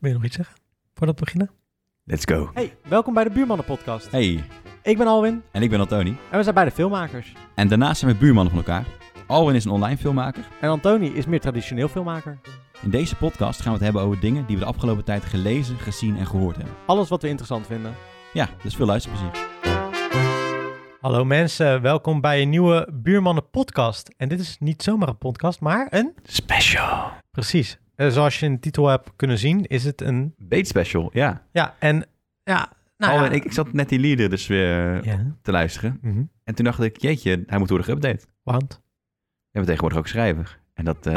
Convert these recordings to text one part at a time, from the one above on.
Wil je nog iets zeggen? Voordat we beginnen? Let's go. Hey, welkom bij de Buurmannen Podcast. Hey, Ik ben Alwin en ik ben Antoni. en we zijn beide filmmakers. En daarnaast zijn we buurmannen van elkaar. Alwin is een online filmmaker. En Antoni is meer traditioneel filmmaker. In deze podcast gaan we het hebben over dingen die we de afgelopen tijd gelezen, gezien en gehoord hebben. Alles wat we interessant vinden. Ja, dus veel luisterplezier. Hallo mensen, welkom bij een nieuwe Buurmannen podcast. En dit is niet zomaar een podcast, maar een... Special. Precies. Eh, zoals je in de titel hebt kunnen zien, is het een... Beet special, ja. Ja, en... Ja, nou Alwin, ja. ik, ik zat net die lieder dus weer Ja. te luisteren. mhm. En toen dacht ik, jeetje, hij moet worden geüpdate. Want? We hebben tegenwoordig ook schrijver. En dat eh,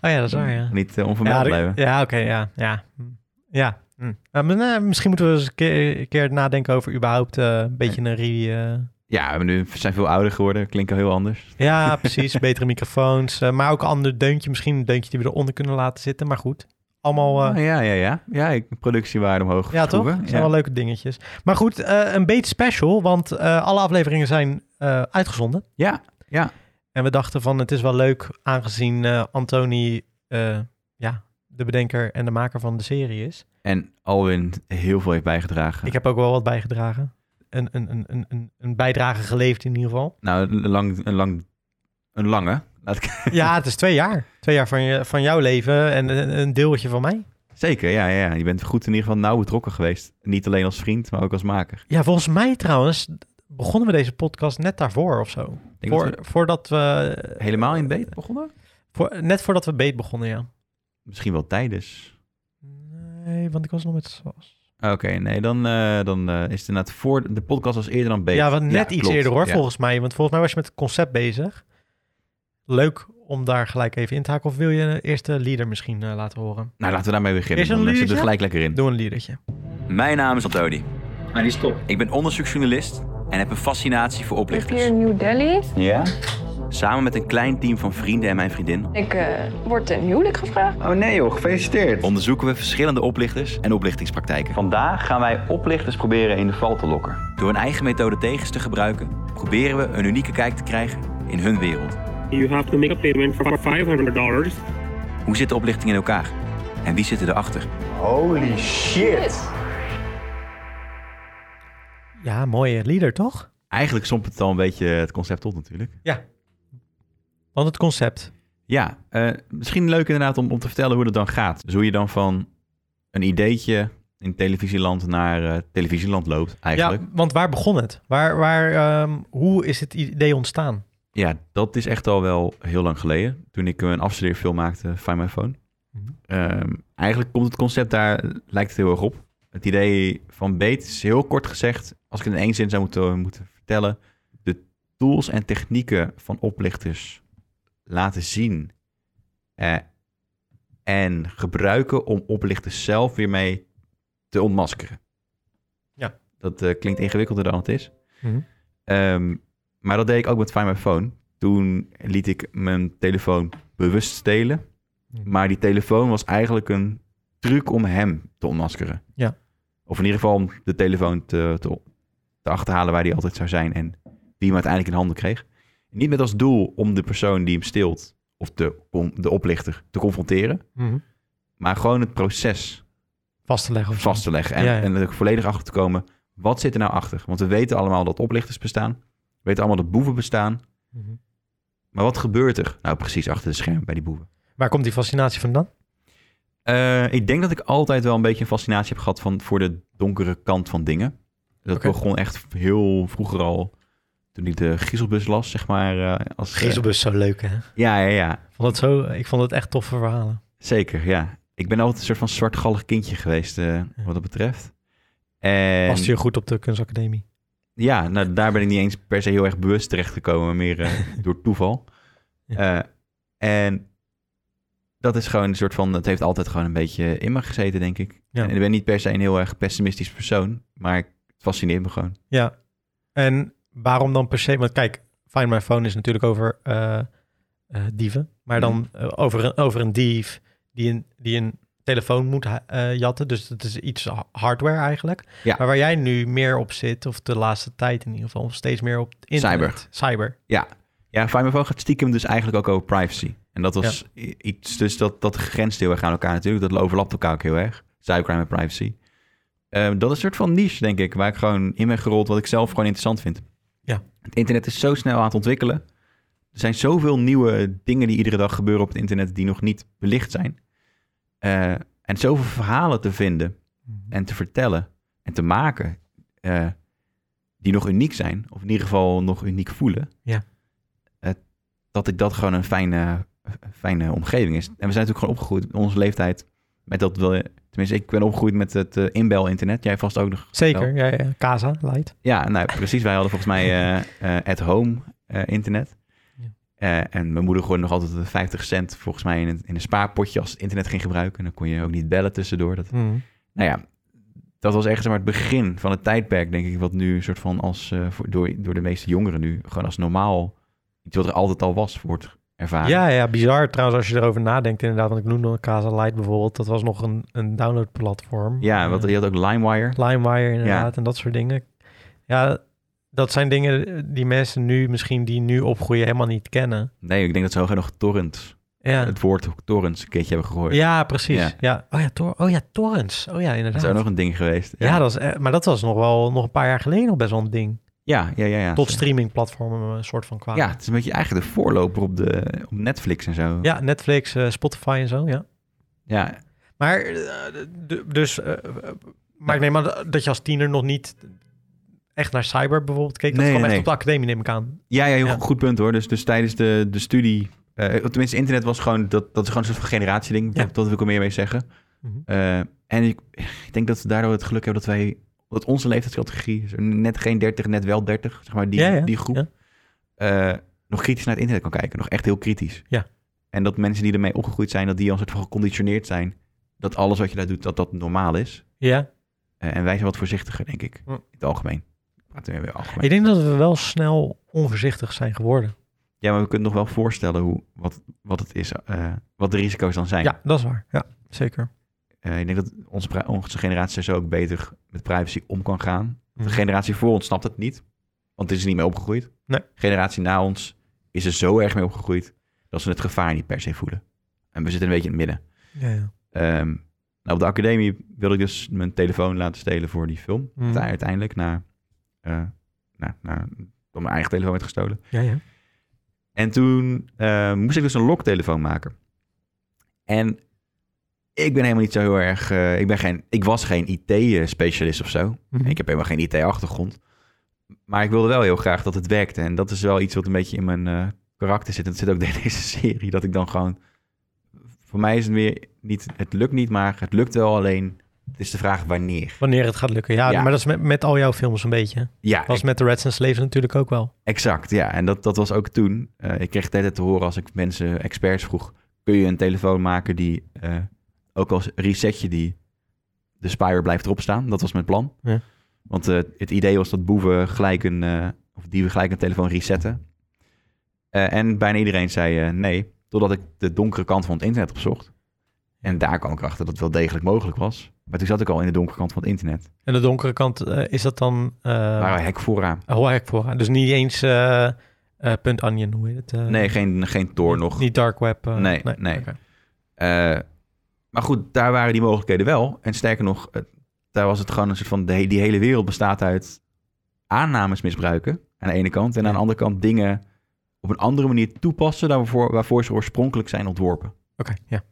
oh ja, dat is waar, ja. niet eh, Ja, onvermeld dat- blijven. ja oké, ja. Ja. hm. ja. hm. Nou, maar, nou, misschien moeten we eens een keer, een keer nadenken over überhaupt eh, een beetje een re... eh, Ja, we nu zijn veel ouder geworden, klinken heel anders. Ja, precies. Betere microfoons. eh, maar ook een ander deuntje. Misschien een deuntje die we eronder kunnen laten zitten. Maar goed. Allemaal. eh, Ah, ja, ja, ja. Ja, ik, productiewaarde omhoog ja, toch? schroeven. Dat zijn Ja. wel leuke dingetjes. Maar goed, eh, een beetje special. Want eh, alle afleveringen zijn eh, uitgezonden. Ja, ja. En we dachten van het is wel leuk aangezien eh, Antoni eh, ja, de bedenker en de maker van de serie is. En Alwin heel veel heeft bijgedragen. Ik heb ook wel wat bijgedragen. Een, een, een- een, een, een bijdrage geleverd in ieder geval. Nou, een, lang, een, lang, een lange. Laat ik... Ja, het is twee jaar. Twee jaar van, je, van jouw leven en een, een deeltje van mij. Zeker, ja, ja. Je bent goed in ieder geval nauw betrokken geweest. Niet alleen als vriend, maar ook als maker. Ja, volgens mij trouwens begonnen we deze podcast net daarvoor of zo. Ik denk Voor, dat Voordat we... we helemaal in beet begonnen? Voor, net voordat we beet begonnen, ja. Misschien wel tijdens. Nee, want ik was nog met Sas. Ah, Oké, nee, dan, eh, dan eh, is het inderdaad voor... De podcast was eerder dan beet. Ja, want net iets klopt. eerder hoor, Ja. volgens mij. Want volgens mij was je met het concept bezig. Leuk om daar gelijk even in te haken. Of wil je eerst de leader misschien eh, laten horen? Nou, laten we daarmee beginnen. Is er Dan een mensen er liedje? gelijk lekker in. Doe een liedertje. Mijn naam is Antoni. Maar die is top. Ik ben onderzoeksjournalist en heb een fascinatie voor Ik hier in New Delhi. Ja? Samen met een klein team van vrienden en mijn vriendin Ik eh, word ten huwelijk gevraagd. Oh nee joh, gefeliciteerd. onderzoeken we verschillende oplichters en oplichtingspraktijken. Vandaag gaan wij oplichters proberen in de val te lokken. Door hun eigen methode tegens te gebruiken, proberen we een unieke kijk te krijgen in hun wereld. You have to make a payment for $500 Hoe zit de oplichting in elkaar? En wie zit erachter? Holy shit. Ja, mooie leader toch? Eigenlijk somt het al een beetje het concept op natuurlijk. Ja. Want het concept. Ja, eh, misschien leuk inderdaad om, om te vertellen hoe dat dan gaat. Dus hoe je dan van een ideetje in televisieland naar eh, televisieland loopt eigenlijk. Ja, want waar begon het? Waar, waar, ehm, hoe is het idee ontstaan? Ja, dat is echt al wel heel lang geleden. Toen ik eh, een afstudeerfilm maakte, Find My Phone. Mhm. Ehm, eigenlijk komt het concept daar, lijkt het heel erg op. Het idee van Beet is heel kort gezegd, als ik het in één zin zou moeten, eh, moeten vertellen. De tools en technieken van oplichters laten zien. eh, en gebruiken om oplichters zelf weer mee te ontmaskeren. Ja. Dat eh, klinkt ingewikkelder dan het is. Mhm. Ehm, maar dat deed ik ook met Find My Phone. Toen liet ik mijn telefoon bewust stelen. Mhm. Maar die telefoon was eigenlijk een truc om hem te ontmaskeren. Ja. Of in ieder geval om de telefoon te, te, te achterhalen waar die altijd zou zijn. En die hem uiteindelijk in handen kreeg. Niet met als doel om de persoon die hem steelt of de, om de oplichter te confronteren. Mhm. Maar gewoon het proces Vast te leggen. of zo. vast te leggen. En, Ja, ja. en er volledig achter te komen. Wat zit er nou achter? Want we weten allemaal dat oplichters bestaan. We weten allemaal dat boeven bestaan. Mhm. Maar wat gebeurt er nou precies achter de schermen bij die boeven? Waar komt die fascinatie vandaan? Eh, ik denk dat ik altijd wel een beetje een fascinatie heb gehad van, voor de donkere kant van dingen. Dat Oké. begon echt heel vroeger al. Toen ik de Giezelbus las, zeg maar. eh, als, Gieselbus zo leuk, hè? ja, ja, ja. Vond het zo, ik vond het echt toffe verhalen. Zeker, ja. Ik ben altijd een soort van zwartgallig kindje geweest, eh, wat dat betreft. En, Past je goed op de kunstacademie. Ja, nou, daar ben ik niet eens per se heel erg bewust terechtgekomen, maar meer eh, door toeval. Eh, en dat is gewoon een soort van, het heeft altijd gewoon een beetje in me gezeten, denk ik. Ja. En ik ben niet per se een heel erg pessimistisch persoon, maar ik- het fascineert me gewoon. Ja. En waarom dan per se? Want kijk, Find My Phone is natuurlijk over eh, eh, dieven. Maar dan Mhm. eh, over, een, over een dief die een, die een telefoon moet ha- eh, jatten. Dus dat is iets ha- hardware eigenlijk. Ja. Maar waar jij nu meer op zit, of de laatste tijd in ieder geval, of steeds meer op het internet. Cyber. Ja, Find My Phone gaat stiekem dus eigenlijk ook over privacy. En dat was i- iets, dus dat, dat grenst heel erg aan elkaar natuurlijk. Dat overlapt elkaar ook heel erg. Cybercrime en privacy. Ehm, dat is een soort van niche, denk ik, waar ik gewoon in ben gerold, wat ik zelf gewoon interessant vind. Ja. Het internet is zo snel aan het ontwikkelen. Er zijn zoveel nieuwe dingen die iedere dag gebeuren op het internet die nog niet belicht zijn. Eh, en zoveel verhalen te vinden en te vertellen en te maken eh, die nog uniek zijn, of in ieder geval nog uniek voelen. Ja. Eh, dat ik dat gewoon een fijne, fijne omgeving is. En we zijn natuurlijk gewoon opgegroeid in onze leeftijd met dat wel. Tenminste, ik ben opgegroeid met het eh, inbel-internet. Jij vast ook nog. Zeker, ja, ja. Casa, light. Ja, nou precies. Wij hadden volgens mij eh, eh, at-home eh, internet. Ja. Eh, en mijn moeder gooide nog altijd de 50 cent volgens mij in een, in een spaarpotje als het internet ging gebruiken. En dan kon je ook niet bellen tussendoor. Dat, nou ja, dat was echt zeg maar, het begin van het tijdperk, denk ik. Wat nu een soort van als, eh, voor- door, door de meeste jongeren nu gewoon als normaal, iets wat er altijd al was, wordt ervaren. Ja, ja, bizar trouwens als je erover nadenkt inderdaad. Want ik noemde al Casa Light bijvoorbeeld. Dat was nog een, een downloadplatform. ja want Eh, je had ook LimeWire. LimeWire inderdaad en dat soort dingen. Ja, dat zijn dingen die mensen nu misschien die nu opgroeien helemaal niet kennen. Nee, ik denk dat ze ook nog torrent, Ja, het woord torrents een keertje hebben gegooid. ja precies. Ja. Ja. Oh, ja, tor oh ja, torrents. Oh ja, Dat inderdaad. is ook nog een ding geweest. ja, dat is, eh, maar dat was nog wel nog een paar jaar geleden nog best wel een ding. ja, ja, ja, ja. Tot streamingplatformen een soort van kwamen. Ja, het is een beetje eigenlijk de voorloper op, de, op Netflix en zo. Ja, Netflix, eh, Spotify en zo, ja. Ja, Maar, eh, d- dus, eh, eh, maar ik neem aan dat je als tiener nog niet echt naar cyber bijvoorbeeld keek. Dat Nee, kwam echt nee. op de academie, neem ik aan. ja, ja, heel Ja. goed punt hoor. Dus, dus tijdens de, de studie, eh, tenminste internet was gewoon, dat, dat is gewoon een soort van generatieding. Ja. Dat, dat wil ik er meer mee zeggen. Mhm. Eh, en ik, ik denk dat we daardoor het geluk hebben dat wij, dat onze leeftijdscategorie, zo net geen 30, net wel 30, zeg maar die, Ja, ja, die groep, ja. eh, nog kritisch naar het internet kan kijken. Nog echt heel kritisch. Ja. En dat mensen die ermee opgegroeid zijn, dat die al een soort van geconditioneerd zijn. Dat alles wat je daar doet, dat dat normaal is. Ja, Eh, en wij zijn wat voorzichtiger, denk ik. Hm. In het algemeen. Ik praat weer weer algemeen. ik denk dat we wel snel onvoorzichtig zijn geworden. Ja, maar we kunnen nog wel voorstellen hoe, wat, wat het is, eh, wat de risico's dan zijn. Ja, dat is waar. Ja, zeker. Eh, ik denk dat onze, pri- onze generatie zo ook beter met privacy om kan gaan. Mhm. De generatie voor ons snapt het niet, want het is er niet mee opgegroeid. Nee. generatie na ons is er zo erg mee opgegroeid dat ze het gevaar niet per se voelen. En we zitten een beetje in het midden. Ja, ja. Ehm, nou, op de academie wilde ik dus mijn telefoon laten stelen voor die film. Mhm. Uite- Uiteindelijk, na, eh, na, na, dat mijn eigen telefoon werd gestolen. ja, ja. En toen eh, moest ik dus een loktelefoon maken. En ik ben helemaal niet zo heel erg... eh, ik, ben geen, ik was geen IT-specialist of zo. Mhm. Ik heb helemaal geen IT-achtergrond. Maar ik wilde wel heel graag dat het werkte. En dat is wel iets wat een beetje in mijn eh, karakter zit. En dat zit ook in deze serie. Dat ik dan gewoon... Voor mij is het weer niet... Het lukt niet, maar het lukt wel alleen... Het is de vraag wanneer. Wanneer het gaat lukken. Ja, Ja. maar dat is met, met al jouw films een beetje. hè? Ja, Dat was met de Reds and Slaves natuurlijk ook wel. Exact, ja. En dat, dat was ook toen. Eh, ik kreeg de hele tijd te horen als ik mensen, experts vroeg... kun je een telefoon maken die, eh, ook als resetje die de Spire blijft erop staan? Dat was mijn plan. Ja. Want eh, het idee was dat boeven gelijk een, eh, of dieven gelijk een telefoon resetten. Eh, en bijna iedereen zei eh, nee, totdat ik de donkere kant van het internet opzocht. En daar kwam ik achter dat het wel degelijk mogelijk was. Maar toen zat ik al in de donkere kant van het internet. En de donkere kant eh, is dat dan... eh Waar hek vooraan. Hoe ik voor. Dus niet eens eh, eh, punt onion, hoe heet het? eh, Nee, geen, geen Tor nog. Niet dark web. eh, Nee, nee. oké. Eh, maar goed, daar waren die mogelijkheden wel. En sterker nog, eh, daar was het gewoon een soort van... De, he- die hele wereld bestaat uit aannames misbruiken aan de ene kant... en aan de andere kant dingen op een andere manier toepassen... dan waarvoor, waarvoor ze oorspronkelijk zijn ontworpen. Oké, ja.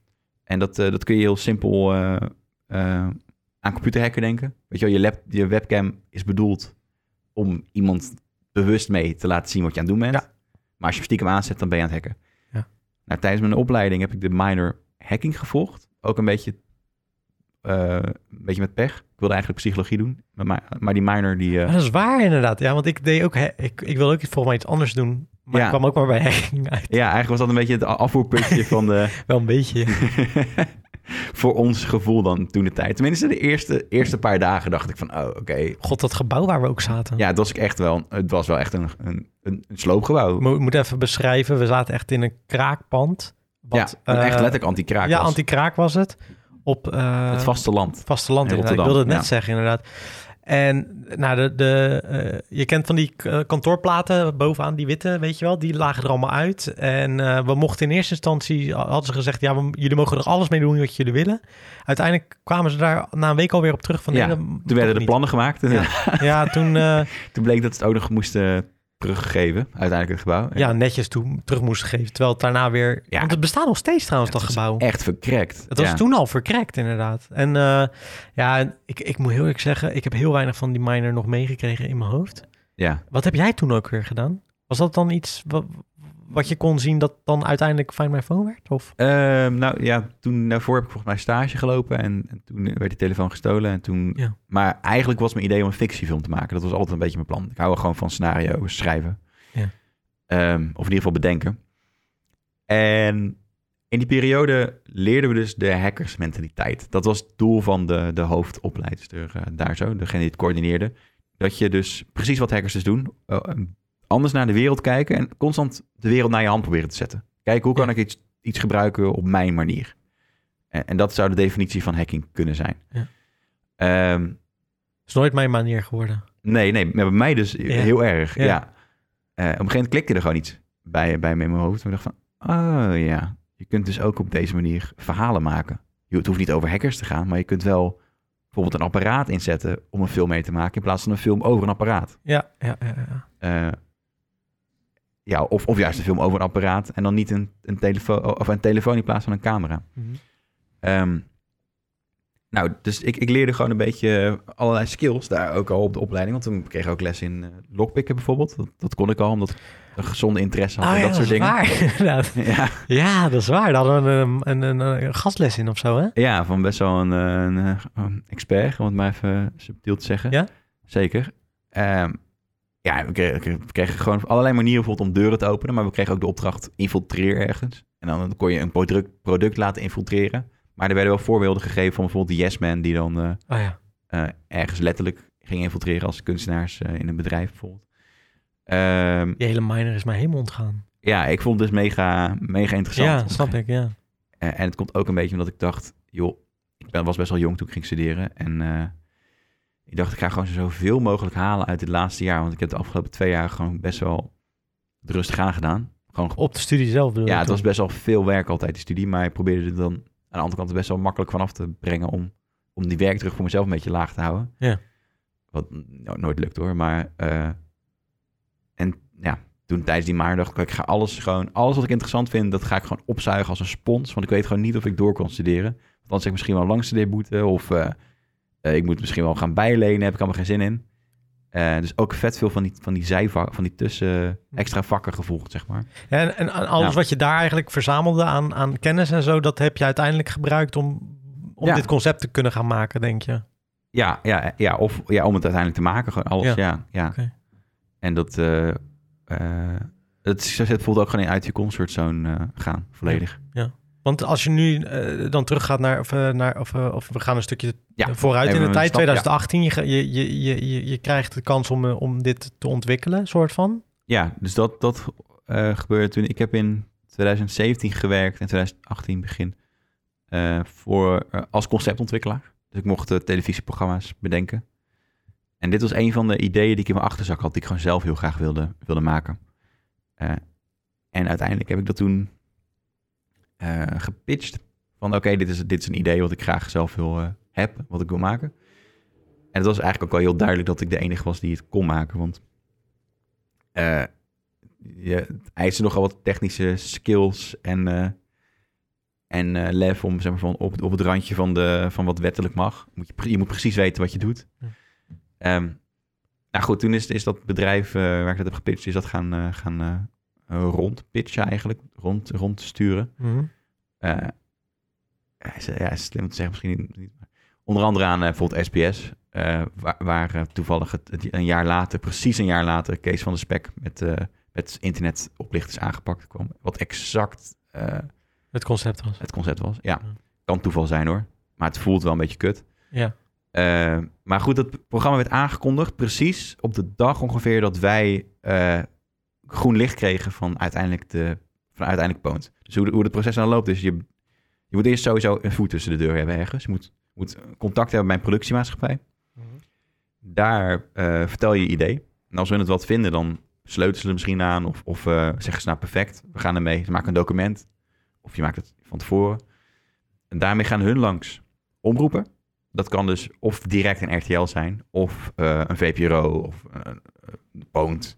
En dat, eh, dat kun je heel simpel eh, eh, aan computerhacken denken. Weet je wel, je, lap, je webcam is bedoeld om iemand bewust mee te laten zien wat je aan het doen bent. Ja. Maar als je hem stiekem aanzet, dan ben je aan het hacken. Ja. Nou, tijdens mijn opleiding heb ik de minor hacking gevolgd. Ook een beetje, eh, een beetje met pech. Ik wilde eigenlijk psychologie doen. Maar, maar- maar die minor die... eh, Ah, dat is waar inderdaad. Ja, want ik deed ook... hè, ik, ik wilde ook volgens mij iets anders doen. Maar Ja. ik kwam ook maar bij hacking uit. ja, eigenlijk was dat een beetje het afvoerpuntje van de... Wel een beetje. voor ons gevoel dan toen de tijd. Tenminste, de eerste, eerste paar dagen dacht ik van, oh, oké. God, dat gebouw waar we ook zaten. Ja, het was, ook echt wel, het was wel echt een, een, een een sloopgebouw. Mo- Ik moet even beschrijven. We zaten echt in een kraakpand. Wat, ja, een eh, echt letterlijk anti-kraak Ja, was. anti-kraak was het. Op eh, het vasteland. vasteland in inderdaad. Ik Rotterdam, wilde het net ja. zeggen, inderdaad. En nou, de, de, eh, je kent van die eh, kantoorplaten bovenaan, die witte, weet je wel, die lagen er allemaal uit. En eh, we mochten in eerste instantie, hadden ze gezegd, ja, we- jullie mogen er alles mee doen wat jullie willen. Uiteindelijk kwamen ze daar na een week alweer op terug van, Ja, nee, dat Toen mag werden de niet. plannen gemaakt. en Ja, toen eh, Toen bleek dat ze het ook nog moesten teruggeven, uiteindelijk het gebouw. ja, netjes toe, terug moesten geven. Terwijl het daarna weer, Ja. want het bestaat nog steeds trouwens, dat was gebouw. Echt verkrekt. Het was Ja. toen al verkrekt, inderdaad. En eh, ja, en ik, ik moet heel eerlijk zeggen, ik heb heel weinig van die miner nog meegekregen in mijn hoofd. Ja. Wat heb jij toen ook weer gedaan? Was dat dan iets wat, wat je kon zien dat dan uiteindelijk Find My Phone werd? Of? Ehm, nou ja, toen daarvoor heb ik volgens mij stage gelopen en, en toen werd die telefoon gestolen. En toen... Ja. Maar eigenlijk was mijn idee om een fictiefilm te maken. Dat was altijd een beetje mijn plan. Ik hou wel gewoon van scenario's schrijven. Ja. Ehm, of in ieder geval bedenken. En in die periode leerden we dus de hackersmentaliteit. Dat was het doel van de, de hoofdopleidster eh, daar zo, degene die het coördineerde. Dat je dus precies wat hackers dus doen, eh, anders naar de wereld kijken en constant de wereld naar je hand proberen te zetten. Kijken hoe kan ik iets, iets gebruiken op mijn manier. Eh, En, en dat zou de definitie van hacking kunnen zijn. Ja. Ehm, is nooit mijn manier geworden. nee, nee, maar bij mij dus heel erg. Ja. Ja. Eh, op een gegeven moment klikte er gewoon iets bij, bij me in mijn hoofd. En ik dacht van, oh ja, je kunt dus ook op deze manier verhalen maken. Je, het hoeft niet over hackers te gaan, maar je kunt wel bijvoorbeeld een apparaat inzetten om een film mee te maken in plaats van een film over een apparaat. Ja, ja, ja, ja. Eh, ja, of, of juist een film over een apparaat en dan niet een, een, telefoon, of een telefoon in plaats van een camera. Mhm. Ehm, nou, dus ik, ik leerde gewoon een beetje eh, allerlei skills daar ook al op de opleiding. Want toen kreeg ik ook les in eh, lockpicken bijvoorbeeld. Dat, dat kon ik al, omdat ik een gezonde interesse had Oh en ja, dat soort is dingen. waar. inderdaad. Ja, ja, dat is waar. Daar hadden we een, een, een, een gastles in of zo, hè? ja, van best wel een, eh, een, eh, een expert, om het maar even eh, subtiel te zeggen. Ja? Zeker. Ehm, ja, we kregen, we kregen gewoon op allerlei manieren bijvoorbeeld om deuren te openen. Maar we kregen ook de opdracht infiltreer ergens. En dan kon je een product, product laten infiltreren. Maar er werden wel voorbeelden gegeven van bijvoorbeeld de Yes Man die dan... eh, Oh ja. eh, ergens letterlijk ging infiltreren als kunstenaars eh, in een bedrijf bijvoorbeeld. Ehm, Die hele miner is mij helemaal ontgaan. ja, ik vond het dus mega, mega interessant. Ja, snap ik, ja. Eh, en het komt ook een beetje omdat ik dacht, joh, ik ben, was best wel jong toen ik ging studeren. En eh, ik dacht, ik ga gewoon zoveel mogelijk halen uit dit laatste jaar. Want ik heb de afgelopen twee jaar gewoon best wel het rustig aan gedaan. Gewoon, Op de studie zelf bedoel ja, ik het toen. was best wel veel werk altijd, die studie. Maar ik probeerde er dan aan de andere kant best wel makkelijk vanaf te brengen om, om die werkdruk voor mezelf een beetje laag te houden. Ja. Wat no- nooit lukt hoor, maar... eh, en ja, toen tijdens die maar dacht ik, ik ga alles gewoon... Alles wat ik interessant vind, dat ga ik gewoon opzuigen als een spons. Want ik weet gewoon niet of ik door kan studeren. Want anders heb ik misschien wel een langstudeerboete of... eh, eh, ik moet misschien wel gaan bijlenen, heb ik allemaal geen zin in. Eh, dus ook vet veel van die, van die zijvak, van die tussen extra vakken gevolgd, zeg maar. Ja, En, en alles Ja. wat je daar eigenlijk verzamelde aan, aan kennis en zo, dat heb je uiteindelijk gebruikt om, om Ja. dit concept te kunnen gaan maken, denk je. Ja, ja, ja, of ja, om het uiteindelijk te maken, gewoon alles, ja. Ja. ja, Oké. En dat, eh eh dat is- dat voelt ook gewoon in uit je comfortzone eh, gaan, volledig. Want als je nu eh, dan teruggaat naar, of, eh, naar of, eh, of we gaan een stukje Ja, vooruit even in de een tijd, stap, ja. 2018, je ga- je, je, je, je, je krijgt de kans om, eh, om dit te ontwikkelen, soort van. Ja, dus dat, dat eh, gebeurde toen. Ik heb in 2017 gewerkt en 2018 begin eh, voor, eh, als conceptontwikkelaar. Dus ik mocht eh, televisieprogramma's bedenken. En dit was een van de ideeën die ik in mijn achterzak had, die ik gewoon zelf heel graag wilde, wilde maken. Eh, en uiteindelijk heb ik dat toen eh, gepitcht. Van oké, dit, is, dit is een idee wat ik graag zelf wil eh heb, wat ik wil maken. En het was eigenlijk ook wel heel duidelijk dat ik de enige was die het kon maken. Want eh je, het eiste nogal wat technische skills en, eh, en eh, lef om zeg maar, van op, op het randje van, de, van wat wettelijk mag. Moet je, pre- je moet precies weten wat je doet. Ja. Ehm, nou goed, toen is, is dat bedrijf eh, waar ik dat heb gepitcht, is dat gaan, eh, gaan eh, eh, rondpitchen eigenlijk, rond, rondsturen. Eh, ja, is- ja, is slim om te zeggen, misschien niet. niet- maar Onder andere aan eh, bijvoorbeeld SBS, eh, waar, waar, eh, toevallig het, het- een jaar later, precies een jaar later, Kees van de Spek met, eh met internetoplichters aangepakt kwam. Wat exact eh, Het concept was. het concept was. Ja, Ja. kan toeval zijn hoor, maar het voelt wel een beetje kut. Ja. Eh, maar goed, dat programma werd aangekondigd precies op de dag ongeveer dat wij eh, groen licht kregen van uiteindelijk, de, van uiteindelijk Poont. Dus hoe, de- hoe het proces dan loopt is, je, je moet eerst sowieso een voet tussen de deur hebben ergens. Je moet, moet contact hebben bij een productiemaatschappij. Daar eh, vertel je je idee. En als hun het wat vinden, dan sleutelen ze er misschien aan. Of, of eh, zeggen ze nou perfect, we gaan ermee. Ze maken een document. Of je maakt het van tevoren. En daarmee gaan hun langs omroepen. Dat kan dus of direct een RTL zijn, of eh, een VPRO, of eh, een Poont.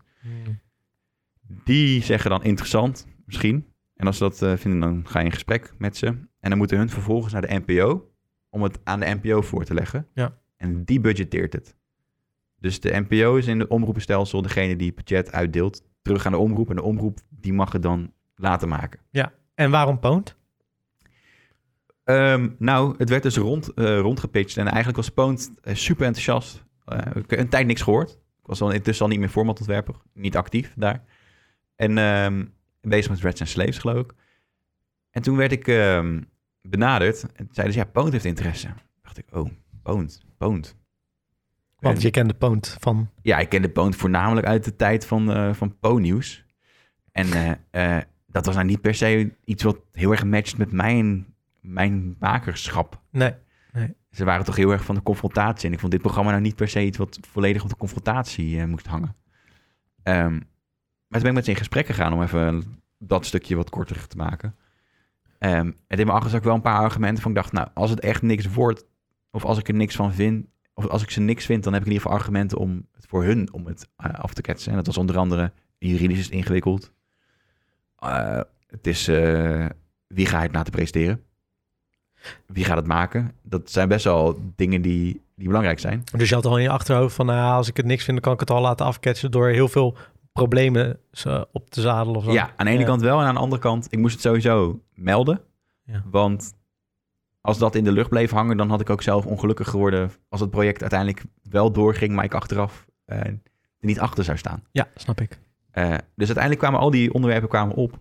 Die zeggen dan interessant, misschien. En als ze dat eh, vinden, dan ga je in gesprek met ze. En dan moeten hun vervolgens naar de NPO om het aan de NPO voor te leggen. Ja. En die budgetteert het. Dus de NPO is in het omroepenstelsel degene die budget uitdeelt terug aan de omroep. En de omroep die mag het dan laten maken. En waarom Poont? Ehm, nou, het werd dus rond, eh, rondgepitcht. En eigenlijk was Poont eh, super enthousiast. Eh, ik heb een tijd niks gehoord. Ik was dan intussen al niet meer formatontwerper. Niet actief daar. En ehm, bezig met Reds and Slaves, geloof ik. En toen werd ik ehm, benaderd. En zeiden ze, ja, Poont heeft interesse. dacht ik, oh, Poont, Poont. Want je kende Poont van... Ja, ik kende Poont voornamelijk uit de tijd van, eh van Po-nieuws. En eh, eh, dat was nou niet per se iets wat heel erg matcht met mijn, mijn makerschap. Nee, Ze waren toch heel erg van de confrontatie. En ik vond dit programma nou niet per se iets wat volledig op de confrontatie eh, moest hangen. Ehm, maar toen ben ik met ze in gesprek gegaan om even dat stukje wat korter te maken. Ehm en in mijn achterzak wel een paar argumenten van ik dacht, nou, als het echt niks wordt, of als ik er niks van vind, of als ik ze niks vind, dan heb ik in ieder geval argumenten om het voor hun om het eh, af te ketsen. En dat was onder andere, juridisch is het ingewikkeld. Eh, het is, eh, wie gaat het na te presteren? Wie gaat het maken? Dat zijn best wel dingen die, die belangrijk zijn. dus je had al in je achterhoofd van... nou, als ik het niks vind, dan kan ik het al laten afketsen... door heel veel problemen eh, op te zadelen of zo. Ja, aan de ene Ja. kant wel en aan de andere kant, ik moest het sowieso melden. Ja. Want als dat in de lucht bleef hangen, dan had ik ook zelf ongelukkig geworden als het project uiteindelijk wel doorging, maar ik achteraf eh, er niet achter zou staan. Ja, snap ik. Eh, dus uiteindelijk kwamen al die onderwerpen kwamen op.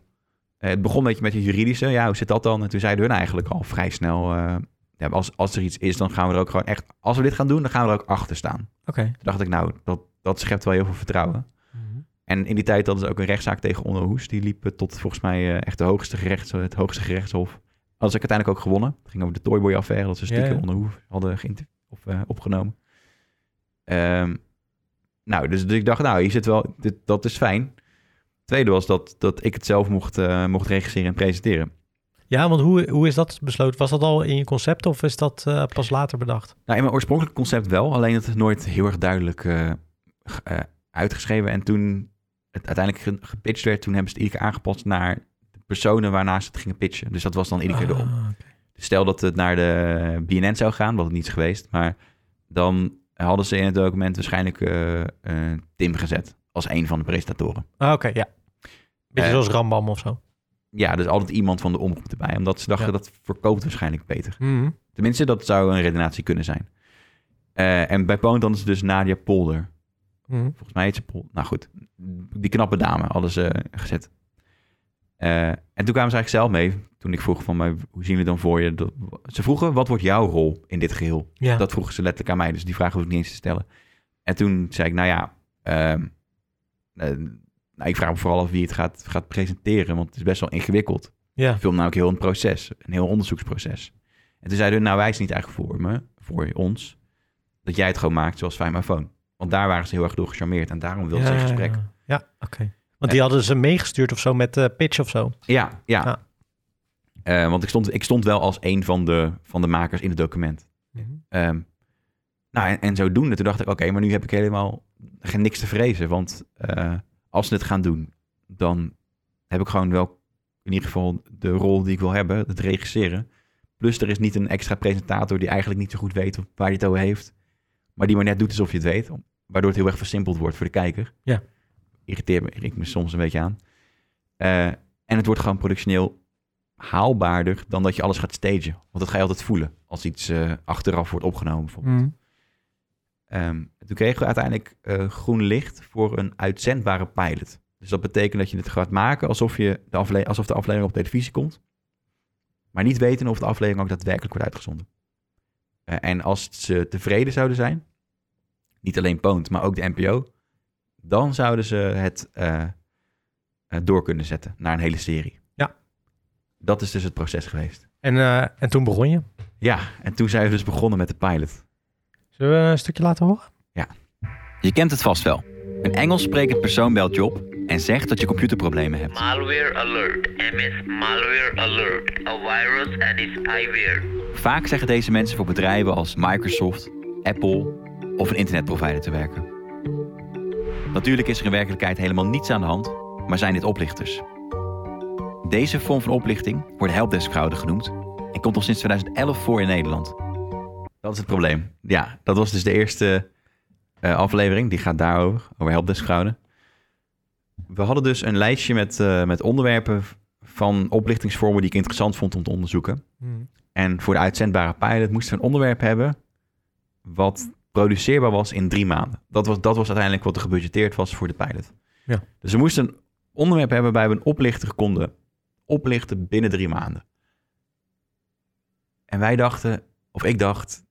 Eh, het begon een beetje met het juridische. Ja, hoe zit dat dan? En toen zeiden hun eigenlijk al vrij snel... eh, ja, als, als er iets is, dan gaan we er ook gewoon echt... Als we dit gaan doen, dan gaan we er ook achter staan. Oké. Toen dacht ik, nou, dat, dat schept wel heel veel vertrouwen. Mhm. En in die tijd hadden ze ook een rechtszaak tegen Onderhoes. Die liep eh, tot volgens mij eh, echt de hoogste gerechts, het hoogste gerechtshof. Hadden ze uiteindelijk ook gewonnen. Het ging over de Toyboy-affaire, dat ze stiekem Ja, ja. Onderhoes hadden geïnter- of, eh, opgenomen. Ehm, nou, dus, dus ik dacht, nou, hier zit wel, dit, dat is fijn. Tweede was dat, dat ik het zelf mocht, eh, mocht regisseren en presenteren. Ja, want hoe, hoe is dat besloten? Was dat al in je concept of is dat eh, pas later bedacht? Nou, in mijn oorspronkelijke concept wel, alleen het is nooit heel erg duidelijk eh, ge- eh, uitgeschreven. En toen het uiteindelijk ge- gepitcht werd, toen hebben ze het iedere keer aangepast naar de personen waarnaast ze het gingen pitchen. Dus dat was dan iedere keer de op. dus Ah, oké. Stel dat het naar de eh, BNN zou gaan, wat het niet is geweest, maar dan hadden ze in het document waarschijnlijk eh, eh, Tim gezet als een van de presentatoren. Ah, Oké, ja. Beetje Eh. zoals Rambam of zo. Ja, dus altijd iemand van de omroep erbij, omdat ze dachten Ja. dat verkoopt waarschijnlijk beter. Mhm. Tenminste, dat zou een redenatie kunnen zijn. Eh, en bij Poont dan is het dus Nadia Polder. Mhm. Volgens mij heet ze Pol. Nou goed, die knappe dame hadden ze gezet. Eh, en toen kwamen ze eigenlijk zelf mee. Toen ik vroeg van, maar hoe zien we dan voor je? dat- Ze vroegen, wat wordt jouw rol in dit geheel? Ja. Dat vroegen ze letterlijk aan mij, dus die vraag hoef ik niet eens te stellen. En toen zei ik, nou ja, ehm, eh, nou, ik vraag me vooral af wie het gaat, gaat presenteren, want het is best wel ingewikkeld. ja. Ik film namelijk heel een proces, een heel onderzoeksproces. En toen zeiden hun, nou wijst niet eigenlijk voor me, voor ons, dat jij het gewoon maakt zoals Fijn Maar Phone. Want daar waren ze heel erg door gecharmeerd en daarom wilden ze Ja, in gesprek. Ja, Ja, oké. Want die hadden ze meegestuurd of zo met eh, pitch of zo. Ja, ja. Ja. Eh, want ik stond, ik stond wel als een van de, van de makers in het document. Mhm. Ehm, nou, en, en zodoende, toen dacht ik, oké, maar nu heb ik helemaal geen niks te vrezen. Want eh, als ze het gaan doen, dan heb ik gewoon wel in ieder geval de rol die ik wil hebben, het regisseren. Plus er is niet een extra presentator die eigenlijk niet zo goed weet of waar hij het over heeft. Maar die maar net doet alsof je het weet. om- Waardoor het heel erg versimpeld wordt voor de kijker. Ja. Irriteer me, ik me soms een beetje aan. Eh, en het wordt gewoon productioneel haalbaarder dan dat je alles gaat stagen. Want dat ga je altijd voelen als iets eh, achteraf wordt opgenomen bijvoorbeeld. Mhm. Ehm, toen kregen we uiteindelijk eh, groen licht voor een uitzendbare pilot. Dus dat betekent dat je het gaat maken alsof, je de, afle alsof de aflevering op televisie komt. Maar niet weten of de aflevering ook daadwerkelijk wordt uitgezonden. Eh, en als ze tevreden zouden zijn, niet alleen Poont, maar ook de NPO, dan zouden ze het eh, eh, door kunnen zetten naar een hele serie. Ja. Dat is dus het proces geweest. En, eh, en toen begon je. Ja, en toen zijn we dus begonnen met de pilot. Zullen we een stukje laten horen? Je kent het vast wel. Een Engels sprekend persoon belt je op en zegt dat je computerproblemen hebt. Malware alert. MS malware alert. A virus and its spyware. Vaak zeggen deze mensen voor bedrijven als Microsoft, Apple of een internetprovider te werken. Natuurlijk is er in werkelijkheid helemaal niets aan de hand, maar zijn dit oplichters. Deze vorm van oplichting wordt helpdeskfraude genoemd en komt al sinds 2011 voor in Nederland. Dat is het probleem. Ja, dat was dus de eerste eh, aflevering. Die gaat daarover, over helpdeskfraude. We hadden dus een lijstje met, eh, met onderwerpen van oplichtingsvormen die ik interessant vond om te onderzoeken. Hm. En voor de uitzendbare pilot moesten we een onderwerp hebben wat produceerbaar was in drie maanden. Dat was, dat was uiteindelijk wat er gebudgeteerd was voor de pilot. Ja. Dus we moesten een onderwerp hebben waarbij we een oplichter konden oplichten binnen drie maanden. En wij dachten, of ik dacht,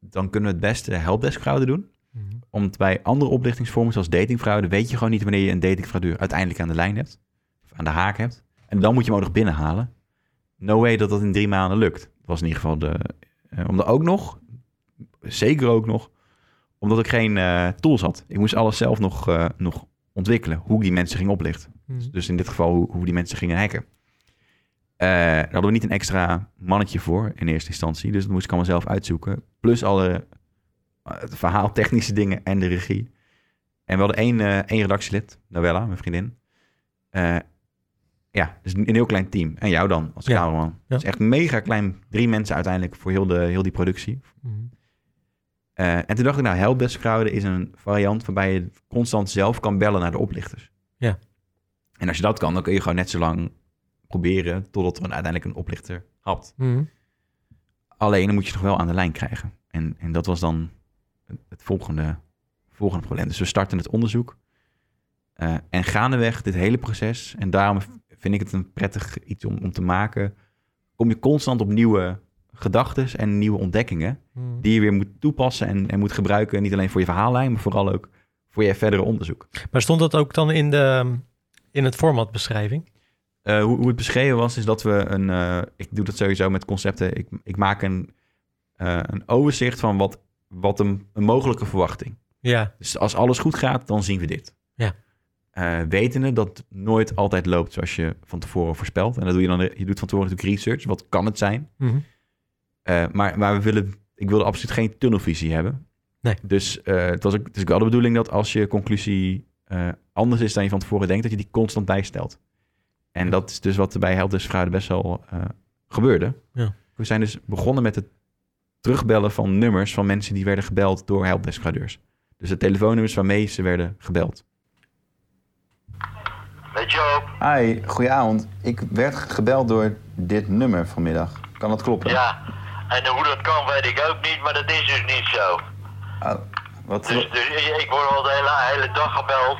dan kunnen we het beste helpdeskfraude doen. Mhm. Omdat bij andere oplichtingsvormen zoals datingfraude weet je gewoon niet wanneer je een datingfraudeur uiteindelijk aan de lijn hebt. Of aan de haak hebt. En dan moet je hem ook nog binnenhalen. No way dat dat in drie maanden lukt. Was in ieder geval de... eh, omdat ook nog, zeker ook nog, omdat ik geen eh, tools had. Ik moest alles zelf nog, eh, nog ontwikkelen, hoe ik die mensen ging oplichten. Hm. Dus in dit geval hoe, hoe die mensen gingen hacken. Eh, daar hadden we niet een extra mannetje voor in eerste instantie. Dus dat moest ik allemaal zelf uitzoeken. Plus alle eh, het verhaal, technische dingen en de regie. En we hadden één, eh één redactielid, Noella, mijn vriendin. Eh, ja, dus een een heel klein team. En jou dan als Ja. cameraman. Dus echt mega klein. Drie mensen uiteindelijk voor heel, de, heel die productie. Mhm. Eh, en toen dacht ik, nou, helpdeskfraude is een variant waarbij je constant zelf kan bellen naar de oplichters. Ja. En als je dat kan, dan kun je gewoon net zo lang proberen totdat er een- uiteindelijk een oplichter hapt. Mhm. Alleen dan moet je het nog wel aan de lijn krijgen. En, en dat was dan het volgende, volgende probleem. Dus we starten het onderzoek. Eh, en gaandeweg dit hele proces, en daarom vind ik het een prettig iets om, om te maken, kom je constant op nieuwe gedachten en nieuwe ontdekkingen Mhm. die je weer moet toepassen en, en moet gebruiken. Niet alleen voor je verhaallijn, maar vooral ook voor je verdere onderzoek. Maar stond dat ook dan in, de, in het formatbeschrijving? Eh, hoe, hoe het beschreven was, is dat we een... eh, ik doe dat sowieso met concepten. Ik, ik maak een, eh, een overzicht van wat, wat een, een mogelijke verwachting. Ja. Dus als alles goed gaat, dan zien we dit. Ja. Eh, wetende dat nooit altijd loopt zoals je van tevoren voorspelt. En dat doe je dan... Je doet van tevoren natuurlijk research. Wat kan het zijn? Mhm. Eh, maar maar we willen, ik wilde absoluut geen tunnelvisie hebben. Nee. Dus eh, het, was ook, het is ook wel de bedoeling dat als je conclusie eh, anders is dan je van tevoren denkt, dat je die constant bijstelt. En dat is dus wat er bij helpdeskfraude best wel eh, gebeurde. Ja. We zijn dus begonnen met het terugbellen van nummers van mensen die werden gebeld door helpdeskfraudeurs. Dus de telefoonnummers waarmee ze werden gebeld. Met Joop. Hi, goedenavond. Ik werd gebeld door dit nummer vanmiddag. Kan dat kloppen? Ja. En hoe dat kan weet ik ook niet, maar dat is dus niet zo. wat, Dus, dus ik ik word al de hele, hele dag gebeld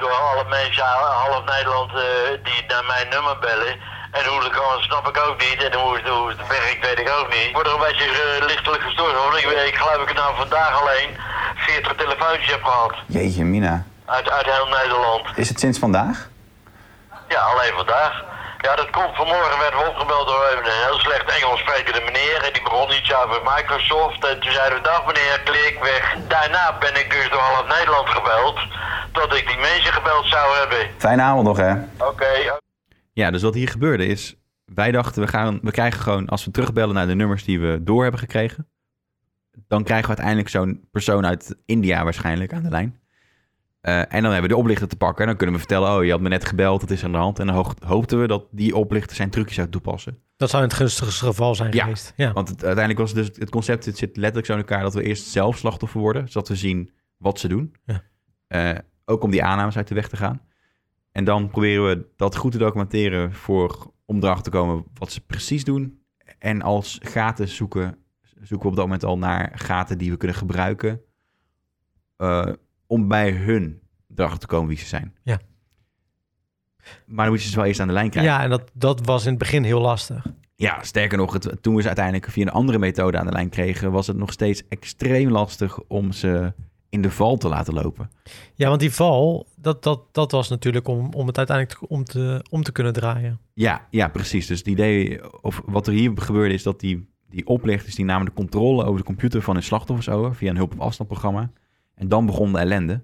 door alle mensen, half Nederland, eh, die naar mijn nummer bellen. En hoe dat kan, snap ik ook niet. En hoe, het- hoe het werkt, weet ik ook niet. Ik word er een beetje eh, lichtelijk gestoord, hoor. Ik, ik geloof dat ik nou vandaag alleen 40 telefoontjes heb gehad. Jeetje, Mina. Uit, uit heel Nederland. Is het sinds vandaag? Ja, alleen vandaag. Ja, dat komt. Vanmorgen werden we opgebeld door een heel slecht Engels sprekende meneer. En die begon iets over Microsoft. En toen zeiden we, dag meneer, klik weg. Daarna ben ik dus door half Nederland gebeld. Dat ik die mensen gebeld zou hebben. Fijne avond nog, hè? Oké. Ja, dus wat hier gebeurde is... Wij dachten, we, gaan, we krijgen gewoon... Als we terugbellen naar de nummers die we door hebben gekregen... dan krijgen we uiteindelijk zo'n persoon uit India waarschijnlijk aan de lijn. Eh, en dan hebben we de oplichter te pakken. En dan kunnen we vertellen... oh, je had me net gebeld, dat is aan de hand. En dan ho- hoopten we dat die oplichter zijn trucjes zou toepassen. Dat zou in het gunstigste geval zijn Ja. geweest. Ja. Want het, uiteindelijk was het dus het concept, het zit letterlijk zo in elkaar dat we eerst zelf slachtoffer worden, zodat we zien wat ze doen. Ja. Eh, ook om die aannames uit de weg te gaan. En dan proberen we dat goed te documenteren voor om erachter te komen wat ze precies doen. En als gaten zoeken, zoeken we op dat moment al naar gaten die we kunnen gebruiken eh, om bij hun erachter te komen wie ze zijn. Ja. Maar dan moet je ze wel eerst aan de lijn krijgen. Ja, en dat, dat was in het begin heel lastig. Ja, sterker nog, het, toen we ze uiteindelijk via een andere methode aan de lijn kregen, was het nog steeds extreem lastig om ze in de val te laten lopen. Ja, want die val, dat, dat, dat was natuurlijk om, om het uiteindelijk te- om te, om te kunnen draaien. Ja, ja, precies. Dus het idee, of wat er hier gebeurde, is dat die, die oplichters, die namen de controle over de computer van hun slachtoffers over via een hulp- op afstandprogramma. En dan begon de ellende.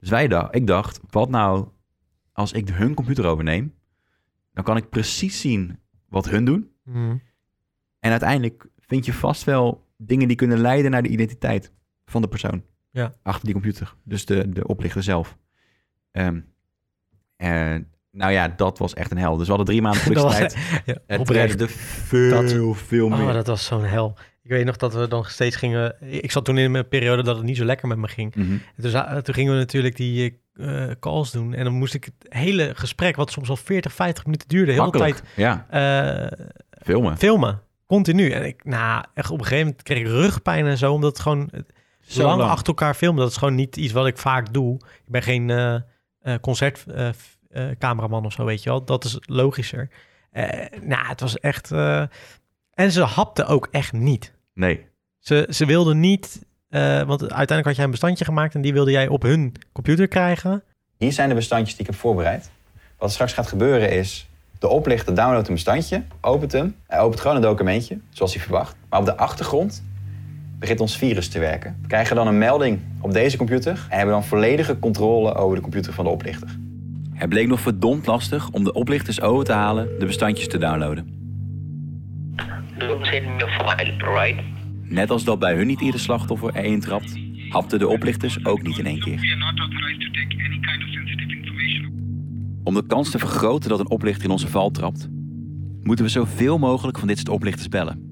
Dus wij dacht, ik dacht, wat nou als ik hun computer overneem? Dan kan ik precies zien wat hun doen. Mm. En uiteindelijk vind je vast wel dingen die kunnen leiden naar de identiteit van de persoon. Ja. Achter die computer. Dus de, de oplichter zelf. Ehm, en nou ja, dat was echt een hel. Dus we hadden drie maanden Dat was- publiciteit. Ja, Het oprecht. redde veel, veel meer. Oh, dat was zo'n hel. Ik weet nog dat we dan steeds gingen... Ik zat toen in een periode dat het niet zo lekker met me ging. Mhm. En toen, za- toen gingen we natuurlijk die eh, eh, calls doen. En dan moest ik het hele gesprek, wat soms al 40, 50 minuten duurde, heel de hele tijd Makkelijk. Ja, eh, filmen. filmen. Continu. En ik, nou, echt op een gegeven moment kreeg ik rugpijn en zo, omdat het gewoon eh, Zo lang, lang. achter elkaar filmen. Dat is gewoon niet iets wat ik vaak doe. Ik ben geen eh, concertcameraman eh, of zo, weet je wel. Dat is logischer. Eh, nou, het was echt... eh, en ze hapte ook echt niet. Nee. Ze, ze wilden niet... eh, want uiteindelijk had jij een bestandje gemaakt en die wilde jij op hun computer krijgen. Hier zijn de bestandjes die ik heb voorbereid. Wat straks gaat gebeuren is, de oplichter downloadt een bestandje, opent hem. Hij opent gewoon een documentje, zoals hij verwacht. Maar op de achtergrond begint ons virus te werken. We krijgen dan een melding op deze computer en hebben dan volledige controle over de computer van de oplichter. Het bleek nog verdomd lastig om de oplichters over te halen de bestandjes te downloaden. Don't send me a file, right? Net als dat bij hun niet ieder slachtoffer er één trapt, hapten de oplichters ook niet in één keer. Om de kans te vergroten dat een oplichter in onze val trapt, moeten we zoveel mogelijk van dit soort oplichters bellen.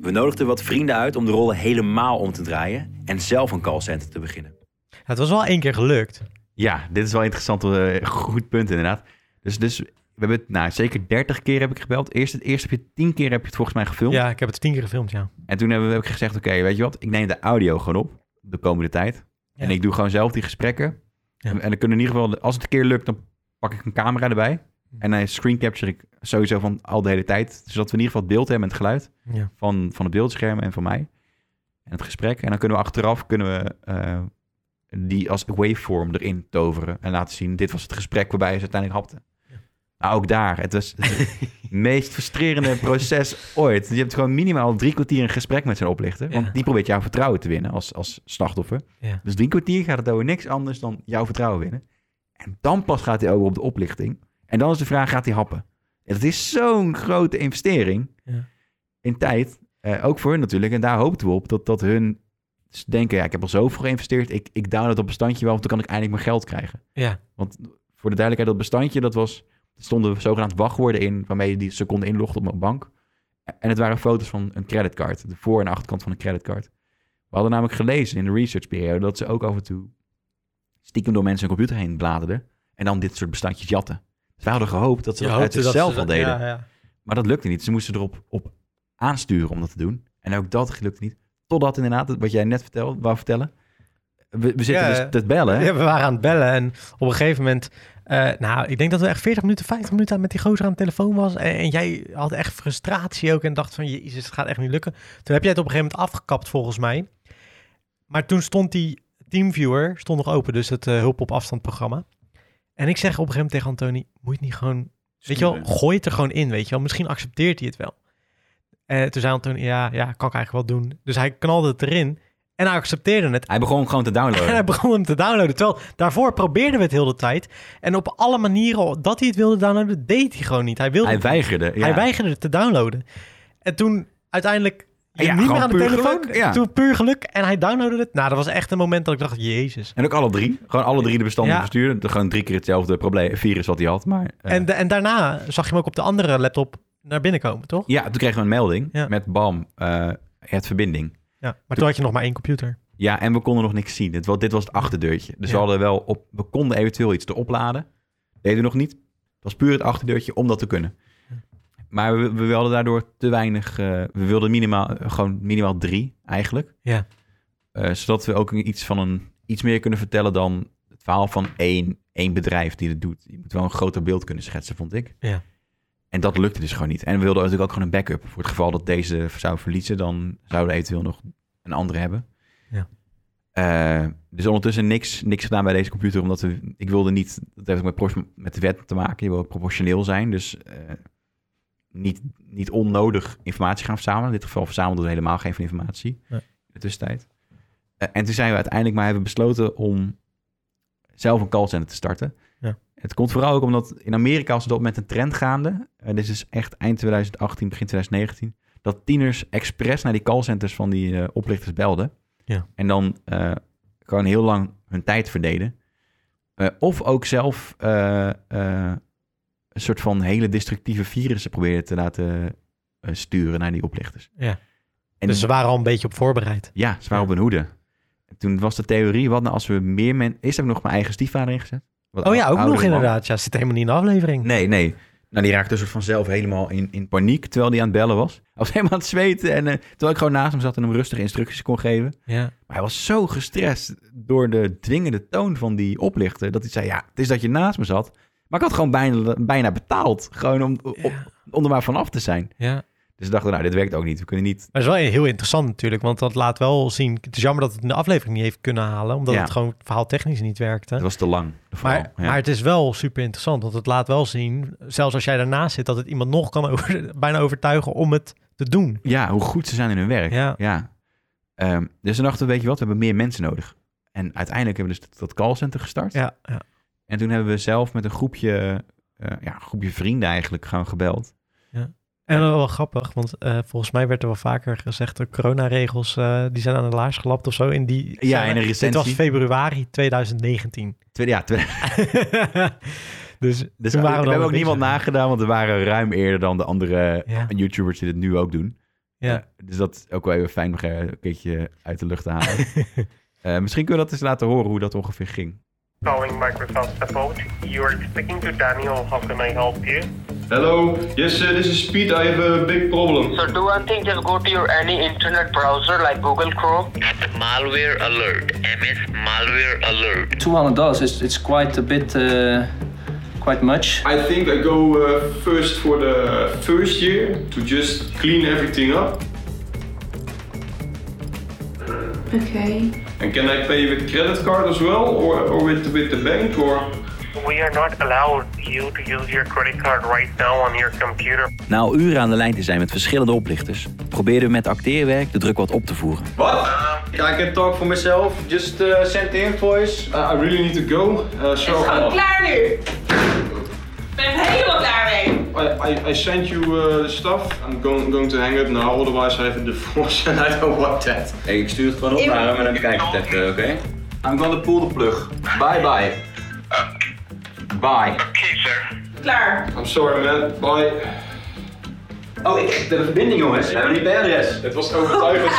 We nodigden wat vrienden uit om de rollen helemaal om te draaien en zelf een callcenter te beginnen. Het was wel één keer gelukt. Ja, dit is wel interessant. eh, goed punt inderdaad. Dus, dus we hebben het, nou, zeker 30 keer heb ik gebeld. Eerst, eerst heb je 10 keer heb je het volgens mij gefilmd. Ja, ik heb het tien keer gefilmd, ja. En toen hebben we, heb ik gezegd, oké, weet je wat? Ik neem de audio gewoon op de komende tijd. Ja. En ik doe gewoon zelf die gesprekken. Ja. En, en dan kunnen in ieder geval, als het een keer lukt, dan pak ik een camera erbij. Hm. En dan screen capture ik sowieso van al de hele tijd. Zodat we in ieder geval het beeld hebben en het geluid Ja. van, van het beeldscherm en van mij. En het gesprek. En dan kunnen we achteraf kunnen we, eh, die als waveform erin toveren. En laten zien, dit was het gesprek waarbij ze uiteindelijk hapten. Nou, ook daar. Het was het meest frustrerende proces ooit. Je hebt gewoon minimaal drie kwartier een gesprek met zijn oplichter. Ja. Want die probeert jouw vertrouwen te winnen als, als slachtoffer. Ja. Dus drie kwartier gaat het over niks anders dan jouw vertrouwen winnen. En dan pas gaat hij over op de oplichting. En dan is de vraag, gaat hij happen? En dat is zo'n grote investering Ja. in tijd. eh, ook voor hun natuurlijk. En daar hoopten we op dat, dat hun s- denken... ja, ik heb al zoveel geïnvesteerd. Ik, ik download dat bestandje wel, want dan kan ik eindelijk mijn geld krijgen. Ja. Want voor de duidelijkheid, dat bestandje, dat was... Er stonden zogenaamd wachtwoorden in... waarmee je die seconde inlogt op mijn bank. En het waren foto's van een creditcard. De voor- en achterkant van een creditcard. We hadden namelijk gelezen in de researchperiode... dat ze ook af en toe stiekem door mensen hun computer heen bladerden... en dan dit soort bestandjes jatten. Dus wij hadden gehoopt dat ze dat uit zichzelf al deden. Ja, ja. Maar dat lukte niet. Ze moesten erop op aansturen om dat te doen. En ook dat lukte niet. Totdat inderdaad, wat jij net vertelde, wou vertellen. We, we zitten Ja, dus te bellen. hè? Ja, we waren aan het bellen en op een gegeven moment... eh, nou, ik denk dat we echt 40 minuten, 50 minuten met die gozer aan de telefoon was. En, en jij had echt frustratie ook en dacht van... Jezus, het gaat echt niet lukken. Toen heb jij het op een gegeven moment afgekapt volgens mij. Maar toen stond die Teamviewer stond nog open, dus het eh, hulp op afstand programma. En ik zeg op een gegeven moment tegen Antoni... Moet je het niet gewoon Weet je wel, gooi het er gewoon in, weet je wel. Misschien accepteert hij het wel. Eh toen zei Anton, ja, ja, kan ik eigenlijk wel doen. Dus hij knalde het erin en hij accepteerde het. Hij begon gewoon te En hij downloaden. begon hem te downloaden. Terwijl daarvoor probeerden we het heel de tijd. En op alle manieren dat hij het wilde downloaden, deed hij gewoon niet. Hij, wilde, Hij weigerde. Ja. hij weigerde het te downloaden. En toen uiteindelijk je Ja, niet meer gewoon aan de puur telefoon. geluk, ja. Toen puur geluk. En hij downloadde het. Nou, dat was echt een moment dat ik dacht, jezus. En ook alle drie. Gewoon alle drie de bestanden Ja. versturen. De- Gewoon drie keer hetzelfde probleem, virus wat hij had. Maar, eh, En, da- en daarna zag je hem ook op de andere laptop naar binnen komen, toch? Ja, toen kregen we een melding Ja. met bam, eh, het verbinding. Ja. Maar toen had je nog maar één computer. Ja, en we konden nog niks zien. Dit was, dit was het achterdeurtje. Dus Ja. we hadden wel op, we konden eventueel iets te opladen. Deden we nog niet. Het was puur het achterdeurtje om dat te kunnen. Maar we, we wilden daardoor te weinig. eh, we wilden minimaal, eh, gewoon minimaal drie eigenlijk. Ja. Eh, zodat we ook een- iets, van een, iets meer kunnen vertellen dan het verhaal van één, één bedrijf die dat doet. Je moet wel een groter beeld kunnen schetsen, vond ik. Ja. En dat lukte dus gewoon niet. En we wilden natuurlijk ook gewoon een backup. Voor het geval dat deze zou verliezen, dan zouden we eventueel nog een andere hebben. Ja. Eh, dus ondertussen niks, niks gedaan bij deze computer, omdat we, ik wilde niet, dat heeft ook met, pro- met de wet te maken, je wil proportioneel zijn, dus eh, niet, niet onnodig informatie gaan verzamelen. In dit geval verzamelden we helemaal geen informatie Nee. in de tussentijd. Eh, Eh, En toen zijn we uiteindelijk maar hebben besloten om zelf een callcenter te starten. Ja. Het komt vooral ook omdat in Amerika was het op met een trend gaande. En dit is dus echt eind 2018, begin 2019. Dat tieners expres naar die callcenters van die eh, oplichters belden. Ja. En dan eh, gewoon heel lang hun tijd verdeden. Eh, of ook zelf eh, eh, een soort van hele destructieve virussen proberen te laten eh, sturen naar die oplichters. Ja. En dus ze waren al een beetje op voorbereid. ja, ze waren op hun hoede. En toen was de theorie, wat nou als we meer mensen... Eerst heb ik nog mijn eigen stiefvader ingezet. Wat Oh ja, ou- ook nog oudere man. inderdaad. Ja, zit helemaal niet in de aflevering. Nee, nee. Nou, die raakte een soort van zelf helemaal in, in paniek terwijl die aan het bellen was. Hij was helemaal aan het zweten en eh, terwijl ik gewoon naast hem zat en hem rustige instructies kon geven. Ja. Maar hij was zo gestrest door de dwingende toon van die oplichter... dat hij zei, ja, het is dat je naast me zat. Maar ik had gewoon bijna, bijna betaald. Gewoon om, om, om er maar vanaf te zijn. ja. Dus ik dacht, nou, dit werkt ook niet. We kunnen niet... Maar het is wel heel interessant natuurlijk, want dat laat wel zien... Het is jammer dat het in de aflevering niet heeft kunnen halen, omdat Ja. het gewoon verhaaltechnisch niet werkte. Het was te lang. vooral. Maar, Ja. maar het is wel super interessant, want het laat wel zien, zelfs als jij daarnaast zit, dat het iemand nog kan over, bijna overtuigen om het te doen. Ja, hoe goed ze zijn in hun werk. Ja. Ehm, dus dan dachten we, weet je wat, we hebben meer mensen nodig. En uiteindelijk hebben we dus dat- dat callcenter gestart. Ja, ja. En toen hebben we zelf met een groepje, eh, ja, een groepje vrienden eigenlijk gewoon gebeld. En dat was wel grappig, want eh, volgens mij werd er wel vaker gezegd... de coronaregels eh, die zijn aan de laars gelapt of zo. In die, Ja, in een Dit was recensie. februari 2019. Twee, ja, twee, dus dus waren we we, dan hebben een ook niemand beetje- nagedaan, want we waren ruim eerder dan de andere eh, Ja. YouTubers die dit nu ook doen. Ja. Eh, dus dat is ook wel even fijn om eh, een keertje uit de lucht te halen. Eh, misschien kunnen we dat eens laten horen hoe dat ongeveer ging. Calling Microsoft support. You're speaking to Daniel. How can I help you? Hello, yes, uh, this is Pete. I have a big problem. So do one thing, just go to your any internet browser like Google Chrome. That's malware alert. MS malware alert. 200 dollars is it's quite a bit uh, quite much I think I go uh, first for the first year to just clean everything up. Okay. And can I pay with credit card as well, or, or with with the bank, or? We are not allowed you to use your credit card right now on your computer. Na al uren aan de lijn te zijn met verschillende oplichters, probeerden we met acteerwerk de druk wat op te voeren. What? Um, I can talk for myself. Just uh, send the invoice. I really need to go. Uh, so I, klaar nu. Ik ben helemaal klaar mee. I, I sent you uh, the stuff. I'm going going to hang up now. Otherwise, I have a divorce and I don't want that. ik stuur het gewoon op naar hem en dan kijk ik het even, oké? I'm gonna pull the plug. Bye bye. Bye. Klaar. I'm sorry, man. Bye. Oh, ik heb de verbinding jongens. We hebben niet per adres. Het was overtuigend.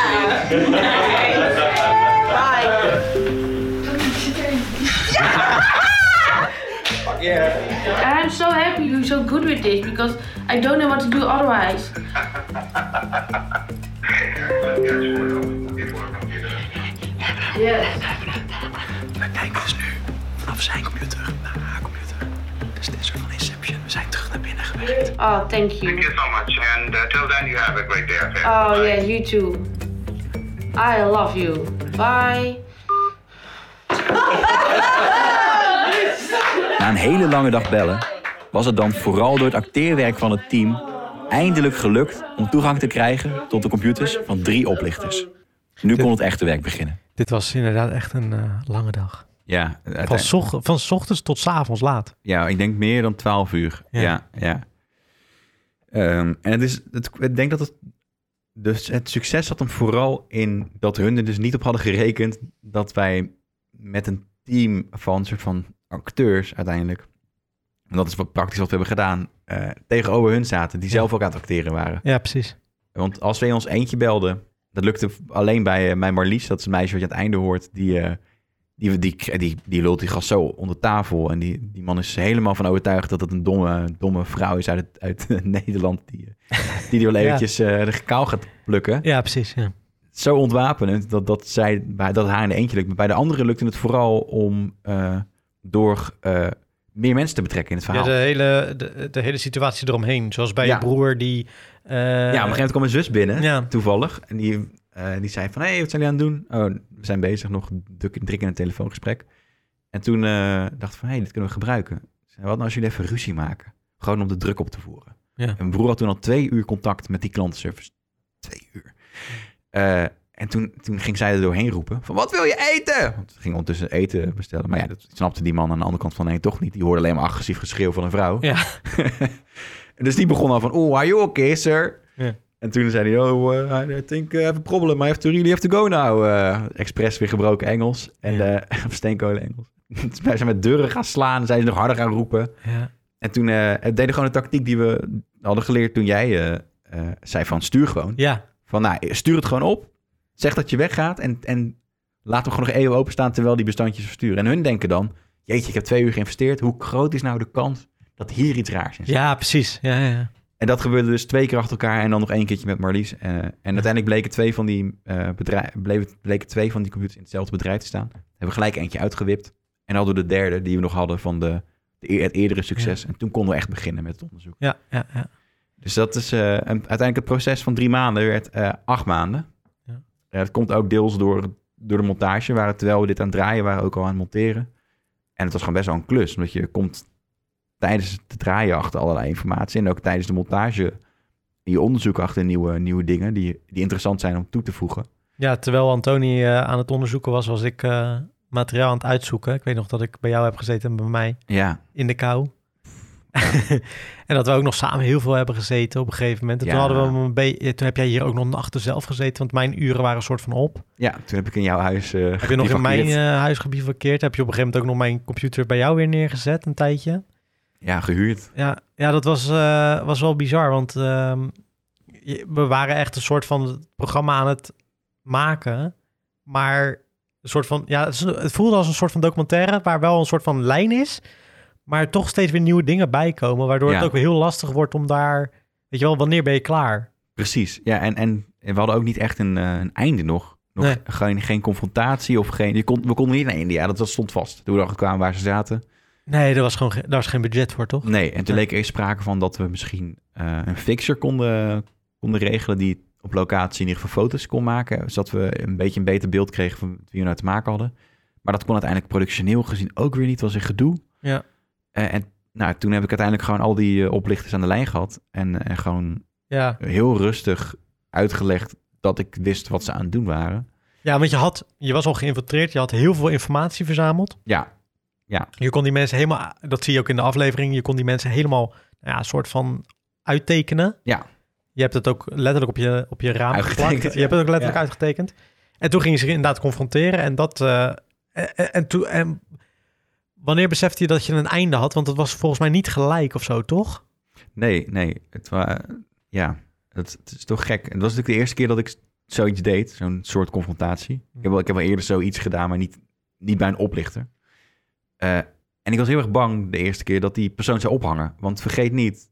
I'm so happy you're so good with this because I don't know what to do otherwise. Yes. We kijken dus nu vanaf zijn computer naar haar computer. Dus dit is een soort van inception. We zijn terug naar binnen gewerkt. Oh, thank you. you so much, and uh, till then, you have a great day. ahead. Oh yeah, you too. I love you. Bye. Na een hele lange dag bellen was het dan vooral door het acteerwerk van het team eindelijk gelukt om toegang te krijgen tot de computers van drie oplichters. Nu kon het echte werk beginnen. Dit was inderdaad echt een eh, lange dag. Ja, uiteindelijk- Van, zoch- van 's ochtends tot 's avonds laat. Ja, ik denk meer dan 12 uur. Ja. Ja, ja. Ehm, en het is, het, ik denk dat het, dus het succes zat hem vooral in dat hun er dus niet op hadden gerekend dat wij met een team van soort van acteurs uiteindelijk, en dat is wat praktisch wat we hebben gedaan, eh, tegenover hun zaten, die zelf ook aan het acteren waren. Ja, precies. Want als wij ons eentje belden, dat lukte alleen bij eh, mijn Marlies, dat is een meisje wat je aan het einde hoort, die, eh die, die, die, die lult die gast zo onder tafel. En die, die man is helemaal van overtuigd dat het een domme, domme vrouw is uit, het- uit Nederland die eh, die, die wel Ja. eventjes eh, de kaal gaat plukken. Ja, precies. Ja. Zo ontwapenend dat, dat, zij, bij- dat haar in de eentje lukt. Maar bij de anderen lukte het vooral om eh, door eh, meer mensen te betrekken in het Ja, verhaal. de, Ja, hele, de, de hele situatie eromheen. Zoals bij Ja. je broer die... eh, op een gegeven moment kwam mijn zus binnen. ja. toevallig. En die, eh, die zei van, hé, hey, wat zijn jullie aan het doen? Oh, we zijn bezig nog, druk, druk in een telefoongesprek. En toen eh, dacht ik van, hé, hey, dit kunnen we gebruiken. Ik Zei, wat nou als jullie even ruzie maken? Gewoon om de druk op te voeren. Ja. En mijn broer had toen al twee uur contact met die klantenservice. Twee uur. Eh, en En toen, toen ging zij er doorheen roepen van wat wil je eten? Want ze ging ondertussen eten bestellen. Maar ja, dat snapte die man aan de andere kant van nee toch niet. Die hoorde alleen maar agressief geschreeuw van een vrouw. Ja. dus die begon al van oh, are you okay, sir? Ja. En toen zei hij, oh, eh, I think I have a problem. I have to really have to go now. eh express weer gebroken Engels. En eh, steenkolen Engels. Toen zijn ze met deuren gaan slaan. Zijn ze nog harder gaan roepen. Ja. En toen eh, het deden gewoon de tactiek die we hadden geleerd toen jij eh, eh, zei van stuur gewoon. Ja. Van nou, stuur het gewoon op. Zeg dat je weggaat en, en laat hem gewoon nog even openstaan terwijl die bestandjes versturen. En hun denken dan, jeetje, ik heb twee uur geïnvesteerd. Hoe groot is nou de kans dat hier iets raars is? Ja, precies. Ja, ja, ja. En dat gebeurde dus twee keer achter elkaar en dan nog één keertje met Marlies. Eh, en uiteindelijk bleken twee van die eh bedrij- bleven, bleken twee van die computers in hetzelfde bedrijf te staan. Hebben gelijk eentje uitgewipt. En hadden we de derde die we nog hadden van de, de eer- het eerdere succes. En toen konden we echt beginnen met het onderzoek. Ja, ja, ja. Dus dat is eh, een, uiteindelijk het proces van drie maanden werd eh, acht maanden. Ja. Eh, het komt ook deels door, door de montage. Waar, we- terwijl we dit aan het draaien waren, ook al aan het monteren. En het was gewoon best wel een klus. Omdat je komt tijdens het draaien achter allerlei informatie. En ook tijdens de montage in je onderzoek achter nieuwe, nieuwe dingen die, die interessant zijn om toe te voegen. Ja, terwijl Antoni eh, aan het onderzoeken was, was ik eh, materiaal aan het uitzoeken. Ik weet nog dat ik bij jou heb gezeten en bij mij Ja. in de kou. en dat we ook nog samen heel veel hebben gezeten op een gegeven moment. En toen, Ja. hadden we hem een be- toen heb jij hier ook nog nachten zelf gezeten, want mijn uren waren een soort van op. Ja, toen heb ik in jouw huis eh Heb je nog in mijn gebivakkeerd. eh, huis gebivakkeerd? Heb je op een gegeven moment ook nog mijn computer bij jou weer neergezet een tijdje? Ja, gehuurd. Ja, ja dat was, eh, was wel bizar, want ehm, je- we waren echt een soort van het programma aan het maken. Maar een soort van, ja, het is- het voelde als een soort van documentaire waar wel een soort van lijn is. Maar toch steeds weer nieuwe dingen bijkomen, waardoor Ja. het ook weer heel lastig wordt om daar, weet je wel, wanneer ben je klaar? Precies, ja. En, en we hadden ook niet echt een, eh, een einde nog. nog Nee. geen, geen confrontatie of geen... Je kon, we konden niet naar India, dat, dat stond vast. Toen we erachter kwamen waar ze zaten. Nee, daar was gewoon ge- daar was geen budget voor, toch? Nee, en toen leek er eerst sprake van dat we misschien eh, een fixer konden, konden regelen... die op locatie in ieder geval foto's kon maken. Zodat we een beetje een beter beeld kregen van wie we nou te maken hadden. Maar dat kon uiteindelijk productioneel gezien ook weer niet. was een gedoe. Ja. Eh, en nou, toen heb ik uiteindelijk gewoon al die eh, oplichters aan de lijn gehad. En, en gewoon Ja. heel rustig uitgelegd dat ik wist wat ze aan het doen waren. Ja, want je, had, je was al geïnfiltreerd, je had heel veel informatie verzameld. Ja, ja. Je kon die mensen helemaal, dat zie je ook in de aflevering, je kon die mensen helemaal nou ja, een soort van uittekenen. Ja. Je hebt het ook letterlijk op je, op je raam Uitgetekend, geplakt. Je hebt het ook letterlijk ja. uitgetekend. En toen gingen ze inderdaad confronteren en dat... eh, en, en, en toen- en wanneer besefte je dat je een einde had? Want dat was volgens mij niet gelijk of zo, toch? Nee, nee. Het was, ja, het, het is toch gek. Het was natuurlijk de eerste keer dat ik zoiets deed, zo'n soort confrontatie. Ik heb wel, ik heb wel eerder zoiets gedaan, maar niet, niet bij een oplichter. Eh, en ik was heel erg bang de eerste keer dat die persoon zou ophangen. Want vergeet niet,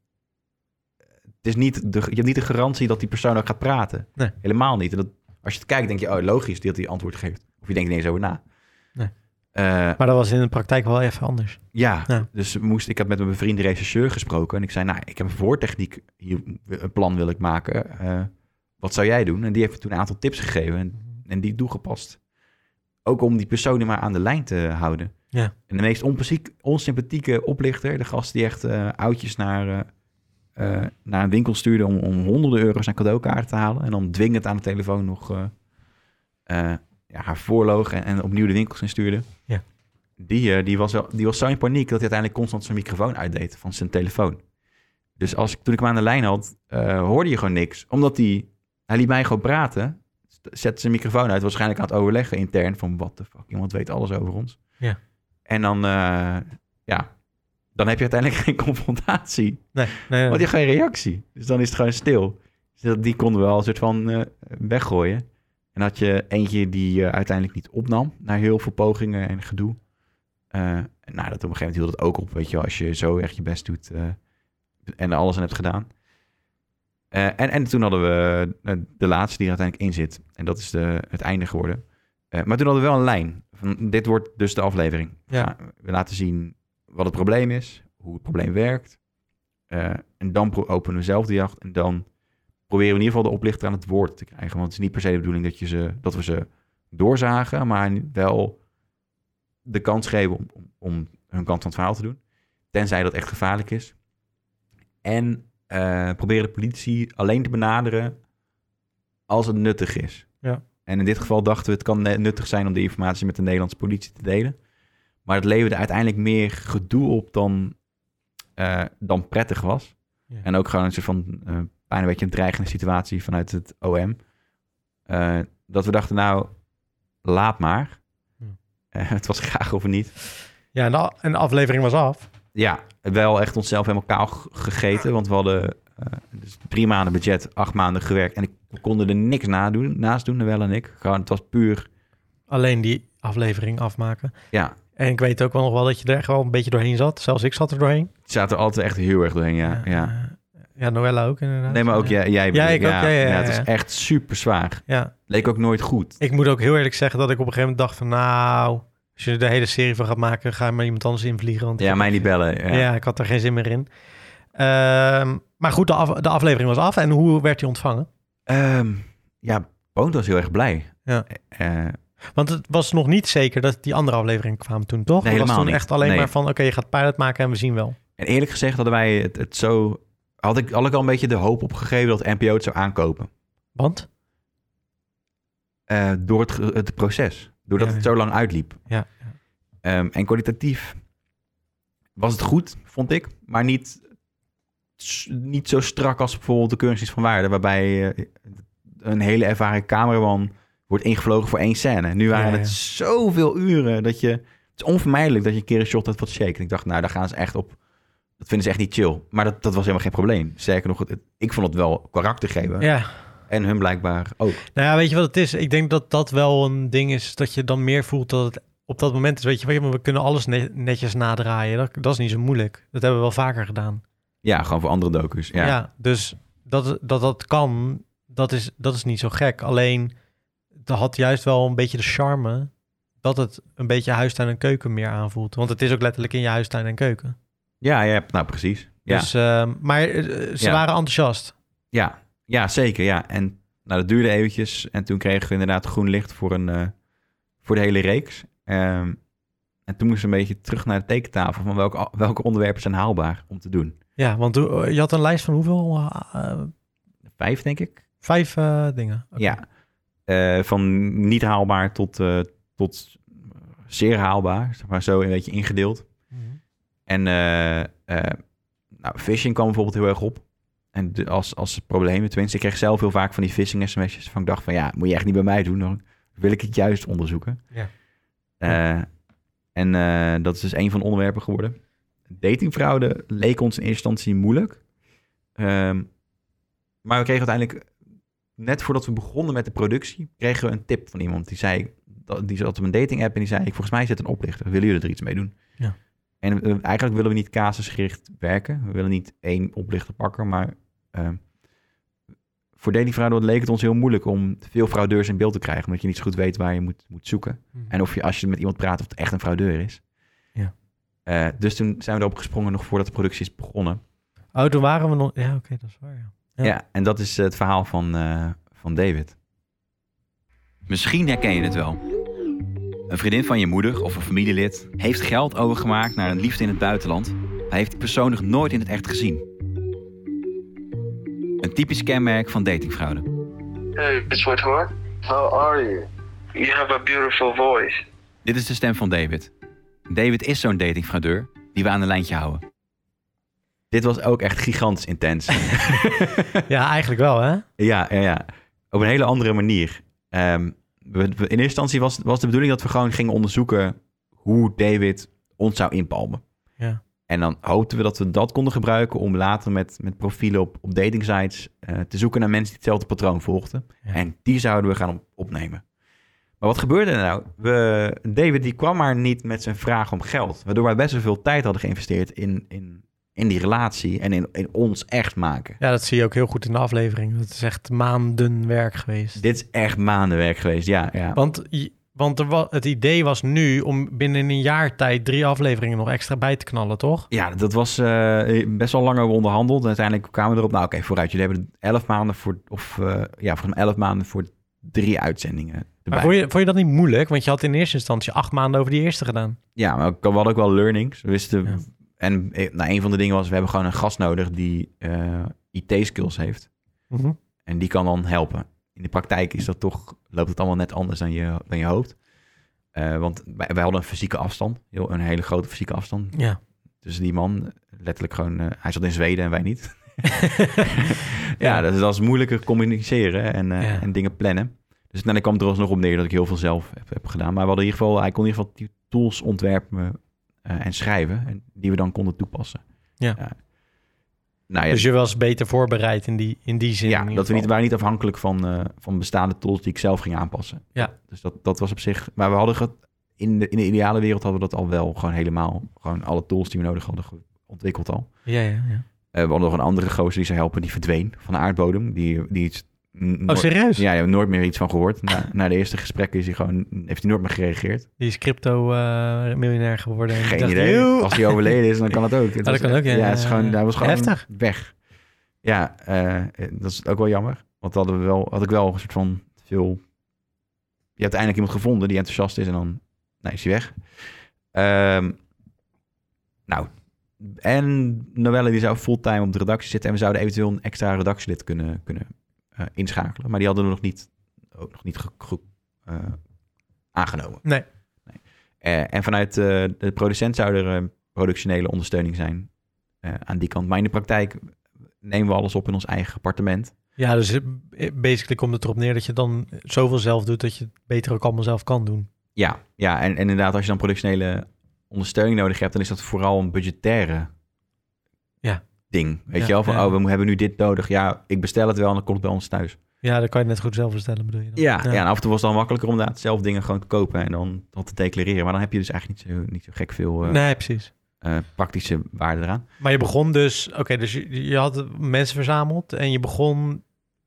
het is niet de, je hebt niet de garantie dat die persoon ook gaat praten. Nee. Helemaal niet. En dat, als je het kijkt, denk je, oh, logisch dat hij antwoord geeft. Of je denkt ineens over na. Nee. Eh, Maar dat was in de praktijk wel even anders. ja, Ja. dus moest, ik heb met mijn bevriende regisseur gesproken. En ik zei, nou, ik heb een voortechniek, hier, een plan wil ik maken. Eh, wat zou jij doen? En die heeft me toen een aantal tips gegeven en, en die toegepast. Ook om die personen maar aan de lijn te houden. Ja. En de meest onpassiek- onsympathieke oplichter, de gast die echt eh, oudjes naar, eh, eh, naar een winkel stuurde om, om honderden euro's aan cadeaukaarten te halen. En dan dwingend aan de telefoon nog eh, eh, ja, haar voorloog en, en opnieuw de winkels instuurde. Ja. Die, eh, die, was wel, die was zo in paniek dat hij uiteindelijk constant zijn microfoon uitdeed van zijn telefoon. Dus als ik, toen ik hem aan de lijn had, eh, hoorde je gewoon niks. Omdat hij, hij liet mij gewoon praten, st- zette zijn microfoon uit, waarschijnlijk aan het overleggen intern van wat de fuck, iemand weet alles over ons. Ja. En dan, eh, ja, dan heb je uiteindelijk geen confrontatie. Nee, nee, nee. Want je hebt geen reactie. Dus dan is het gewoon stil. Dus dat, die konden we wel een soort van eh, weggooien. En had je eentje die eh, uiteindelijk niet opnam. Na heel veel pogingen en gedoe. Eh, nou, dat op een gegeven moment hield het ook op. Weet je wel, als je zo echt je best doet. eh, en er alles aan hebt gedaan. Eh, en, en toen hadden we eh, de laatste die er uiteindelijk in zit. En dat is de, het einde geworden. Eh, maar toen hadden we wel een lijn. Van, dit wordt dus de aflevering. We Ja. gaan- We laten zien wat het probleem is. Hoe het probleem werkt. Eh, en dan pro- openen we zelf de jacht. En dan proberen we in ieder geval de oplichter aan het woord te krijgen. Want het is niet per se de bedoeling dat, je ze, dat we ze doorzagen. Maar wel de kans geven om, om, om hun kant van het verhaal te doen. Tenzij dat echt gevaarlijk is. En eh, proberen de politie alleen te benaderen als het nuttig is. Ja. En in dit geval dachten we het kan ne- nuttig zijn om die informatie met de Nederlandse politie te delen. Maar het leverde uiteindelijk meer gedoe op dan, eh, dan prettig was. En ook gewoon een soort van eh, bijna een beetje een dreigende situatie vanuit het OM. Eh, dat we dachten, nou, laat maar. Eh, het was graag of niet. Ja, en de, a- en de aflevering was af. Ja, wel echt onszelf helemaal kaal g- gegeten. Want we hadden eh, dus drie maanden budget, acht maanden gewerkt. En ik, we konden er niks nadoen, naast doen, wel en ik. Gewoon, het was puur, Alleen die aflevering afmaken. ja. En ik weet ook wel nog wel dat je er gewoon een beetje doorheen zat. Zelfs ik zat er doorheen. Eh, Het zat er altijd echt heel erg doorheen, ja. ja. Ja, Noella ook inderdaad. Eh, Nee, maar ook jij. jij ja, bedoel ik ook. Ja, ja, ja, Het ja. is echt super zwaar. Ja. Leek ook nooit goed. Ik moet ook heel eerlijk zeggen dat ik op een gegeven moment dacht van... Nou, als je er de hele serie van gaat maken, ga je maar iemand anders invliegen. Want ik Ja, heb mij er niet geen- bellen, ja. Ja. ik had er geen zin meer in. Ehm, maar goed, de, af- de aflevering was af. En hoe werd die ontvangen? Ehm, ja, Boont was heel erg blij. Ja. Eh, Want het was nog niet zeker dat die andere aflevering kwam toen, toch? het was Nee, helemaal toen niet. echt alleen Nee. maar van... Oké, je gaat pilot maken en we zien wel. en eerlijk gezegd hadden wij het, het zo... Had ik, had ik al een beetje de hoop opgegeven dat NPO het zou aankopen. Want? Eh, door het, ge- het proces. Doordat Ja, het zo lang uitliep. Ja. Ehm, en kwalitatief was het goed, vond ik. Maar niet, s- niet zo strak als bijvoorbeeld de currencies van waarde. Waarbij eh, een hele ervaren cameraman wordt ingevlogen voor één scène. Nu waren Ja, het ja. zoveel uren dat je... Het is onvermijdelijk dat je een keer een shot hebt wat shaken. Ik dacht, nou, daar gaan ze echt op... Dat vinden ze echt niet chill. Maar dat, dat was helemaal geen probleem. Sterker nog, het- het- ik vond het wel karakter geven. Ja. En hun blijkbaar ook. Nou ja, weet je wat het is? Ik denk dat dat wel een ding is dat je dan meer voelt dat het op dat moment is. Weet je, we kunnen alles ne- netjes nadraaien. Dat, dat is niet zo moeilijk. Dat hebben we wel vaker gedaan. Ja, gewoon voor andere docus. Ja, Ja. dus dat, dat dat kan, dat is, dat is niet zo gek. Alleen, dat had juist wel een beetje de charme dat het een beetje huistuin en keuken meer aanvoelt. Want het is ook letterlijk in je huistuin en keuken. Ja, ja, nou precies. Ja, Dus, ehm, maar eh, ze Ja. waren enthousiast. ja. ja zeker. Ja. En nou, dat duurde eventjes. En toen kregen we inderdaad groen licht voor, een, eh, voor de hele reeks. Ehm, en toen moesten we een beetje terug naar de tekentafel van welke, welke onderwerpen zijn haalbaar om te doen. Ja, want eh, je had een lijst van hoeveel? eh, Vijf, denk ik. vijf eh, dingen. Ja. Eh, van niet haalbaar tot, eh, tot zeer haalbaar, zeg maar zo een beetje ingedeeld. En eh, eh, nou, phishing kwam bijvoorbeeld heel erg op. En de- als, als problemen, tenminste, ik kreeg zelf heel vaak van die phishing sms'jes van ik dacht van ja, moet je echt niet bij mij doen, dan wil ik het juist onderzoeken. Ja. Eh, en eh, dat is dus een van de onderwerpen geworden. Datingfraude leek ons in eerste instantie moeilijk. Ehm, maar we kregen uiteindelijk, net voordat we begonnen met de productie, kregen we een tip van iemand. Die zei, dat- die zat op een dating app en die zei, volgens mij zit een oplichter. Willen jullie er iets mee doen? Ja. En eh, eigenlijk willen we niet casusgericht werken. We willen niet één oplichter pakken, maar ehm, voor datingfraude leek het ons heel moeilijk om veel fraudeurs in beeld te krijgen. Omdat je niet zo goed weet waar je moet, moet zoeken. En of je als je met iemand praat of het echt een fraudeur is. Ja. Eh, dus toen zijn we erop gesprongen nog voordat de productie is begonnen. Oh, toen waren we nog... Ja, oké, dat is waar, ja. Ja. en dat is het verhaal van, eh, van David. Misschien herken je het wel. Een vriendin van je moeder of een familielid heeft geld overgemaakt naar een liefde in het buitenland, maar heeft die persoon nog nooit in het echt gezien. Een typisch kenmerk van datingfraude. Hey, sweetheart. How are you? You have a beautiful voice. Dit is de stem van David. David is zo'n datingfraudeur die we aan een lijntje houden. Dit was ook echt gigantisch intens. Ja, eigenlijk wel, hè? Ja, ja, ja. Op een hele andere manier. Ehm, we, we- in eerste instantie was, was de bedoeling dat we gewoon gingen onderzoeken hoe David ons zou inpalmen. Ja. En dan hoopten we dat we dat konden gebruiken om later met, met profielen op, op dating sites eh, te zoeken naar mensen die hetzelfde patroon volgden. En die zouden we gaan op- opnemen. Maar wat gebeurde er nou? We, David die kwam maar niet met zijn vraag om geld. Waardoor wij best wel veel tijd hadden geïnvesteerd in, in, in die relatie en in, in ons echt maken. Ja, dat zie je ook heel goed in de aflevering. Dat is echt maanden werk geweest. Dit is echt maandenwerk geweest, ja. ja. Want, i- want er wa- het idee was nu om binnen een jaar tijd drie afleveringen nog extra bij te knallen, toch? Ja, dat was eh, best wel lang over onderhandeld. En uiteindelijk kwamen we erop, nou oké, vooruit. Jullie hebben elf maanden voor, of eh, ja, volgens mij elf maanden voor drie uitzendingen erbij. Maar vond je, vond je dat niet moeilijk? Want je had in eerste instantie acht maanden over die eerste gedaan. Ja, maar we hadden ook wel learnings. We wisten, en eh, nou, een van de dingen was, we hebben gewoon een gast nodig die eh, IT-skills heeft. Mhm. En die kan dan helpen. In in de praktijk is dat toch, loopt het allemaal net anders dan je, dan je hoopt. Eh, want wij, wij hadden een fysieke afstand, heel, een hele grote fysieke afstand. Ja. Tussen Dus die man, letterlijk gewoon, eh, hij zat in Zweden en wij niet. ja, dat is, dat is moeilijker communiceren en, eh, Ja. en dingen plannen. Dus nou, dan kwam het er alsnog op neer dat ik heel veel zelf heb, heb gedaan. Maar we hadden in ieder geval, hij kon in ieder geval die tools ontwerpen eh, en schrijven, en die we dan konden toepassen. Ja. Nou, ja, Dus je was beter voorbereid in die, in die zin. in ja, ieder dat we niet, geval. waren niet afhankelijk van, eh, van bestaande tools die ik zelf ging aanpassen. Ja. Dus dat, dat was op zich. Maar we hadden ge- in, de, in de ideale wereld hadden we dat al wel gewoon helemaal. Gewoon alle tools die we nodig hadden ge- ontwikkeld al. Ja, ja, ja. Eh, we hadden nog een andere gozer die zou helpen, die verdween van de aardbodem. Die, die iets, n- nooit- Oh, serieus? Ja, ja, nooit meer iets van gehoord. Na, na de eerste gesprekken is hij gewoon, heeft hij nooit meer gereageerd. Die is crypto-miljonair geworden. En Geen dacht, idee. "Eeuw." Als hij overleden is, dan kan het ook. Het Ah, dat was- kan ook, ja. het is gewoon, hij was gewoon Heftig. weg. Ja, eh, dat is ook wel jammer. Want dan hadden we wel, had ik wel een soort van veel... Je hebt eindelijk iemand gevonden die enthousiast is en dan nou, is hij weg. Ehm, nou, en Noelle die zou fulltime op de redactie zitten... en we zouden eventueel een extra redactielid kunnen, kunnen eh, inschakelen. Maar die hadden we nog niet, ook nog niet ge- ge- eh, aangenomen. Nee. Eh, en vanuit eh, de producent zou er eh, productionele ondersteuning zijn eh, aan die kant. Maar in de praktijk nemen we alles op in ons eigen appartement. Ja, dus eh, basically komt het erop neer dat je dan zoveel zelf doet dat je het beter ook allemaal zelf kan doen. Ja, ja en, en inderdaad, als je dan productionele ondersteuning nodig hebt, dan is dat vooral een budgettaire Ja. ding. Weet Ja, je wel, van ja. oh, we mo- hebben nu dit nodig. Ja, ik bestel het wel en dan komt het bij ons thuis. Ja, dat kan je net goed zelf bestellen, bedoel je dan? Ja, ja. en af en toe was het dan makkelijker om inderdaad zelf dingen gewoon te kopen en dan dat te declareren. Maar dan heb je dus eigenlijk niet zo, niet zo gek veel eh, Nee, precies. eh, praktische waarde eraan. Maar je begon dus, oké, dus je, je had mensen verzameld en je begon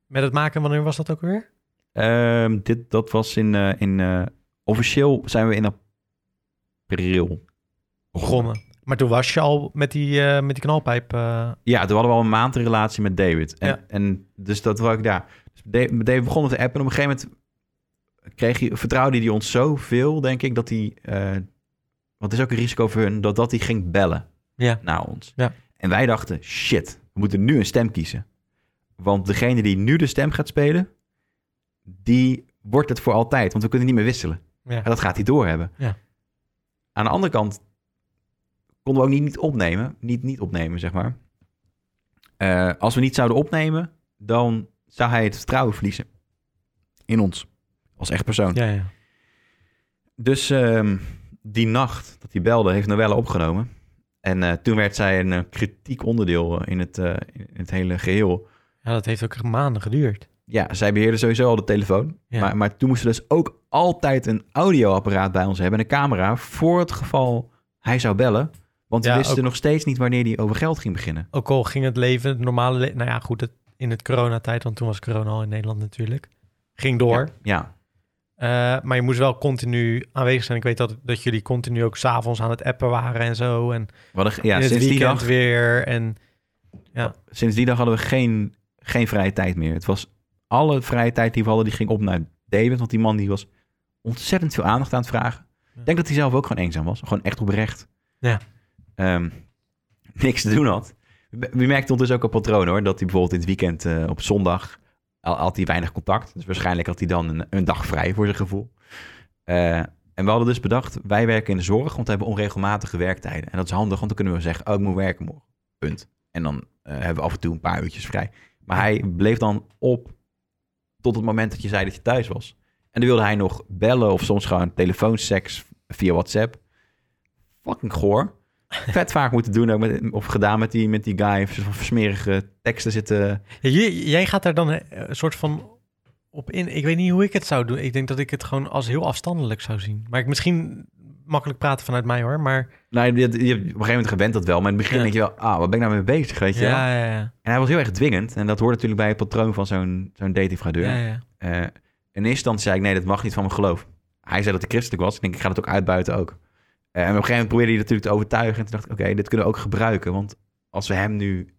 met het maken. Wanneer was dat ook weer? Ehm, dit, dat was in... eh, in eh, officieel zijn we in april Begonnen. Maar toen was je al met die, eh, met die knalpijp. eh, Ja, toen hadden we al een maand een relatie met David. En, Ja. en dus dat was ik daar. Dus Da- David begon met de app en op een gegeven moment kreeg hij, vertrouwde hij ons zoveel, denk ik, dat hij. eh, want het is ook een risico voor hun, dat, dat hij ging bellen Ja. naar ons. Ja. En wij dachten: shit, we moeten nu een stem kiezen. Want degene die nu de stem gaat spelen, die wordt het voor altijd. Want we kunnen niet meer wisselen. Ja. En dat gaat hij doorhebben. Ja. Aan de andere kant konden we ook niet, niet opnemen. Niet niet opnemen, zeg maar. Eh, als we niet zouden opnemen, dan zou hij het vertrouwen verliezen. In ons. Als echt persoon. ja, ja. Dus ehm, die nacht dat hij belde, heeft Noelle opgenomen. En eh, toen werd zij een eh, kritiek onderdeel eh, in het, eh, in het hele geheel. Ja, dat heeft ook maanden geduurd. Ja, zij beheerde sowieso al de telefoon. Ja. Maar, maar toen moesten we dus ook altijd een audioapparaat bij ons hebben. En een camera voor het geval hij zou bellen. Want we Ja, wisten ook- nog steeds niet wanneer hij over geld ging beginnen. Ook al ging het leven, het normale le- nou ja, goed, het, in het coronatijd, want toen was corona al in Nederland natuurlijk, ging door. Ja, Eh, maar je moest wel continu aanwezig zijn. Ik weet dat, dat jullie continu ook s'avonds aan het appen waren en zo. En We hadden ge- ja, in het sinds die weekend dag- weer. En ja, sinds die dag hadden we geen, geen vrije tijd meer. Het was alle vrije tijd die we hadden, die ging op naar David. Want die man die was ontzettend veel aandacht aan het vragen. Ik denk dat hij zelf ook gewoon eenzaam was. Gewoon echt oprecht. Ja. Ehm, niks te doen had. We we merkten ondertussen ook een patroon hoor. Dat hij bijvoorbeeld in het weekend eh, op zondag al, had hij weinig contact. Dus waarschijnlijk had hij dan een, een dag vrij voor zijn gevoel. Eh, en we hadden dus bedacht, wij werken in de zorg, want we hebben onregelmatige werktijden. En dat is handig, want dan kunnen we zeggen, oh, ik moet werken morgen. Punt. En dan eh, hebben we af en toe een paar uurtjes vrij. Maar hij bleef dan op tot het moment dat je zei dat je thuis was. En dan wilde hij nog bellen of soms gewoon telefoonseks via WhatsApp. Fucking goor. Vet vaak moeten doen, ook met, of gedaan met die, met die guy. Van Smerige teksten zitten. Ja, jij, jij gaat daar dan eh, een soort van op in. Ik weet niet hoe ik het zou doen. Ik denk dat ik het gewoon als heel afstandelijk zou zien. Maar ik misschien makkelijk praten vanuit mij hoor. Maar Nou, je, je, op een gegeven moment gewend dat wel. Maar in het begin Ja. denk je wel, ah, wat ben ik nou mee bezig, weet je wel? ja, ja, ja. En hij was heel erg dwingend. En dat hoort natuurlijk bij het patroon van zo'n zo'n datingfraudeur. Ja, ja. Eh, in eerste instantie zei ik, nee, dat mag niet van mijn geloof. Hij zei dat ik christelijk was. Ik denk, ik ga dat ook uitbuiten ook. Eh, en op een gegeven moment probeerde hij natuurlijk te overtuigen. En toen dacht ik, oké, dit kunnen we ook gebruiken. Want als we hem nu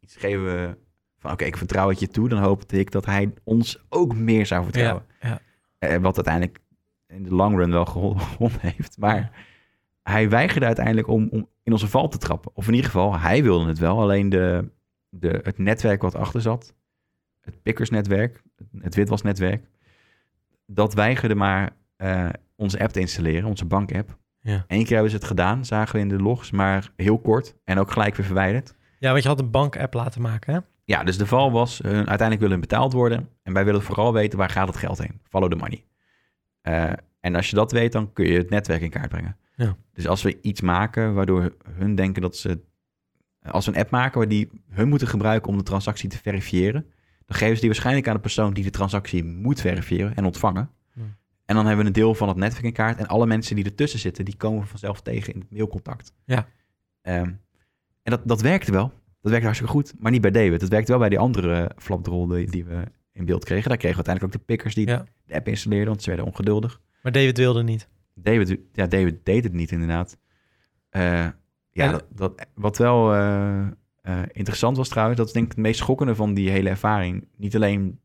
iets geven van, oké, ik vertrouw het je toe. Dan hoopte ik dat hij ons ook meer zou vertrouwen. Ja, Eh, wat uiteindelijk in de long run wel gewonnen heeft. Maar hij weigerde uiteindelijk om, om in onze val te trappen. Of in ieder geval, hij wilde het wel. Alleen de, de, het netwerk wat achter zat, het Pickersnetwerk, het witwasnetwerk, dat weigerde maar eh, onze app te installeren, onze bankapp. Ja. Eén keer hebben ze het gedaan, zagen we in de logs, maar heel kort en ook gelijk weer verwijderd. Ja, want je had een bank-app laten maken, hè? Ja, dus de val was, hun, uiteindelijk willen hun betaald worden. En wij willen vooral weten, waar gaat het geld heen? Follow the money. Eh, en als je dat weet, dan kun je het netwerk in kaart brengen. Ja. Dus als we iets maken waardoor hun denken dat ze... Als we een app maken waar die hun moeten gebruiken om de transactie te verifiëren... dan geven ze die waarschijnlijk aan de persoon die de transactie moet verifiëren en ontvangen. Ja. En dan hebben we een deel van het netwerk in kaart. En alle mensen die ertussen zitten, die komen we vanzelf tegen in het mailcontact. Ja. Ehm, en dat, dat werkte wel. Dat werkte hartstikke goed. Maar niet bij David. Het werkte wel bij die andere flapdrol die, die we in beeld kregen. Daar kregen we uiteindelijk ook de pickers die Ja. de app installeerden, want ze werden ongeduldig. Maar David wilde niet. David, ja, David deed het niet inderdaad. Eh, ja, En- dat, dat- wat wel eh, eh, interessant was trouwens, dat is denk ik het meest schokkende van die hele ervaring. Niet alleen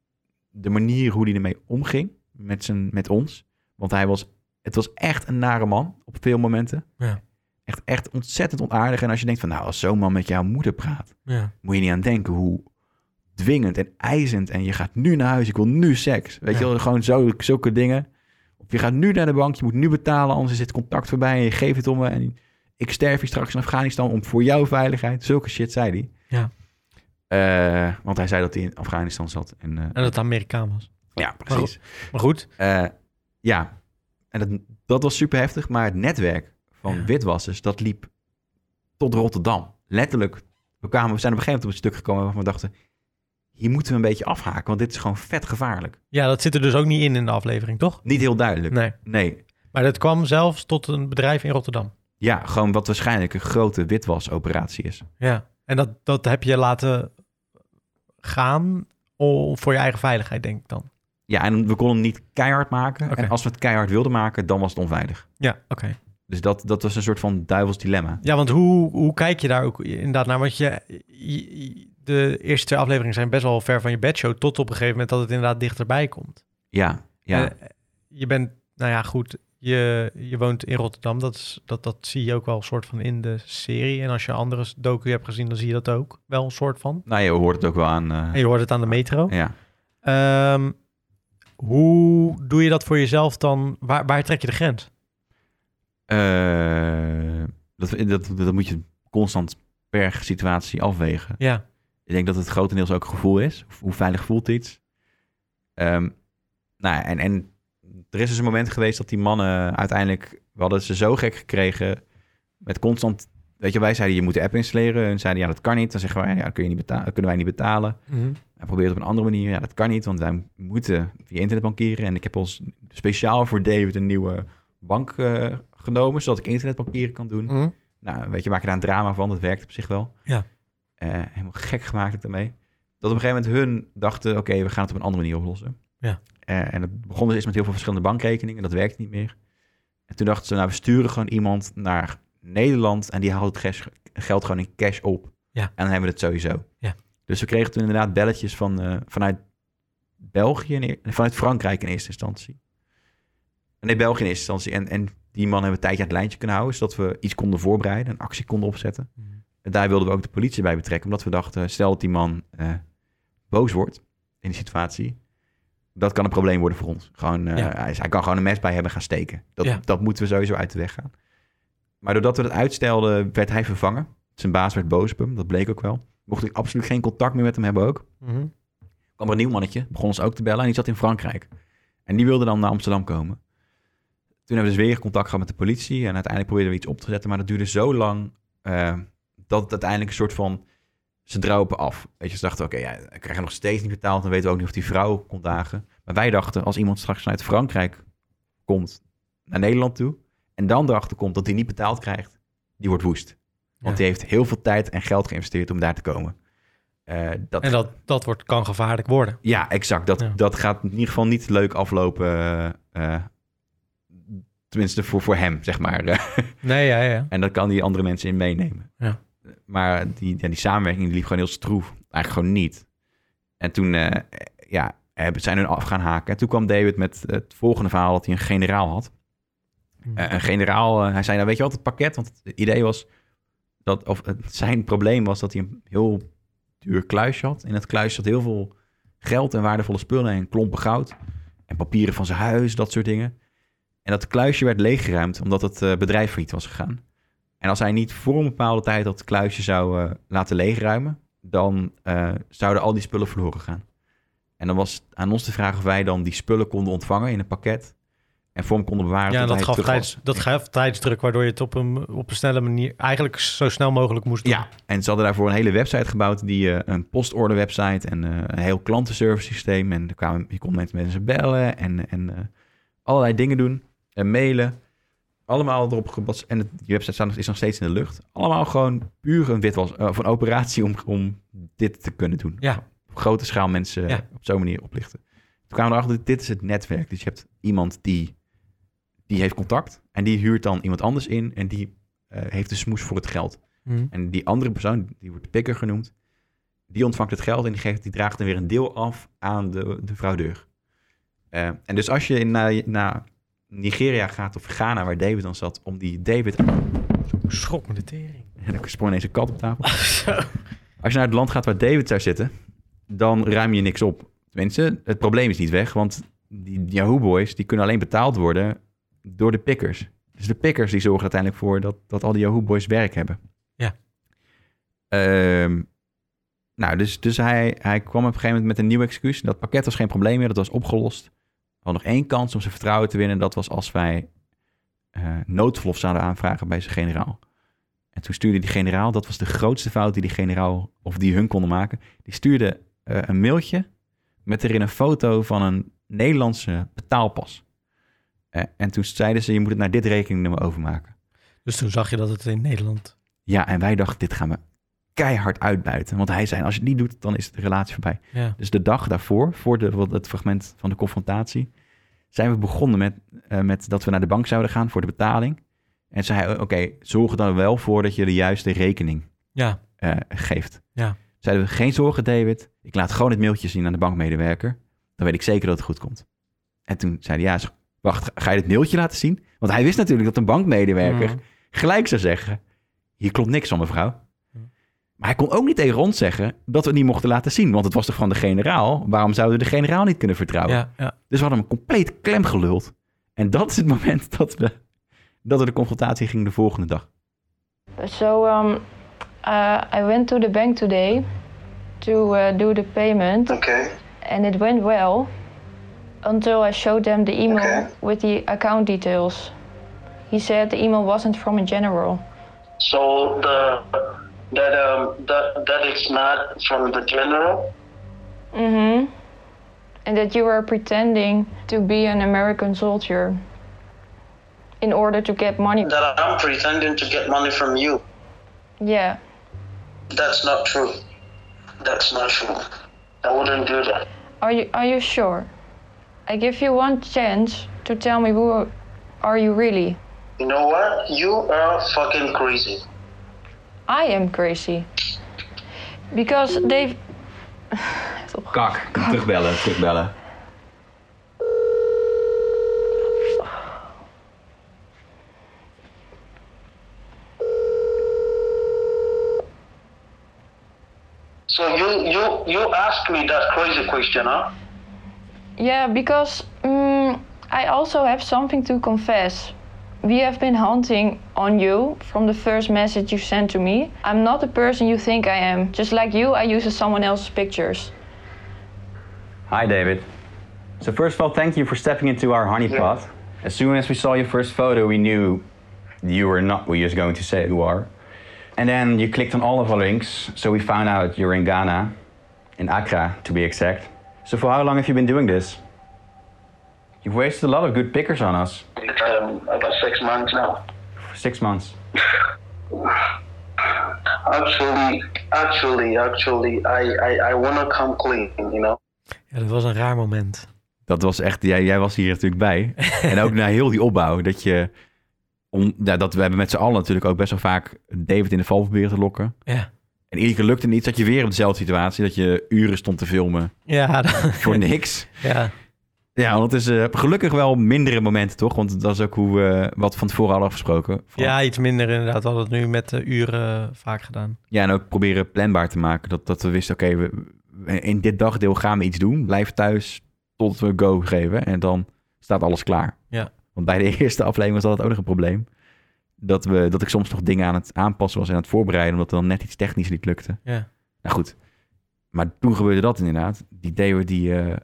de manier hoe hij ermee omging met, zijn, met ons, want hij was, het was echt een nare man op veel momenten. Ja. Echt, echt ontzettend onaardig. En als je denkt van, nou, als zo'n man met jouw moeder praat, Ja. moet je niet aan denken hoe dwingend en eisend. En je gaat nu naar huis, ik wil nu seks. Weet je Ja. wel, gewoon zo, zulke dingen. Of je gaat nu naar de bank, je moet nu betalen, anders is het contact voorbij en je geeft het om me. En ik sterf hier straks in Afghanistan om voor jouw veiligheid. Zulke shit zei hij. Ja. Eh, want hij zei dat hij in Afghanistan zat. En, eh, En dat het Amerikaan was. ja, Maar precies. Maar goed, Eh, ja, en dat, dat was super heftig. Maar het netwerk van witwassers, dat liep tot Rotterdam. Letterlijk. We, kwamen, we zijn op een gegeven moment op een stuk gekomen waarvan we dachten... hier moeten we een beetje afhaken, want dit is gewoon vet gevaarlijk. ja, dat zit er dus ook niet in in de aflevering, toch? Niet heel duidelijk. Nee. Nee. Maar dat kwam zelfs tot een bedrijf in Rotterdam. Ja, gewoon wat waarschijnlijk een grote witwasoperatie is. Ja. En dat, dat heb je laten gaan om- voor je eigen veiligheid, denk ik dan. Ja, en we konden hem niet keihard maken. Oké. En als we het keihard wilden maken, dan was het onveilig. Ja, oké. Dus dat, dat was een soort van duivels dilemma. Ja, want hoe, hoe kijk je daar ook inderdaad naar? Want je, je- je- de eerste twee afleveringen zijn best wel ver van je bedshow... tot op een gegeven moment dat het inderdaad dichterbij komt. Ja, ja. Eh, je bent, nou ja, goed, je, je woont in Rotterdam. Dat, is, dat, dat zie je ook wel een soort van in de serie. En als je andere docu hebt gezien, dan zie je dat ook wel een soort van. nou, je hoort het ook wel aan... eh, En je hoort het aan de metro. ja. Ehm, hoe doe je dat voor jezelf dan? Waar, waar trek je de grens? Eh, dat, dat, dat moet je constant per situatie afwegen. Ja. Ik denk dat het grotendeels ook gevoel is. Hoe veilig voelt iets? Ehm, nou ja, en, en er is dus een moment geweest dat die mannen uiteindelijk... We hadden ze zo gek gekregen met constant... Weet je, wij zeiden je moet de app installeren. En zeiden ja, dat kan niet. Dan zeggen wij ja, dat kun je niet beta- kunnen wij niet betalen. Mhm. Hij probeert het op een andere manier. Ja, dat kan niet, want wij moeten via internet bankieren. En ik heb ons speciaal voor David een nieuwe bank eh, genomen, zodat ik internet bankieren kan doen. Mhm. Nou, weet je, maak er daar een drama van. Dat werkt op zich wel. Ja. Eh, helemaal gek gemaakt ik daarmee. Dat op een gegeven moment hun dachten, oké, we gaan het op een andere manier oplossen. Ja. Eh, en dat begon dus eerst met heel veel verschillende bankrekeningen. Dat werkte niet meer. En toen dachten ze, nou, we sturen gewoon iemand naar Nederland en die haalt het ges- geld gewoon in cash op. Ja. En dan hebben we het sowieso. Ja. Dus we kregen toen inderdaad belletjes van, eh, vanuit België, in eer- vanuit Frankrijk in eerste instantie. Nee, België in eerste instantie. En, en die man hebben we een tijdje aan het lijntje kunnen houden, zodat we iets konden voorbereiden, een actie konden opzetten. Mhm. En daar wilden we ook de politie bij betrekken, omdat we dachten, stel dat die man eh, boos wordt in die situatie, dat kan een probleem worden voor ons. Gewoon, eh, Ja. hij, hij kan gewoon een mes bij hebben gaan steken. Dat, Ja. dat moeten we sowieso uit de weg gaan. Maar doordat we dat uitstelden, werd hij vervangen. Zijn baas werd boos op hem, dat bleek ook wel. Mocht ik absoluut geen contact meer met hem hebben ook Mhm. kwam er een nieuw mannetje, begon ons ook te bellen en die zat in Frankrijk. En die wilde dan naar Amsterdam komen. Toen hebben we dus weer contact gehad met de politie en uiteindelijk probeerden we iets op te zetten, maar dat duurde zo lang eh, dat het uiteindelijk een soort van ze dropen af. Weet je, ze dachten, oké, ja, we krijgen nog steeds niet betaald, dan weten we ook niet of die vrouw kon dagen. Maar wij dachten, als iemand straks vanuit Frankrijk komt naar Nederland toe en dan erachter komt dat hij niet betaald krijgt, die wordt woest. Want Ja. die heeft heel veel tijd en geld geïnvesteerd om daar te komen. Eh, dat, En dat, dat wordt, kan gevaarlijk worden. ja, exact. Dat, Ja. dat gaat in ieder geval niet leuk aflopen. eh, eh, tenminste voor, voor hem, zeg maar. Nee, ja, ja. en dat kan die andere mensen in meenemen. Ja. Maar die, ja, die samenwerking die liep gewoon heel stroef. Eigenlijk gewoon niet. En toen eh, ja, hebben, zijn hun af gaan haken. En toen kwam David met het volgende verhaal dat hij een generaal had. Hmm. Eh, een generaal, eh, hij zei, nou weet je wat, het pakket. Want het idee was, dat, eh, of het, zijn probleem was dat hij een heel duur kluisje had. In dat kluisje zat heel veel geld en waardevolle spullen en klompen goud. En papieren van zijn huis, dat soort dingen. En dat kluisje werd leeggeruimd omdat het eh, bedrijf failliet was gegaan. En als hij niet voor een bepaalde tijd dat kluisje zou eh, laten leegruimen, dan eh, zouden al die spullen verloren gaan. En dan was het aan ons de vraag of wij dan die spullen konden ontvangen in een pakket en voor hem konden bewaren. Ja, tot dat hij gaf, terug was. tijds, dat gaf tijdsdruk, waardoor je het op een, op een snelle manier eigenlijk zo snel mogelijk moest doen. Ja, en ze hadden daarvoor een hele website gebouwd, die, eh, een postorder website en eh, een heel klantenservice systeem. En er kwamen, je kon met mensen bellen en, en eh, allerlei dingen doen en mailen. Allemaal erop gebas En het- die website staat nog- is nog steeds in de lucht. Allemaal gewoon puur een witwas, eh, of een operatie om, om dit te kunnen doen. Ja. Op grote schaal mensen Ja. op zo'n manier oplichten. Toen kwamen we erachter, dit is het netwerk. Dus je hebt iemand die, die heeft contact en die huurt dan iemand anders in en die eh, heeft de smoes voor het geld. Mhm. En die andere persoon, die wordt de pikker genoemd, die ontvangt het geld en die, geeft, die draagt dan weer een deel af aan de, de fraudeur. Eh, en dus als je in, naar, naar Nigeria gaat of Ghana, waar David dan zat, om die David... Schok me de tering. En ik sprong ineens een kat op tafel. Als je naar het land gaat waar David zou zitten, dan ruim je niks op. Tenminste, het probleem is niet weg, want die Yahoo Boys die kunnen alleen betaald worden door de pikkers. Dus de pikkers die zorgen uiteindelijk voor dat, dat al die Yahoo Boys werk hebben. Ja. Ehm, nou, dus, dus hij, hij kwam op een gegeven moment met een nieuw excuus. Dat pakket was geen probleem meer, dat was opgelost. We hadden nog één kans om zijn vertrouwen te winnen. Dat was als wij eh, noodverlof zouden aanvragen bij zijn generaal. En toen stuurde die generaal, dat was de grootste fout die die generaal of die hun konden maken. Die stuurde eh, een mailtje met erin een foto van een Nederlandse betaalpas. Eh, en toen zeiden ze, je moet het naar dit rekeningnummer overmaken. Dus toen zag je dat het in Nederland... Ja, en wij dachten, dit gaan we keihard uitbuiten. Want hij zei, als je het niet doet, dan is de relatie voorbij. Ja. Dus de dag daarvoor, voor de, wat- het fragment van de confrontatie, zijn we begonnen met, eh, met dat we naar de bank zouden gaan voor de betaling. En zei hij, oké, zorg er dan wel voor dat je de juiste rekening Ja. eh, geeft. Ja. Zeiden we, geen zorgen David, ik laat gewoon het mailtje zien aan de bankmedewerker. Dan weet ik zeker dat het goed komt. En toen zei hij, ja, is- wacht, ga je het mailtje laten zien? Want hij wist natuurlijk dat een bankmedewerker Mm. gelijk zou zeggen, hier klopt niks van mevrouw. Maar hij kon ook niet tegen ons zeggen dat we het niet mochten laten zien. Want het was toch van de generaal? Waarom zouden we de generaal niet kunnen vertrouwen? Ja, ja. Dus we hadden hem compleet klem geluld. En dat is het moment dat we, dat we de confrontatie gingen de volgende dag. So um, uh, I went to the bank today to uh, do the payment. Okay. And it went well until I showed them the email with the account details. He said the email wasn't from a general. So the that um that that is not from the general. Mm-hmm. And that you were pretending to be an American soldier in order to get money. That I'm pretending to get money from you. Yeah. That's not true. That's not true. I wouldn't do that. Are you are you sure? I give you one chance to tell me who are you really? You know what? You are fucking crazy. I am crazy. Because they Kak, terugbellen, terugbellen. So you you you asked me that crazy question, huh? yeah, because mm, I also have something to confess. We have been hunting on you from the first message you sent to me. I'm not the person you think I am. Just like you, I use someone else's pictures. Hi, David. So, first of all, thank you for stepping into our honeypot. As soon as we saw your first photo, we knew you were not what you're going to say you are. And then you clicked on all of our links, so we found out you're in Ghana, in Accra to be exact. So, for how long have you been doing this? You've wasted a lot of good pickers on us. Um, about six months now. For six months. Actually, actually, actually, I I, I wanna come clean. You know. Ja, dat was een raar moment. Dat was echt, jij, jij was hier natuurlijk bij. En ook na heel die opbouw, dat je... Om, nou, dat, we hebben met z'n allen natuurlijk ook best wel vaak David in de val proberen te lokken. Ja. En iedere keer lukte het niet, zat je weer op dezelfde situatie. Dat je uren stond te filmen Ja, dat- voor niks. Ja. Ja, want het is eh, gelukkig wel mindere momenten, toch? Want dat is ook hoe we wat van tevoren hadden afgesproken. Ja, iets minder inderdaad. We hadden het nu met de uren eh, vaak gedaan. Ja, en ook proberen planbaar te maken. Dat, dat we wisten, oké, we- we- in dit dagdeel gaan we iets doen. Blijf thuis tot we go geven. En dan staat alles klaar. Ja. Want bij de eerste aflevering was dat ook nog een probleem. Dat, we, dat ik soms nog dingen aan het aanpassen was en aan het voorbereiden. Omdat er dan net iets technisch niet lukte. Ja. Nou goed. Maar toen gebeurde dat inderdaad. Die Deo die, eh,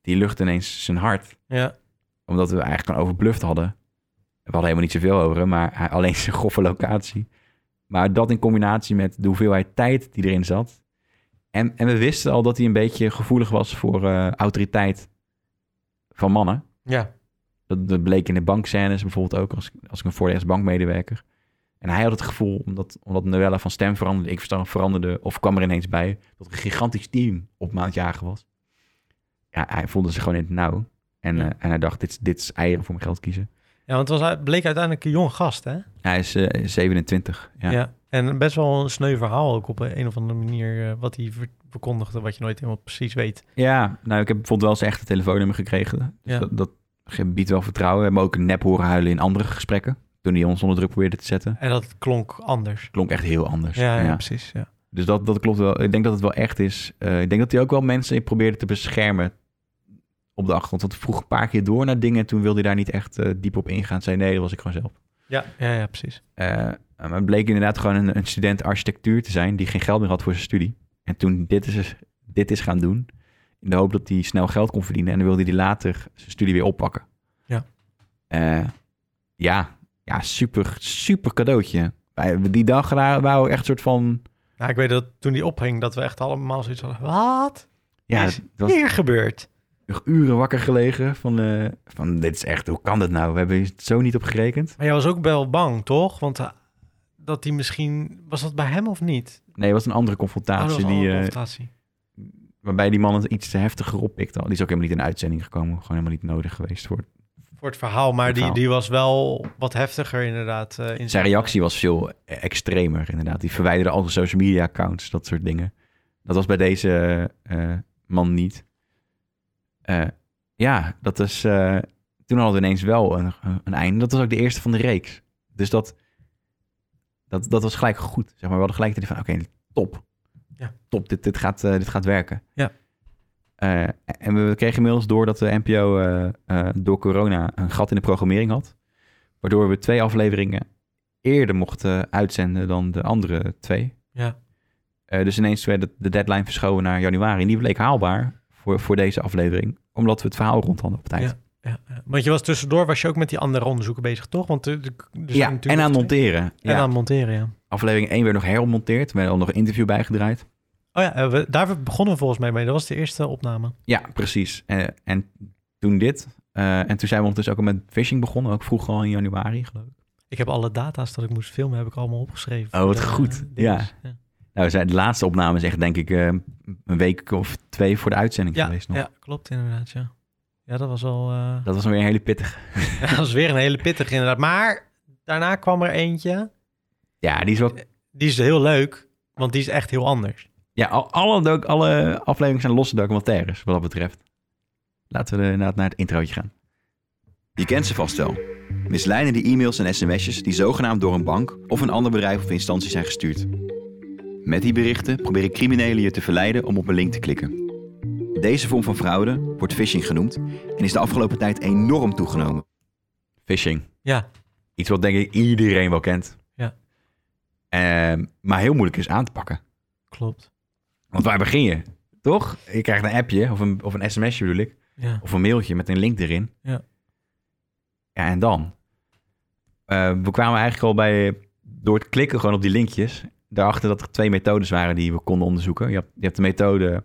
die lucht ineens zijn hart. Ja. Omdat we eigenlijk gewoon overbluft hadden. We hadden helemaal niet zoveel over hem, maar hij- alleen zijn grove locatie. Maar dat in combinatie met de hoeveelheid tijd die erin zat. En, en we wisten al dat hij een beetje gevoelig was voor eh, autoriteit van mannen. Ja. Dat, dat bleek in de bankscènes bijvoorbeeld ook, als, ik- als ik een voordeel als bankmedewerker. En hij had het gevoel, omdat, omdat Noella van stem veranderde, ik verstand veranderde, of kwam er ineens bij, dat er een gigantisch team op maand jagen was. Ja, hij voelde zich gewoon in het nauw. En, eh, en hij dacht, dit, is- dit is eieren voor mijn geld kiezen. Ja, want het was, bleek uiteindelijk een jong gast, hè? Hij is eh, 27. Ja. En best wel een sneu verhaal ook op een of andere manier eh, wat hij ver- verkondigde, wat je nooit helemaal precies weet. Ja, nou, ik heb bijvoorbeeld wel zijn echte telefoonnummer gekregen. Dus Ja. dat, dat biedt wel vertrouwen. We hebben ook nep horen huilen in andere gesprekken. Toen hij ons onder druk probeerde te zetten. En dat klonk anders. Klonk echt heel anders. Ja, ja, precies, ja. Dus dat, dat klopt wel. Ik denk dat het wel echt is. Eh, ik denk dat hij ook wel mensen probeerde te beschermen op de achtergrond. Want hij vroeg een paar keer door naar dingen. En toen wilde hij daar niet echt eh, diep op ingaan. Zei nee, dat was ik gewoon zelf. Ja, ja, ja precies. Eh, maar het bleek inderdaad gewoon een, een student architectuur te zijn die geen geld meer had voor zijn studie. En toen dit is, dit is gaan doen, in de hoop dat hij snel geld kon verdienen. En dan wilde hij later zijn studie weer oppakken. Ja. Eh, ja, ja, super, super cadeautje. Wij- Die dag daar waren we echt een soort van... Nou, ik weet dat toen die ophing, dat we echt allemaal zoiets hadden. Wat? Ja, Is het was- weer gebeurd. nog uren wakker gelegen van, eh, van dit is echt, hoe kan dit nou? We hebben hier zo niet op gerekend. Maar jij was ook wel bang, toch? Want eh, dat hij misschien... Was dat bij hem of niet? Nee, het was een andere Oh, dat confrontatie. was die, een eh, confrontatie. waarbij die man het iets te heftiger oppikte. Die is ook helemaal niet in de uitzending gekomen. Gewoon helemaal niet nodig geweest voor. Voor het verhaal, maar Het die, verhaal. die was wel wat heftiger inderdaad. eh, in Zijn reactie was veel extremer inderdaad. Die verwijderde alle social media accounts, dat soort dingen. Dat was bij deze eh, man niet. Eh, ja, dat is... eh, toen hadden we ineens wel een, een einde. Dat was ook de eerste van de reeks. Dus dat, dat, dat was gelijk goed. Zeg maar. We hadden gelijk het idee van, oké, top. Ja. Top, dit, dit, gaat, eh, dit gaat werken. Ja. Eh, en we kregen inmiddels door dat de NPO eh, eh, door corona een gat in de programmering had. Waardoor we twee afleveringen eerder mochten uitzenden dan de andere twee. Ja. Eh, dus ineens werd het- de deadline verschoven naar januari. En die bleek haalbaar voor, voor deze aflevering. Omdat we het verhaal rond hadden op tijd. Ja. dus Want je was tussendoor was je ook met die andere onderzoeken bezig, toch? Want eh, er, er- dus er zijn Ja, natuurlijk en aan twee- monteren. En Ja. aan monteren, ja. Aflevering 1 werd nog herontmonteerd. Er werd al nog een interview bijgedraaid. Oh ja, eh, we, daar begonnen we volgens mij mee. Dat was de eerste opname. Ja, precies. En, en toen dit. eh, en toen zijn we ondertussen ook al met phishing begonnen. Ook vroeg al in januari, geloof ik. Ik heb alle data's dat ik moest filmen, heb ik allemaal opgeschreven. Oh, wat De, goed. eh, Ja. dinges. Nou, we zijn- de laatste opname is echt, denk ik, eh, een week of twee voor de uitzending Ja, geweest nog. ja, klopt inderdaad, ja. Ja, dat was al... eh, Dat was weer een hele pittige. ja, dat was weer een hele pittig inderdaad. Maar daarna kwam er eentje. Ja, die is wel... Die is heel leuk, want die is echt heel anders. Ja, al- alle, doc- alle afleveringen zijn losse documentaires, wat dat betreft. Laten we eh, inderdaad naar het introotje gaan. Je kent ze vast wel. Misleidende e-mails en sms'jes die zogenaamd door een bank of een ander bedrijf of instantie zijn gestuurd. Met die berichten proberen criminelen je te verleiden om op een link te klikken. Deze vorm van fraude wordt phishing genoemd en is de afgelopen tijd enorm toegenomen. Phishing. Ja. Iets wat denk ik iedereen wel kent. Ja. Ehm, maar heel moeilijk is aan te pakken. Klopt. Want waar begin je? Toch? Je krijgt een appje of een, of een sms'je bedoel ik. Ja. Of een mailtje met een link erin. Ja. Ja, en dan? Eh, we kwamen eigenlijk al bij, door het klikken gewoon op die linkjes, daarachter dat er twee methodes waren die we konden onderzoeken. Je hebt, je hebt de methode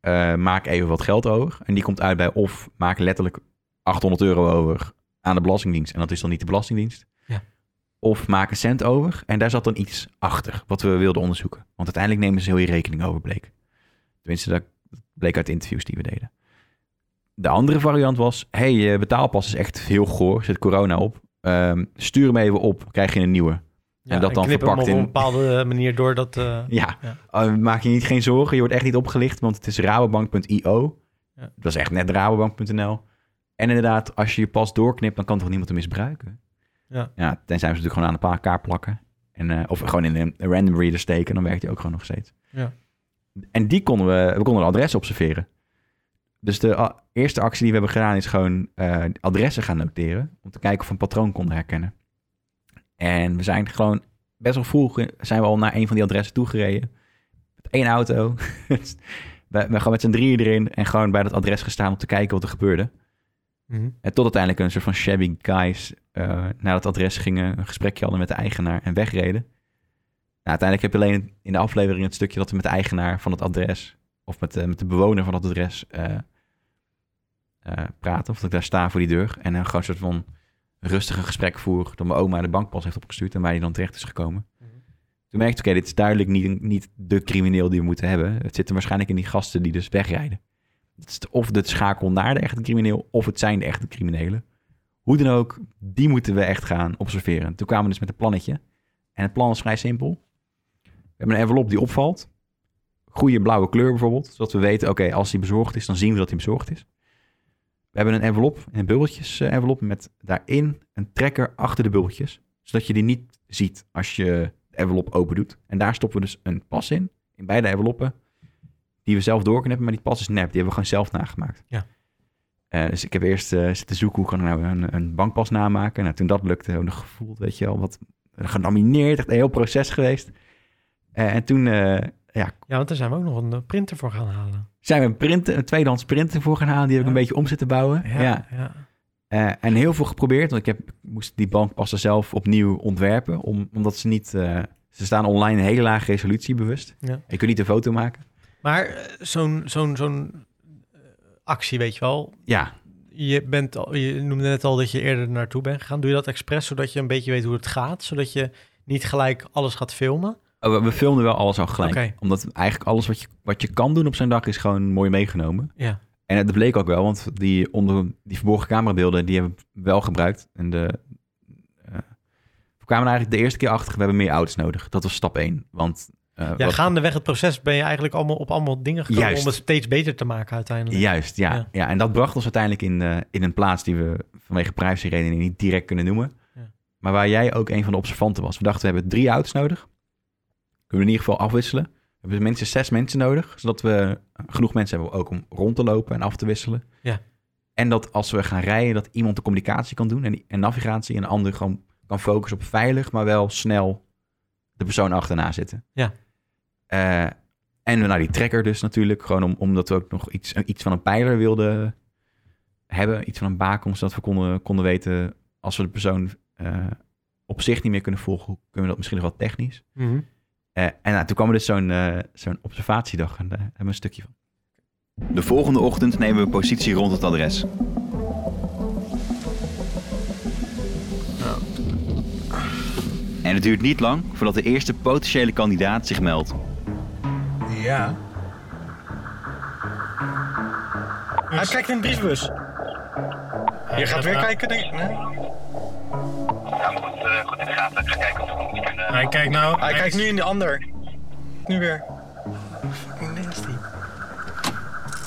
eh, maak even wat geld over. En die komt uit bij of maak letterlijk 800 euro over aan de Belastingdienst. En dat is dan niet de Belastingdienst. Ja. Of maak een cent over. En daar zat dan iets achter wat we wilden onderzoeken. Want uiteindelijk nemen ze heel je rekening over, bleek. Tenminste, dat bleek uit interviews die we deden. De andere variant was: hey, je betaalpas is echt heel goor, zet corona op. Ehm, stuur hem even op, krijg je een nieuwe. Ja, en dat dan knip hem verpakt op een in. bepaalde manier door dat... eh, Ja, Eh, maak je niet geen zorgen, je wordt echt niet opgelicht, want het is rabobank.io. Ja. Dat is echt net rabobank.nl. En inderdaad, als je je pas doorknipt, dan kan toch niemand hem misbruiken? Ja. ja tenzij we ze natuurlijk gewoon aan een paar kaart plakken. En, eh, of gewoon in een random reader steken, dan werkt die ook gewoon nog steeds. Ja. En die konden we, we konden de adressen observeren. Dus de a- eerste actie die we hebben gedaan is gewoon eh, adressen gaan noteren. Om te kijken of we een patroon konden herkennen. En we zijn gewoon best wel vroeg eh, zijn we al naar een van die adressen toegereden. Met één auto. we, we gaan met z'n drieën erin en gewoon bij dat adres gestaan om te kijken wat er gebeurde. Mhm. En tot uiteindelijk een soort van shabby guys eh, naar dat adres gingen, een gesprekje hadden met de eigenaar en wegreden. Nou, uiteindelijk heb je alleen in de aflevering het stukje dat we met de eigenaar van het adres, of met, eh, met de bewoner van dat adres, eh, eh, praten. Of dat ik daar sta voor die deur. En dan gewoon een soort van rustige gesprek voer. Dat mijn oma de bankpas heeft opgestuurd en waar die dan terecht is gekomen. Toen merkte ik, oké, dit is duidelijk niet, niet de crimineel die we moeten hebben. Het zit hem waarschijnlijk in die gasten die dus wegrijden. Het is of de schakel naar de echte crimineel, of het zijn de echte criminelen. Hoe dan ook, die moeten we echt gaan observeren. Toen kwamen we dus met een plannetje. En het plan is vrij simpel. We hebben een envelop die opvalt. Goede blauwe kleur bijvoorbeeld. Zodat we weten, oké, als die bezorgd is, dan zien we dat hij bezorgd is. We hebben een envelop, een bubbeltjes eh, envelop met daarin een trekker achter de bubbeltjes. Zodat je die niet ziet als je de envelop open doet. En daar stoppen we dus een pas in, in beide enveloppen. Die we zelf doorknippen, maar die pas is nep. Die hebben we gewoon zelf nagemaakt. Ja. Eh, dus ik heb eerst eh, zitten zoeken hoe kan ik nou een, een bankpas namaken. Nou, toen dat lukte, heb ik nog gevoeld, weet je wel, wat genomineerd. Echt een heel proces geweest. Eh, en toen eh, ja, Ja, want daar zijn we ook nog een eh, printer voor gaan halen. zijn we een, printer, een tweedehands printer voor gaan halen. Die heb ik een beetje om zitten bouwen. Ja. ja. Eh, en heel veel geprobeerd. Want ik, heb, ik moest die bankpassen zelf opnieuw ontwerpen. Om, omdat ze niet... eh, ze staan online in hele lage resolutie bewust. Ja. Ik kan niet een foto maken. Maar eh, zo'n zo'n zo'n eh, actie, weet je wel. Ja. Je, bent al, je noemde net al dat je eerder naartoe bent gegaan. Doe je dat expres zodat je een beetje weet hoe het gaat? Zodat je niet gelijk alles gaat filmen? Oh, we, we filmden wel alles al gelijk. Oké. Omdat eigenlijk alles wat je, wat je kan doen op zo'n dag... is gewoon mooi meegenomen. Ja. En dat bleek ook wel. Want die, onder, die verborgen camerabeelden... die hebben we wel gebruikt. En de, eh, we kwamen er eigenlijk de eerste keer achter... we hebben meer ouds nodig. Dat was stap één. Want... eh, ja, wat- gaandeweg het proces ben je eigenlijk allemaal op allemaal dingen gekomen Juist. om het steeds beter te maken uiteindelijk. Juist, ja. ja. Ja. en dat bracht ons uiteindelijk in, eh, in een plaats die we vanwege privacyredenen niet direct kunnen noemen. Ja. Maar waar jij ook een van de observanten was. We dachten, we hebben drie ouds nodig. Kunnen we in ieder geval afwisselen. We hebben minstens zes mensen nodig, zodat we genoeg mensen hebben ook om rond te lopen en af te wisselen. Ja. En dat als we gaan rijden, dat iemand de communicatie kan doen en, en navigatie en de ander gewoon kan focussen op veilig, maar wel snel de persoon achterna zitten. Ja. Eh, en naar die trekker dus natuurlijk, gewoon om, omdat we ook nog iets, iets van een pijler wilden hebben, iets van een baken, zodat we konden, konden weten als we de persoon eh, op zich niet meer kunnen volgen, hoe kunnen we dat misschien nog wel technisch. Mhm. Eh, en nou, toen kwam er dus zo'n eh, zo'n observatiedag en daar hebben we een stukje van. De volgende ochtend nemen we positie rond het adres. En het duurt niet lang voordat de eerste potentiële kandidaat zich meldt. Ja. Hij kijkt in de briefbus. Je gaat weer kijken, denk ik. Nee? Eh, Hij kijkt nou. Hij kijkt nu in de ander. Nu weer. Fucking nasty.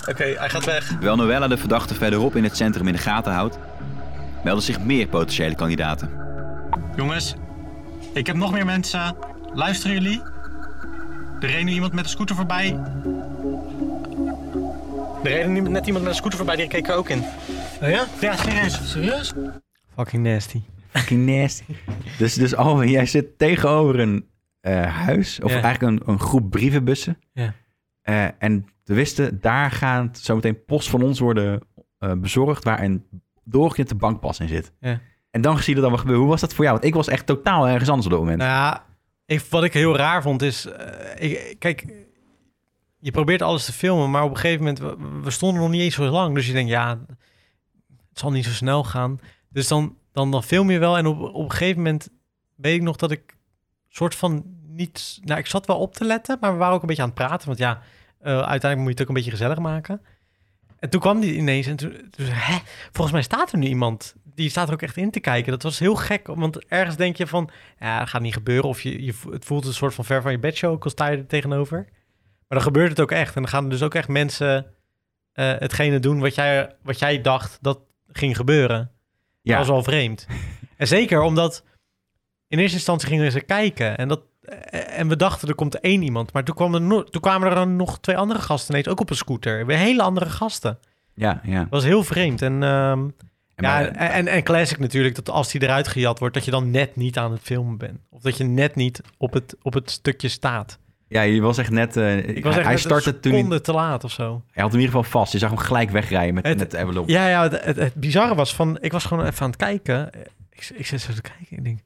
Oké, hij gaat weg. Terwijl Noella de verdachte verderop in het centrum in de gaten houdt, melden zich meer potentiële kandidaten. Jongens, ik heb nog meer mensen. Luisteren jullie? Er reed nu iemand met een scooter voorbij. Er reed nu net iemand met een scooter voorbij, die keek er ook in. ja? Ja, serieus. Serieus? Fucking nasty. Fucking nasty. dus, dus Alwin, jij zit tegenover een eh, huis, of Ja. eigenlijk een, een groep brievenbussen. Ja. Eh, en we wisten, daar gaan zometeen post van ons worden eh, bezorgd, waar een doorgeknipte bankpas in zit. Ja. En dan zie je dat dan wat gebeuren. Hoe was dat voor jou? Want ik was echt totaal ergens anders op dat moment. Nou ja, ik, wat ik heel raar vond is... eh, ik, kijk, je probeert alles te filmen, maar op een gegeven moment... We, we stonden nog niet eens zo lang, dus je denkt, ja, het zal niet zo snel gaan. Dus dan, dan, dan film je wel en op, op een gegeven moment weet ik nog dat ik soort van niet... Nou, ik zat wel op te letten, maar we waren ook een beetje aan het praten. Want ja, eh, uiteindelijk moet je het ook een beetje gezellig maken. En toen kwam die ineens en toen, toen zei ik, hè, volgens mij staat er nu iemand. Die staat er ook echt in te kijken. Dat was heel gek, want ergens denk je van, ja, dat gaat niet gebeuren. Of je, je, vo- het voelt een soort van ver van je bedshow, ook al sta je er tegenover. Maar dan gebeurt het ook echt. En dan gaan er dus ook echt mensen eh, hetgene doen wat jij, wat jij dacht dat ging gebeuren. Ja. Dat was al vreemd. en zeker omdat in eerste instantie gingen ze kijken en dat eh, en we dachten er komt één iemand, maar toen, kwam er no- toen kwamen er dan nog twee andere gasten ineens ook op een scooter. Weer hele andere gasten. Ja, ja. Dat was heel vreemd. En, ehm, ja, en, en, en classic natuurlijk, dat als die eruit gejat wordt, dat je dan net niet aan het filmen bent. Of dat je net niet op het, op het stukje staat. Ja, je was echt net... eh, was hij echt net startte een toen... niet- seconde te laat of zo. Hij had hem in ieder geval vast. Je zag hem gelijk wegrijden met, Het- met de envelop. Ja, ja het, het, het bizarre was van, ik was gewoon even aan het kijken. Ik, ik zit zo te kijken en ik denk...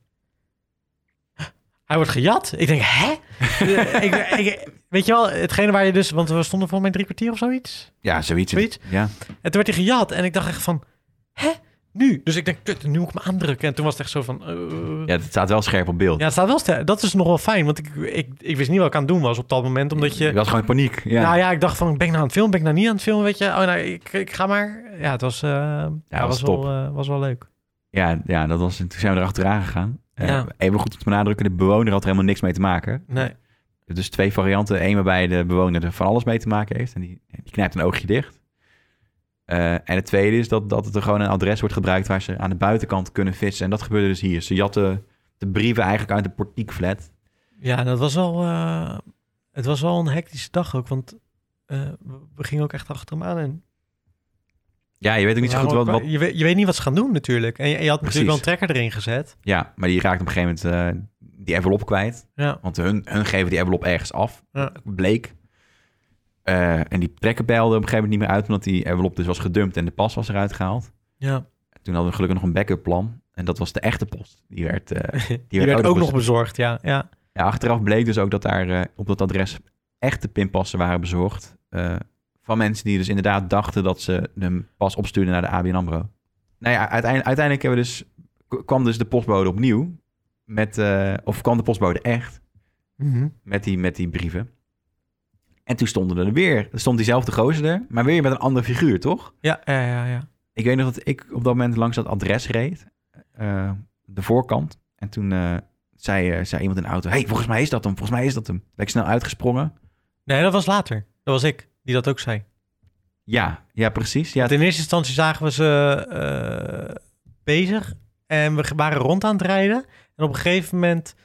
"Huh, Hij wordt gejat. Ik denk, hè? ik, ik- weet je wel, hetgene waar je dus... Want we stonden voor mijn drie kwartier of zoiets. Ja, zoiets. Zoiets? Ja. En toen werd hij gejat en ik dacht echt van... Hè? Nu? Dus ik denk, kut, nu moet ik me aandrukken. En toen was het echt zo van... eh, ja, het staat wel scherp op beeld. ja, het staat wel ster- Dat is nog wel fijn, want ik, ik, ik wist niet wat ik aan het doen was op dat moment, omdat je... Je was gewoon in paniek. Ja. Nou ja, ik dacht van, ben ik nou aan het filmen, ben ik nou niet aan het filmen, weet je? Oh, nou, ik, ik ga maar. Ja, het was, eh, ja, was was, top. wel, eh, was wel leuk. Ja, ja, dat was, toen zijn we erachteraan gegaan. Eh, Ja. Even goed om te benadrukken, de bewoner had er helemaal niks mee te maken. Nee. Dus twee varianten. Eén waarbij de bewoner er van alles mee te maken heeft. En die, die knijpt een oogje dicht. Eh, en het tweede is dat, dat het er gewoon een adres wordt gebruikt... waar ze aan de buitenkant kunnen vissen. En dat gebeurde dus hier. Ze jatten de brieven eigenlijk uit de portiekflat. Ja, en dat was wel, eh, het was wel een hectische dag ook, want eh, we- we gingen ook echt achter hem aan. En Ja, je weet ook niet zo we goed wat... waren ook- wat Je, weet, je weet niet wat ze gaan doen natuurlijk. En je, je had Precies. natuurlijk wel een trekker erin gezet. ja, maar die raakt op een gegeven moment eh, die envelop kwijt. Ja. Want hun, hun geven die envelop ergens af. Ja. Bleek. Eh, en die trekken peilde op een gegeven moment niet meer uit... omdat die envelop dus was gedumpt en de pas was eruit gehaald. Ja. Toen hadden we gelukkig nog een backup plan. En dat was de echte post. Die werd, eh, die Die werd ook nog bezorgd, ja. ja. Ja, achteraf bleek dus ook dat daar eh, op dat adres echte pinpassen waren bezorgd. eh, van mensen die dus inderdaad dachten dat ze hem pas opstuurden naar de ABN AMRO. Nou ja, uiteindelijk, uiteindelijk hebben we dus, k- kwam dus de postbode opnieuw. Met, eh, of kwam de postbode echt Mhm. met die, met die brieven. En toen stonden er weer, er stond diezelfde gozer er, maar weer met een andere figuur, toch? Ja, ja, ja, ja. Ik weet nog dat ik op dat moment langs dat adres reed. eh, de voorkant. En toen eh, zei, eh, zei iemand in de auto... hey, volgens mij is dat hem. Volgens mij is dat hem. Toen Ben ik snel uitgesprongen. Nee, dat was later. Dat was ik, die dat ook zei. Ja, ja precies. Ja, Want in eerste instantie zagen we ze eh, bezig en we waren rond aan het rijden. En op een gegeven moment,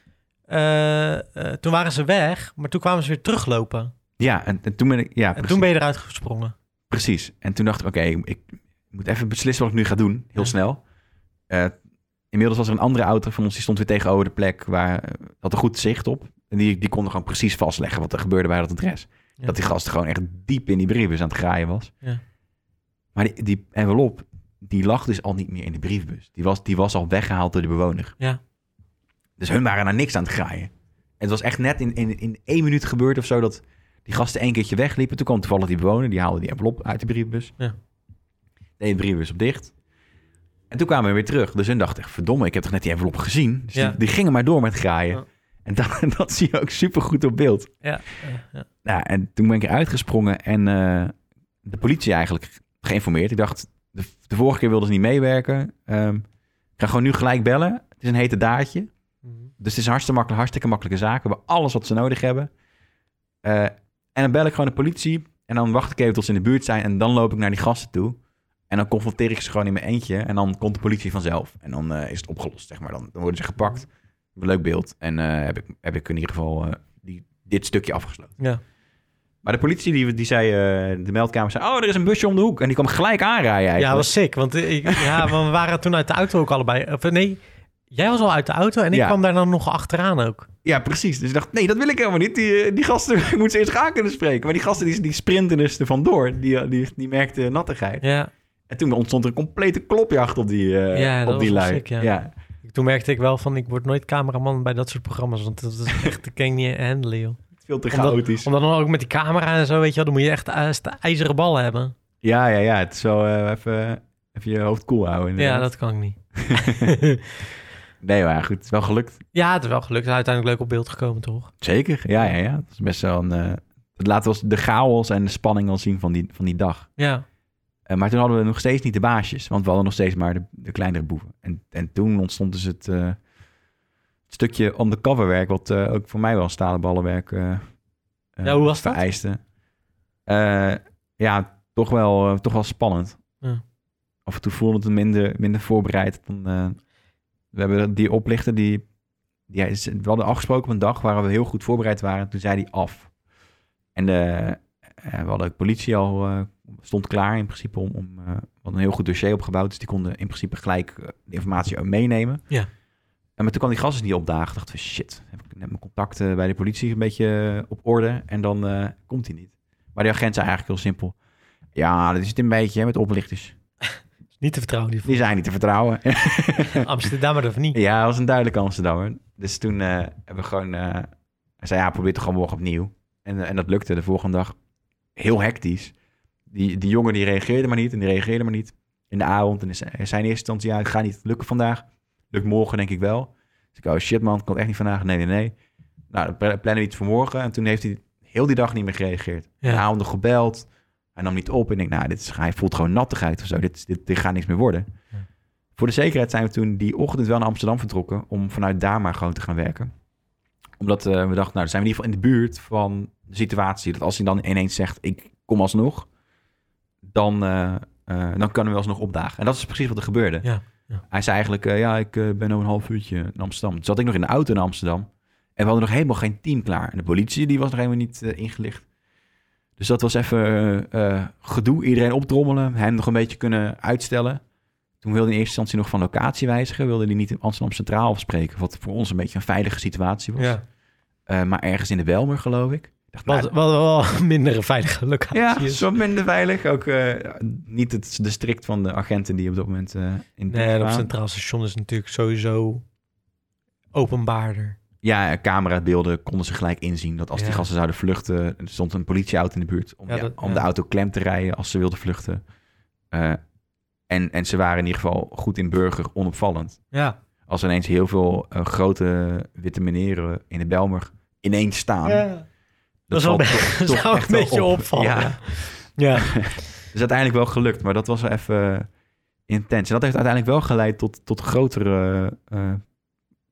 eh, eh, toen waren ze weg, maar toen kwamen ze weer teruglopen. ja en, en toen ben ik... Ja, en precies. toen ben je eruit gesprongen. precies. En toen dacht ik, oké, ik, ik moet even beslissen wat ik nu ga doen. Heel snel. Eh, inmiddels was er een andere auto van ons... die stond weer tegenover de plek waar... eh, had een goed zicht op. En die, die konden gewoon precies vastleggen wat er gebeurde bij dat adres. Ja. Dat die gast gewoon echt diep in die brievenbus aan het graaien was. Ja. Maar die, die envelop, die lag dus al niet meer in de briefbus. Die was, die was al weggehaald door de bewoner. Ja. Dus hun waren naar niks aan het graaien. Het was echt net in, in, in één minuut gebeurd of zo... dat die gasten één keertje wegliepen. Toen kwam toevallig die bewoner, die haalde die envelop uit de briefbus. Ja. Deed de briefbus op dicht. En toen kwamen we weer terug. Dus hun dachten echt, verdomme, ik heb toch net die envelop gezien? Dus Ja. die, die gingen maar door met graaien. Ja. En dat, dat zie je ook supergoed op beeld. Ja, ja, ja. Nou, en toen ben ik eruit gesprongen en eh, de politie eigenlijk geïnformeerd. Ik dacht, de, de vorige keer wilden ze niet meewerken. Ehm, ik ga gewoon nu gelijk bellen. Het is een hete daadje. Dus het is een hartstikke, makkelijk, hartstikke makkelijke zaak. We hebben alles wat ze nodig hebben. Eh, en dan bel ik gewoon de politie. En dan wacht ik even tot ze in de buurt zijn. En dan loop ik naar die gasten toe. En dan confronteer ik ze gewoon in mijn eentje. En dan komt de politie vanzelf. En dan eh, is het opgelost, zeg maar. Dan, dan worden ze gepakt. Een leuk beeld. En eh, heb, ik, heb ik in ieder geval eh, die, dit stukje afgesloten. Ja. Maar de politie die, die zei, eh, de meldkamer zei... Oh, er is een busje om de hoek. En die kwam gelijk aanrijden eigenlijk. Ja, was sick. Want, ik, ja, want we waren toen uit de auto ook allebei. Of nee, jij was al uit de auto en ik Ja. kwam daar dan nog achteraan ook. Ja, precies. Dus ik dacht, nee, dat wil ik helemaal niet. Die, eh, die gasten, ik moet ze eerst aan kunnen spreken. Maar die gasten, die, die sprinten dus er vandoor. Die, eh, die, die merkte nattigheid. Ja. En toen ontstond er een complete klopjacht op die, eh, ja, dat op die was wel lui. sick, ja. Toen merkte ik wel van, ik word nooit cameraman bij dat soort programma's. Want dat is echt, ik kan ik niet handelen, joh. Veel te Omdat- chaotisch. Omdat dan ook met die camera en zo, weet je wel, dan moet je echt eh, st- ijzeren ballen hebben. Ja, ja, ja. Het is wel eh, even, even je hoofd koel houden. Ja, inderdaad. dat kan ik niet. nee, maar ja, goed. Het is wel gelukt. Ja, het is wel gelukt. Het is uiteindelijk leuk op beeld gekomen, toch? Zeker. Ja, ja, ja. Het is best wel een... eh, het laat wel de chaos en de spanning al zien van die, van die dag. Ja. Eh, maar toen hadden we nog steeds niet de baasjes, want we hadden nog steeds maar de, de kleinere boeven. En, en toen ontstond dus het, eh, het stukje undercoverwerk, wat eh, ook voor mij wel een stalen ballenwerk eh eh, Ja, hoe was dat? vereiste. Eh, ja, toch wel, eh, toch wel spannend. Ja. af en toe voelde het minder, minder voorbereid. Dan, eh, we hebben die oplichter, die, die is, we hadden afgesproken op een dag waar we heel goed voorbereid waren. Toen zei die af. En de, eh, we hadden de politie al, eh, stond klaar in principe om, om eh, we hadden een heel goed dossier opgebouwd. Dus die konden in principe gelijk eh, de informatie meenemen. Ja. En maar toen kwam die gast dus niet opdagen. Dachten we, shit, heb ik net mijn contacten bij de politie een beetje eh, op orde. En dan eh, komt hij niet. Maar die agent zei eigenlijk heel simpel. Ja, dat is het een beetje hè, met oplichters. Niet te vertrouwen. Die, die zijn niet te vertrouwen. Amsterdammer of niet? Ja, hij was een duidelijke Amsterdammer. Dus toen eh, hebben we gewoon... eh, hij zei, ja, probeer het gewoon morgen opnieuw. En, eh, en dat lukte de volgende dag. Heel hectisch. Die, die jongen die reageerde maar niet en die reageerde maar niet. In de avond. En hij zei hij zei in eerste instantie, ja, het gaat niet lukken vandaag. Lukt morgen denk ik wel. Dus ik, oh shit man, kan echt niet vandaag. Nee, nee, nee. Nou, dan pla- plannen we iets voor morgen. En toen heeft hij heel die dag niet meer gereageerd. Ja. De avond nog gebeld. Hij nam niet op. En ik denk, nou, dit is, hij voelt gewoon nattigheid of zo. Dit, dit, dit gaat niks meer worden. Voor de zekerheid zijn we toen die ochtend wel naar Amsterdam vertrokken... om vanuit daar maar gewoon te gaan werken. Omdat eh, we dachten, nou, dan zijn we in ieder geval in de buurt van de situatie... dat als hij dan ineens zegt, ik kom alsnog... dan, eh, eh, dan kunnen we alsnog opdagen. En dat is precies wat er gebeurde. Ja, Hij zei eigenlijk, eh, ja, ik eh, ben over een half uurtje in Amsterdam. Toen zat ik nog in de auto in Amsterdam... en we hadden nog helemaal geen team klaar. En de politie die was nog helemaal niet eh, ingelicht. Dus dat was even eh, eh, gedoe. Iedereen opdrommelen, hem nog een beetje kunnen uitstellen. Toen wilde hij in eerste instantie nog van locatie wijzigen. Wilde hij niet in Amsterdam Centraal afspreken. Wat voor ons een beetje een veilige situatie was. Ja. Eh, maar ergens in de Belmer, geloof ik. Ik dacht, Wat, nou, wat wel minder een veilige locatie ja, is. zo minder veilig. Ook eh, niet het, de strikt van de agenten die op dat moment eh, in dienst Nee, en op waren. Centraal Station is het natuurlijk sowieso openbaarder. Ja, eh, camerabeelden konden ze gelijk inzien. Dat als die Ja. gasten zouden vluchten, er stond een politieauto in de buurt om, Ja, die- dat- om ja. de auto klem te rijden als ze wilden vluchten. Eh, en, en ze waren in ieder geval goed in burger, onopvallend. Ja. Als er ineens heel veel eh, grote witte meneren in de Belmer ineens staan. Ja. dat Dat is wel valt be- dat toch- toch zou echt een wel beetje op. opvallen, Ja. ja. Ja. is uiteindelijk wel gelukt, maar dat was wel even eh, intens. En dat heeft uiteindelijk wel geleid tot, tot grotere. eh,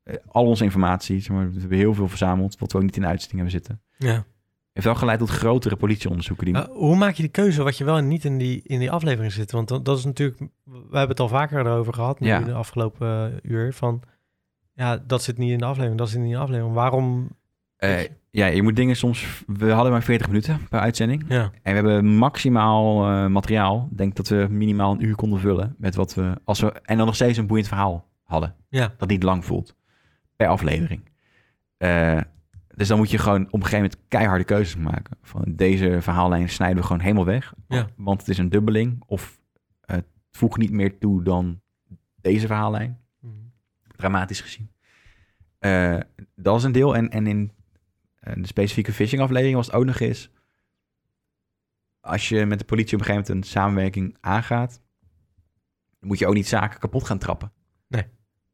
eh, al onze informatie, zeg maar, we hebben heel veel verzameld, wat we ook niet in de uitzending hebben zitten. Ja. Heeft wel geleid tot grotere politieonderzoeken. Die... Maar Eh, hoe maak je die keuze wat je wel en niet in die, in die aflevering zit? Want dat, dat is natuurlijk, we hebben het al vaker erover gehad nu Ja. de afgelopen eh, uur. Van ja, dat zit niet in de aflevering, dat zit niet in de aflevering. Waarom? Eh, ja, je moet dingen soms. We hadden maar 40 minuten per uitzending. Ja. En we hebben maximaal eh, materiaal. Ik denk dat we minimaal een uur konden vullen met wat we. Als we en dan nog steeds een boeiend verhaal hadden. Ja. Dat niet lang voelt. Per aflevering. Eh, dus dan moet je gewoon op een gegeven moment keiharde keuzes maken. Van deze verhaallijn snijden we gewoon helemaal weg. Ja. Want het is een dubbeling. Of eh, het voegt niet meer toe dan deze verhaallijn. Mhm. Dramatisch gezien. Eh, dat is een deel. En, en in eh, de specifieke phishing aflevering was het ook nog eens... als je met de politie op een gegeven moment een samenwerking aangaat... dan moet je ook niet zaken kapot gaan trappen. Nee.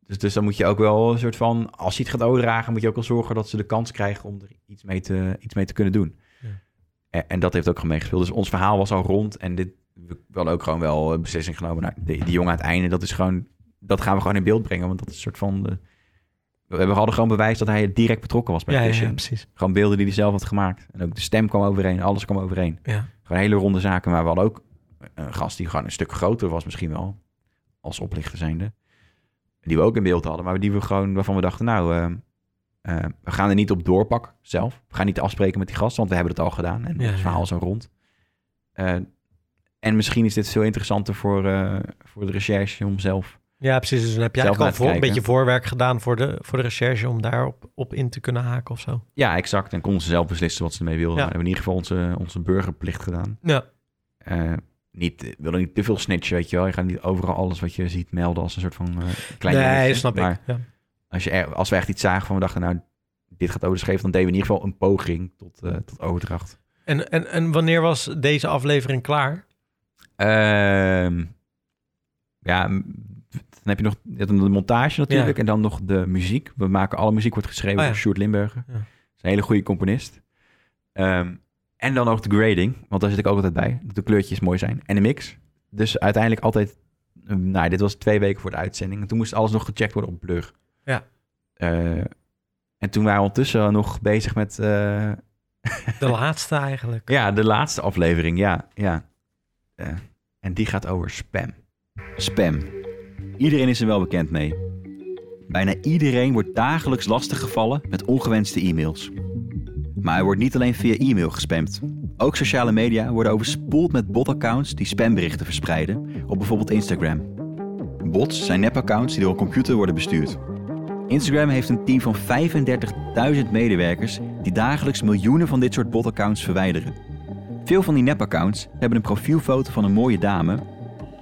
Dus, dus dan moet je ook wel een soort van... als je het gaat overdragen, moet je ook wel zorgen... dat ze de kans krijgen om er iets mee te, iets mee te kunnen doen. Ja. En, en dat heeft ook gewoon meegespeeld. Dus ons verhaal was al rond. En dit, we hadden ook gewoon wel een beslissing genomen. Nou, die, die jongen aan het einde, dat is gewoon... Dat gaan we gewoon in beeld brengen. Want dat is een soort van... eh, we we hadden gewoon bewijs dat hij direct betrokken was bij Ja, ja, ja, phishing. precies. Gewoon beelden die hij zelf had gemaakt. En ook de stem kwam overeen. Alles kwam overeen. Ja. Gewoon hele ronde zaken. Maar we hadden ook een gast die gewoon een stuk groter was misschien wel. Als oplichter zijnde. Die we ook in beeld hadden. Maar die we gewoon, waarvan we dachten, nou... eh, eh, we gaan er niet op doorpak zelf. We gaan niet afspreken met die gast, want we hebben het al gedaan. En Ja, ons verhaal is al rond. Eh, en misschien is dit veel interessanter voor, eh, voor de recherche om zelf... Ja, precies. Dus dan heb je Zelf eigenlijk laten al voor, een kijken. beetje voorwerk gedaan voor de, voor de recherche om daarop op in te kunnen haken of zo. Ja, exact. En konden ze zelf beslissen wat ze ermee wilden. Ja. Maar we hebben in ieder geval onze, onze burgerplicht gedaan. Ja. Eh, niet, we willen niet te veel snitchen, weet je wel. Je gaat niet overal alles wat je ziet melden als een soort van eh, klein Nee, dingetje. snap ik, Maar ja. Als, je, er- als we echt iets zagen van we dachten, nou, dit gaat over de scheef, dan deden we in ieder geval een poging tot, eh, tot overdracht. En, en, en wanneer was deze aflevering klaar? Ehm, ja, m- dan heb je nog je hebt dan de montage natuurlijk Ja. en dan nog de muziek. We maken alle muziek wordt geschreven Oh ja. door Sjoerd Limburger. Ja. Dat is een hele goede componist. Ehm, en dan ook de grading, want daar zit ik ook altijd bij. Dat de kleurtjes mooi zijn. En de mix. Dus uiteindelijk altijd... ehm, Nou, dit was twee weken voor de uitzending. En toen moest alles nog gecheckt worden op Blur. Ja. Eh, en toen waren we ondertussen nog bezig met... eh, De laatste eigenlijk. ja, de laatste aflevering, ja. ja. Eh, en die gaat over spam. Spam. Iedereen is er wel bekend mee. Bijna iedereen wordt dagelijks lastiggevallen met ongewenste e-mails. Maar hij wordt niet alleen via e-mail gespamd. Ook sociale media worden overspoeld met botaccounts die spamberichten verspreiden op bijvoorbeeld Instagram. Bots zijn nepaccounts die door een computer worden bestuurd. Instagram heeft een team van 35.000 medewerkers die dagelijks miljoenen van dit soort botaccounts verwijderen. Veel van die nepaccounts hebben een profielfoto van een mooie dame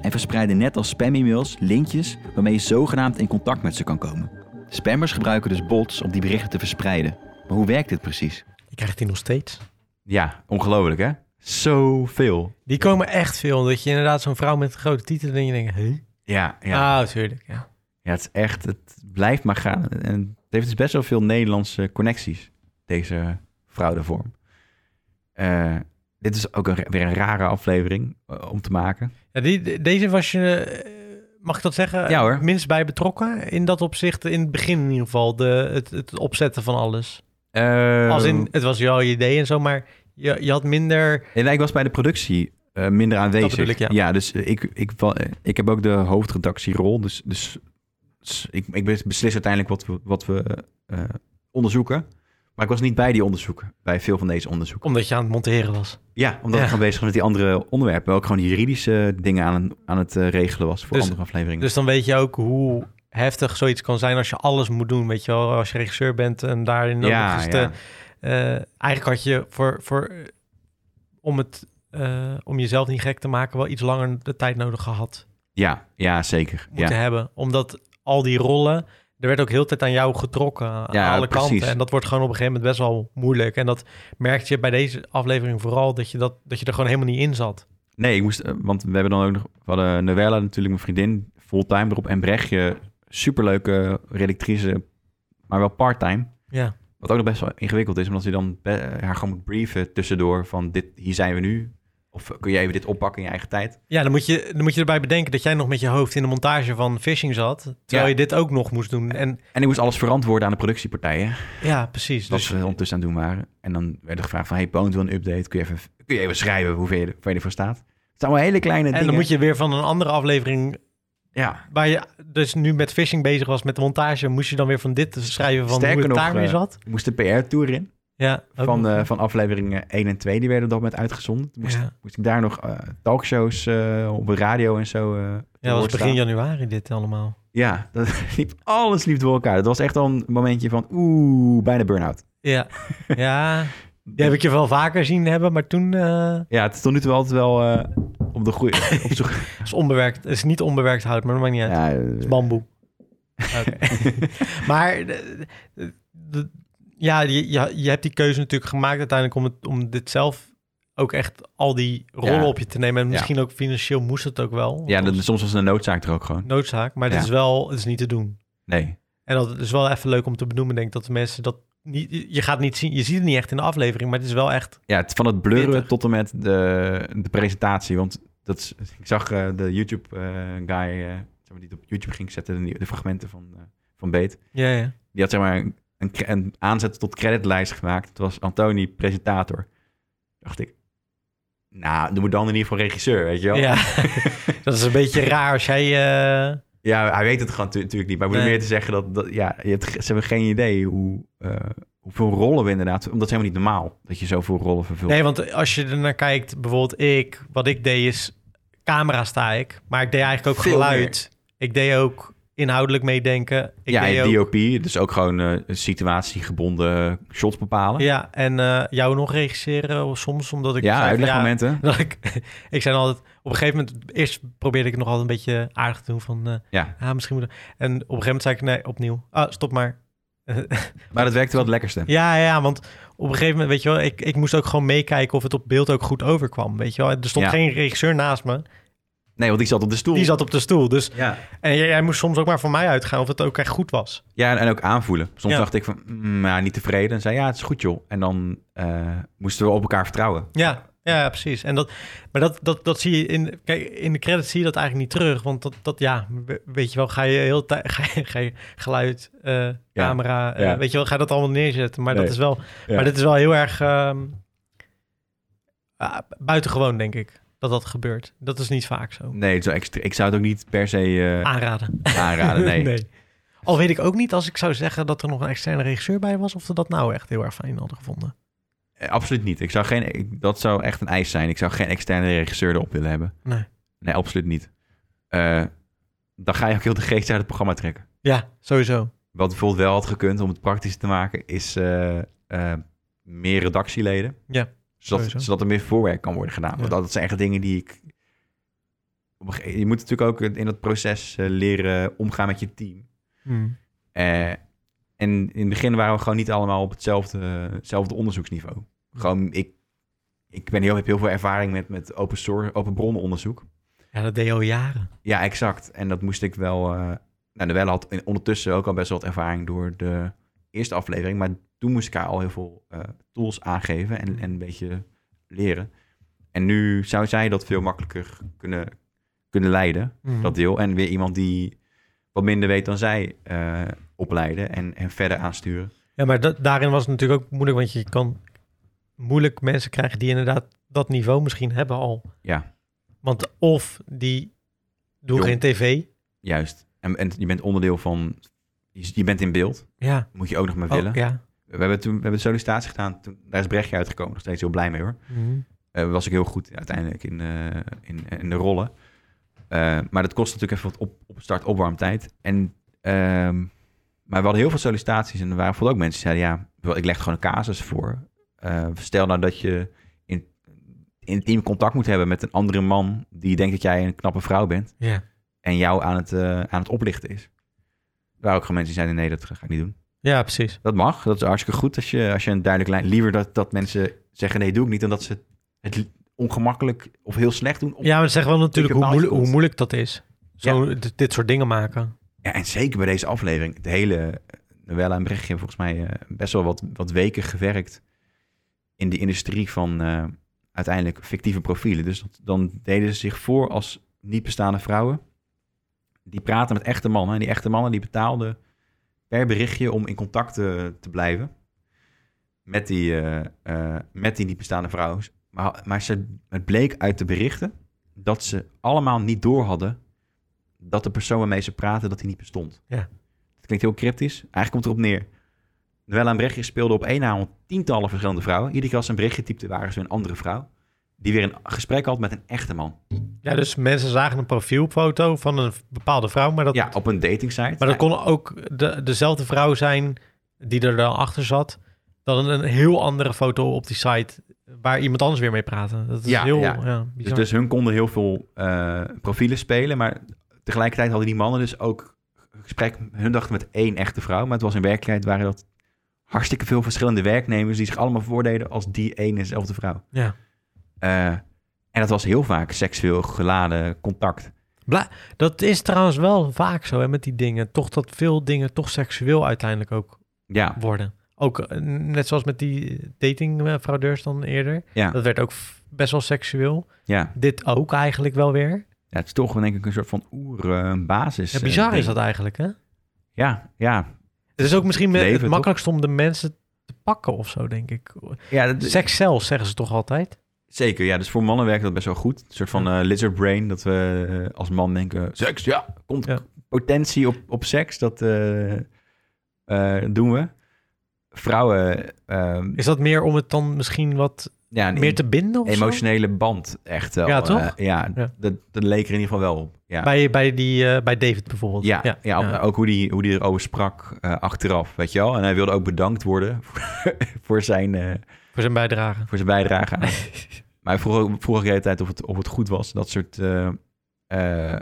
en verspreiden net als spam-e-mails linkjes waarmee je zogenaamd in contact met ze kan komen. Spammers gebruiken dus bots om die berichten te verspreiden. Maar hoe werkt dit precies? Ik krijg die nog steeds. Ja, ongelooflijk hè? Zoveel. Die komen echt veel. Dat je inderdaad zo'n vrouw met een grote titel en je denkt, hé? Ja, ja. Ah, natuurlijk, ja. Ja, het is echt, het blijft maar gaan. En het heeft dus best wel veel Nederlandse connecties, deze fraudevorm. Eh, dit is ook een, weer een rare aflevering eh, om te maken. Ja, die, deze was je, eh, mag ik dat zeggen? Ja, hoor. Minst bij betrokken. In dat opzicht, in het begin in ieder geval, de, het, het opzetten van alles. Eh, Als in, het was jouw idee en zo, maar je, je had minder... Nee, ik was bij de productie eh, minder aanwezig. bedoel ik, ja. dus eh, ik, ik, wa- eh, ik heb ook de hoofdredactierol. Dus, dus s- ik, ik bes- beslis uiteindelijk wat we, wat we eh, onderzoeken. Maar ik was niet bij die onderzoeken, bij veel van deze onderzoeken. Omdat je aan het monteren was. Ja, omdat ik Ja. gewoon bezig was met die andere onderwerpen. Ook gewoon juridische dingen aan, aan het eh, regelen was voor Dus- andere afleveringen. Dus dan weet je ook hoe heftig zoiets kan zijn als je alles moet doen. Weet je wel, als je regisseur bent en daarin ook Ja, nog eens ja. te- eh, eigenlijk had je voor, voor eh, om het eh, om jezelf niet gek te maken, wel iets langer de tijd nodig gehad ja, ja, zeker. Ja. moeten hebben. Omdat al die rollen, er werd ook heel de tijd aan jou getrokken aan Ja, alle precies. kanten. En dat wordt gewoon op een gegeven moment best wel moeilijk. En dat merkte je bij deze aflevering vooral dat je, dat, dat je er gewoon helemaal niet in zat. Nee, ik moest, eh, want we hebben dan ook nog, we hadden Noëlla natuurlijk, mijn vriendin, fulltime erop. En Brechtje, superleuke redactrice, maar wel parttime. Ja. Wat ook nog best wel ingewikkeld is, omdat je dan be- eh, haar gewoon moet brieven tussendoor van dit, hier zijn we nu. Of eh, kun jij even dit oppakken in je eigen tijd? Ja, dan moet, je, dan moet je erbij bedenken dat jij nog met je hoofd in de montage van Fishing zat. Terwijl Ja. je dit ook nog moest doen. En En ik moest alles verantwoorden aan de productiepartijen. ja, precies. Wat Dus we ondertussen aan het doen waren. En dan werd er gevraagd van, hey, Poont wil een update. Kun je even, kun je even schrijven hoeveel je, hoeveel je ervoor staat? Het zijn allemaal hele kleine En dingen. dan moet je weer van een andere aflevering. Ja. Waar je dus nu met phishing bezig was met de montage, moest je dan weer van dit schrijven van hoe Sterker het nog, daar weer eh, zat. moest de PR-tour in. Ja, ook Van, nog. eh, van afleveringen 1 en 2, die werden op dat moment uitgezonden. Toen moest, Ja. moest ik daar nog eh, talkshows eh, op de radio en zo. eh, te ja, dat woord was begin staan. januari dit allemaal. Ja, dat liep, alles liep door elkaar. Dat was echt al een momentje van, oeh, bijna burn-out. Ja, ja. Die heb ik je wel vaker zien hebben, maar toen eh Ja, het is tot nu toe altijd wel eh, op de goede... op zoek- is onbewerkt. Het is niet onbewerkt hout, maar dat maakt niet uit. ja, Het eh, is bamboe. Oké. maar de- de- de- ja, je, je, je hebt die keuze natuurlijk gemaakt uiteindelijk om, het, om dit zelf ook echt al die rollen Ja. op je te nemen. En Ja. misschien ook financieel moest het ook wel. ja dat, soms was de noodzaak er ook gewoon. noodzaak, maar het Ja. is wel het is niet te doen. Nee. En dat is wel even leuk om te benoemen, denk ik, dat de mensen dat niet, je gaat niet zien, je ziet het niet echt in de aflevering, maar het is wel echt. Ja, het, van het blurren tot en met de, de presentatie. Want dat is, ik zag eh, de eh, YouTube-guy maar die het op YouTube ging zetten, de, de fragmenten van, eh, van Beet. Ja, ja. Die had zeg maar een, een, cre- een aanzet tot creditlijst gemaakt. Het was Antoni, presentator. Dacht ik, nou, doe me dan in ieder geval regisseur, weet je wel? Ja. dat is een beetje raar als jij. eh, Ja, hij weet het gewoon tu- natuurlijk niet. Maar ik bedoel Nee. meer te zeggen dat, dat ja, je hebt, ge- ze hebben geen idee hoe, eh, hoeveel rollen we inderdaad... Omdat het is helemaal niet normaal dat je zoveel rollen vervult. Nee, want als je er naar kijkt, bijvoorbeeld ik, wat ik deed is camera sta ik, maar ik deed eigenlijk ook Veel geluid. Ik deed ook inhoudelijk meedenken. Ik ja, deed en ook- DOP, dus ook gewoon eh, situatiegebonden shots bepalen. Ja, en eh, jou nog regisseren soms, omdat ik... Ja, zei van, uitlegmomenten. dat ik, ik zei dan altijd... Op een gegeven moment, eerst probeerde ik het nog altijd een beetje aardig te doen van... eh, Ja. ah, misschien moet ik- En op een gegeven moment zei ik, nee, opnieuw. Ah, stop maar. Maar dat werkte wel het lekkerste. ja, ja, want op een gegeven moment, weet je wel... Ik, ik moest ook gewoon meekijken of het op beeld ook goed overkwam, weet je wel. Er stond Ja. geen regisseur naast me. Nee, want die zat op de stoel. Die zat op de stoel, dus... Ja. En jij, jij moest soms ook maar van mij uitgaan of het ook echt goed was. Ja, en, en ook aanvoelen. Soms Ja. dacht ik van, mm, ja, niet tevreden. En zei, ja, het is goed joh. En dan eh, moesten we op elkaar vertrouwen. Ja, ja, precies. En dat, maar dat, dat, dat zie je in, kijk, in de credits zie je dat eigenlijk niet terug. Want dat, dat ja, we- weet je wel, ga je heel tijd, ga je, ga je geluid, eh, camera, eh, ja. weet je wel, ga je dat allemaal neerzetten. Maar Nee. dat is wel, Ja. maar dit is wel heel erg ehm, ah, buitengewoon, denk ik. dat dat gebeurt. Dat is niet vaak zo. Nee, zo extra, ik zou het ook niet per se... eh, Aanraden. Aanraden, nee. Al weet ik ook niet als ik zou zeggen dat er nog een externe regisseur bij was, of ze dat nou echt heel erg fijn hadden gevonden. Eh, Absoluut niet. Ik zou geen, ik- dat zou echt een eis zijn. Ik zou geen externe regisseur erop willen hebben. Nee. Nee, absoluut niet. Eh, dan ga je ook heel de geest uit het programma trekken. Ja, sowieso. Wat bijvoorbeeld wel had gekund om het praktisch te maken, is eh, eh, meer redactieleden. Ja, Zodat, sowieso. zodat er meer voorwerk kan worden gedaan. Ja. Want dat zijn echt dingen die ik. op een gege- Je moet natuurlijk ook in dat proces eh, leren omgaan met je team. Hmm. Eh, en in het begin waren we gewoon niet allemaal op hetzelfde, hetzelfde onderzoeksniveau. Gewoon, ik, ik ben heel, heb heel veel ervaring met, met open, source, open bronnen onderzoek. Ja, dat deed je al jaren. Ja, exact. En dat moest ik wel... eh nou, de Welle had in- ondertussen ook al best wel wat ervaring door de eerste aflevering. Maar toen moest ik haar al heel veel eh, tools aangeven en, en een beetje leren. En nu zou zij dat veel makkelijker kunnen, kunnen leiden, Mhm. dat deel. En weer iemand die wat minder weet dan zij eh, opleiden en, en verder aansturen. Ja, maar dat, daarin was het natuurlijk ook moeilijk, want je kan moeilijk mensen krijgen die inderdaad dat niveau misschien hebben al. Ja. Want of die doen Jong. geen tv. Juist. En, en je bent onderdeel van... Je, je bent in beeld. Ja. Moet je ook nog maar Oh, willen. ja. We hebben toen we hebben sollicitatie gedaan. Toen, daar is Brechtje uitgekomen. Nog steeds heel blij mee hoor. Mhm. Eh, was ik heel goed uiteindelijk in, eh, in, in de rollen. Eh, maar dat kost natuurlijk even wat op, opstart, opwarmtijd. En, ehm, maar we hadden heel veel sollicitaties. En er waren bijvoorbeeld ook mensen die zeiden... ja, ik leg gewoon een casus voor. Eh, stel nou dat je in, intiem contact moet hebben met een andere man... die denkt dat jij een knappe vrouw bent. Ja. En jou aan het, eh, aan het oplichten is. Er waren ook gewoon mensen die zeiden... nee, dat ga ik niet doen. Ja, precies. Dat mag. Dat is hartstikke goed als je, als je een duidelijk lijn... Liever dat, dat mensen zeggen nee, doe ik niet... dan dat ze het li- ongemakkelijk of heel slecht doen. op- Ja, maar dat zegt wel op een natuurlijk hoe, bepaald moeilijk, hoe punt. moeilijk dat is. Zo, d- dit soort dingen maken. Ja, en zeker bij deze aflevering. De hele Noëlla en Brechtje hebben volgens mij eh, best wel wat, wat weken gewerkt... in die industrie van eh, uiteindelijk fictieve profielen. Dus dat- dan deden ze zich voor als niet bestaande vrouwen. Die praten met echte mannen. En die echte mannen die betaalden per berichtje om in contact te, te blijven... met die, eh, eh, met die niet bestaande vrouwen. Maar, maar ze, het bleek uit de berichten dat ze allemaal niet doorhadden dat de persoon waarmee ze praten, dat hij niet bestond. Ja. Het klinkt heel cryptisch. Eigenlijk komt erop neer. Noëlla en Brechtje speelden op één avond tientallen verschillende vrouwen. Iedere keer als ze een berichtje typte, waren ze een andere vrouw. Die weer een gesprek had met een echte man. Ja, dus mensen zagen een profielfoto van een bepaalde vrouw, maar dat... Ja, op een datingsite. Maar dat kon ook de, dezelfde vrouw zijn die er dan achter zat, dan een heel andere foto op die site waar iemand anders weer mee praatte. Dat is heel ja. dus, bizar. dus hun konden heel veel eh, profielen spelen. Maar tegelijkertijd hadden die mannen dus ook een gesprek. Hun dachten met één echte vrouw. Maar het was in werkelijkheid waren dat hartstikke veel verschillende werknemers. die zich allemaal voordeden als die ene en dezelfde vrouw. Ja. Eh, en dat was heel vaak seksueel geladen contact. Bla- dat is trouwens wel vaak zo hè, met die dingen. Toch dat veel dingen toch seksueel uiteindelijk ook Ja. worden. Ook eh, net zoals met die datingfraudeurs dan eerder. Ja. Dat werd ook f- best wel seksueel. Ja. Dit ook eigenlijk wel weer. Ja, het is toch denk ik een soort van oerbasis. eh, Ja, bizar is dat eigenlijk, hè? Ja, ja. Het is ook misschien me- Leven, het toch? makkelijkst om de mensen te pakken of zo, denk ik. Ja, dat- Seks zelf, zeggen ze toch altijd? Zeker, ja. Dus voor mannen werkt dat best wel goed. Een soort van eh, lizard brain, dat we eh, als man denken... Seks, ja, komt potentie op, op seks, dat eh, eh, doen we. Vrouwen... ehm, Is dat meer om het dan misschien wat ja, een meer te binden of zo? Emotionele band, echt wel. Ja, toch? Eh, ja, Ja. Dat, dat leek er in ieder geval wel op. Ja. Bij, bij, die, eh, bij David bijvoorbeeld. Ja, ja, ook hoe die, hoe die erover sprak eh, achteraf, weet je wel. En hij wilde ook bedankt worden voor, voor zijn... eh, Voor zijn bijdrage. voor zijn bijdrage aan. maar hij vroeg, ook- vroeg ook de hele tijd of het, of het goed was. Dat soort... eh, eh,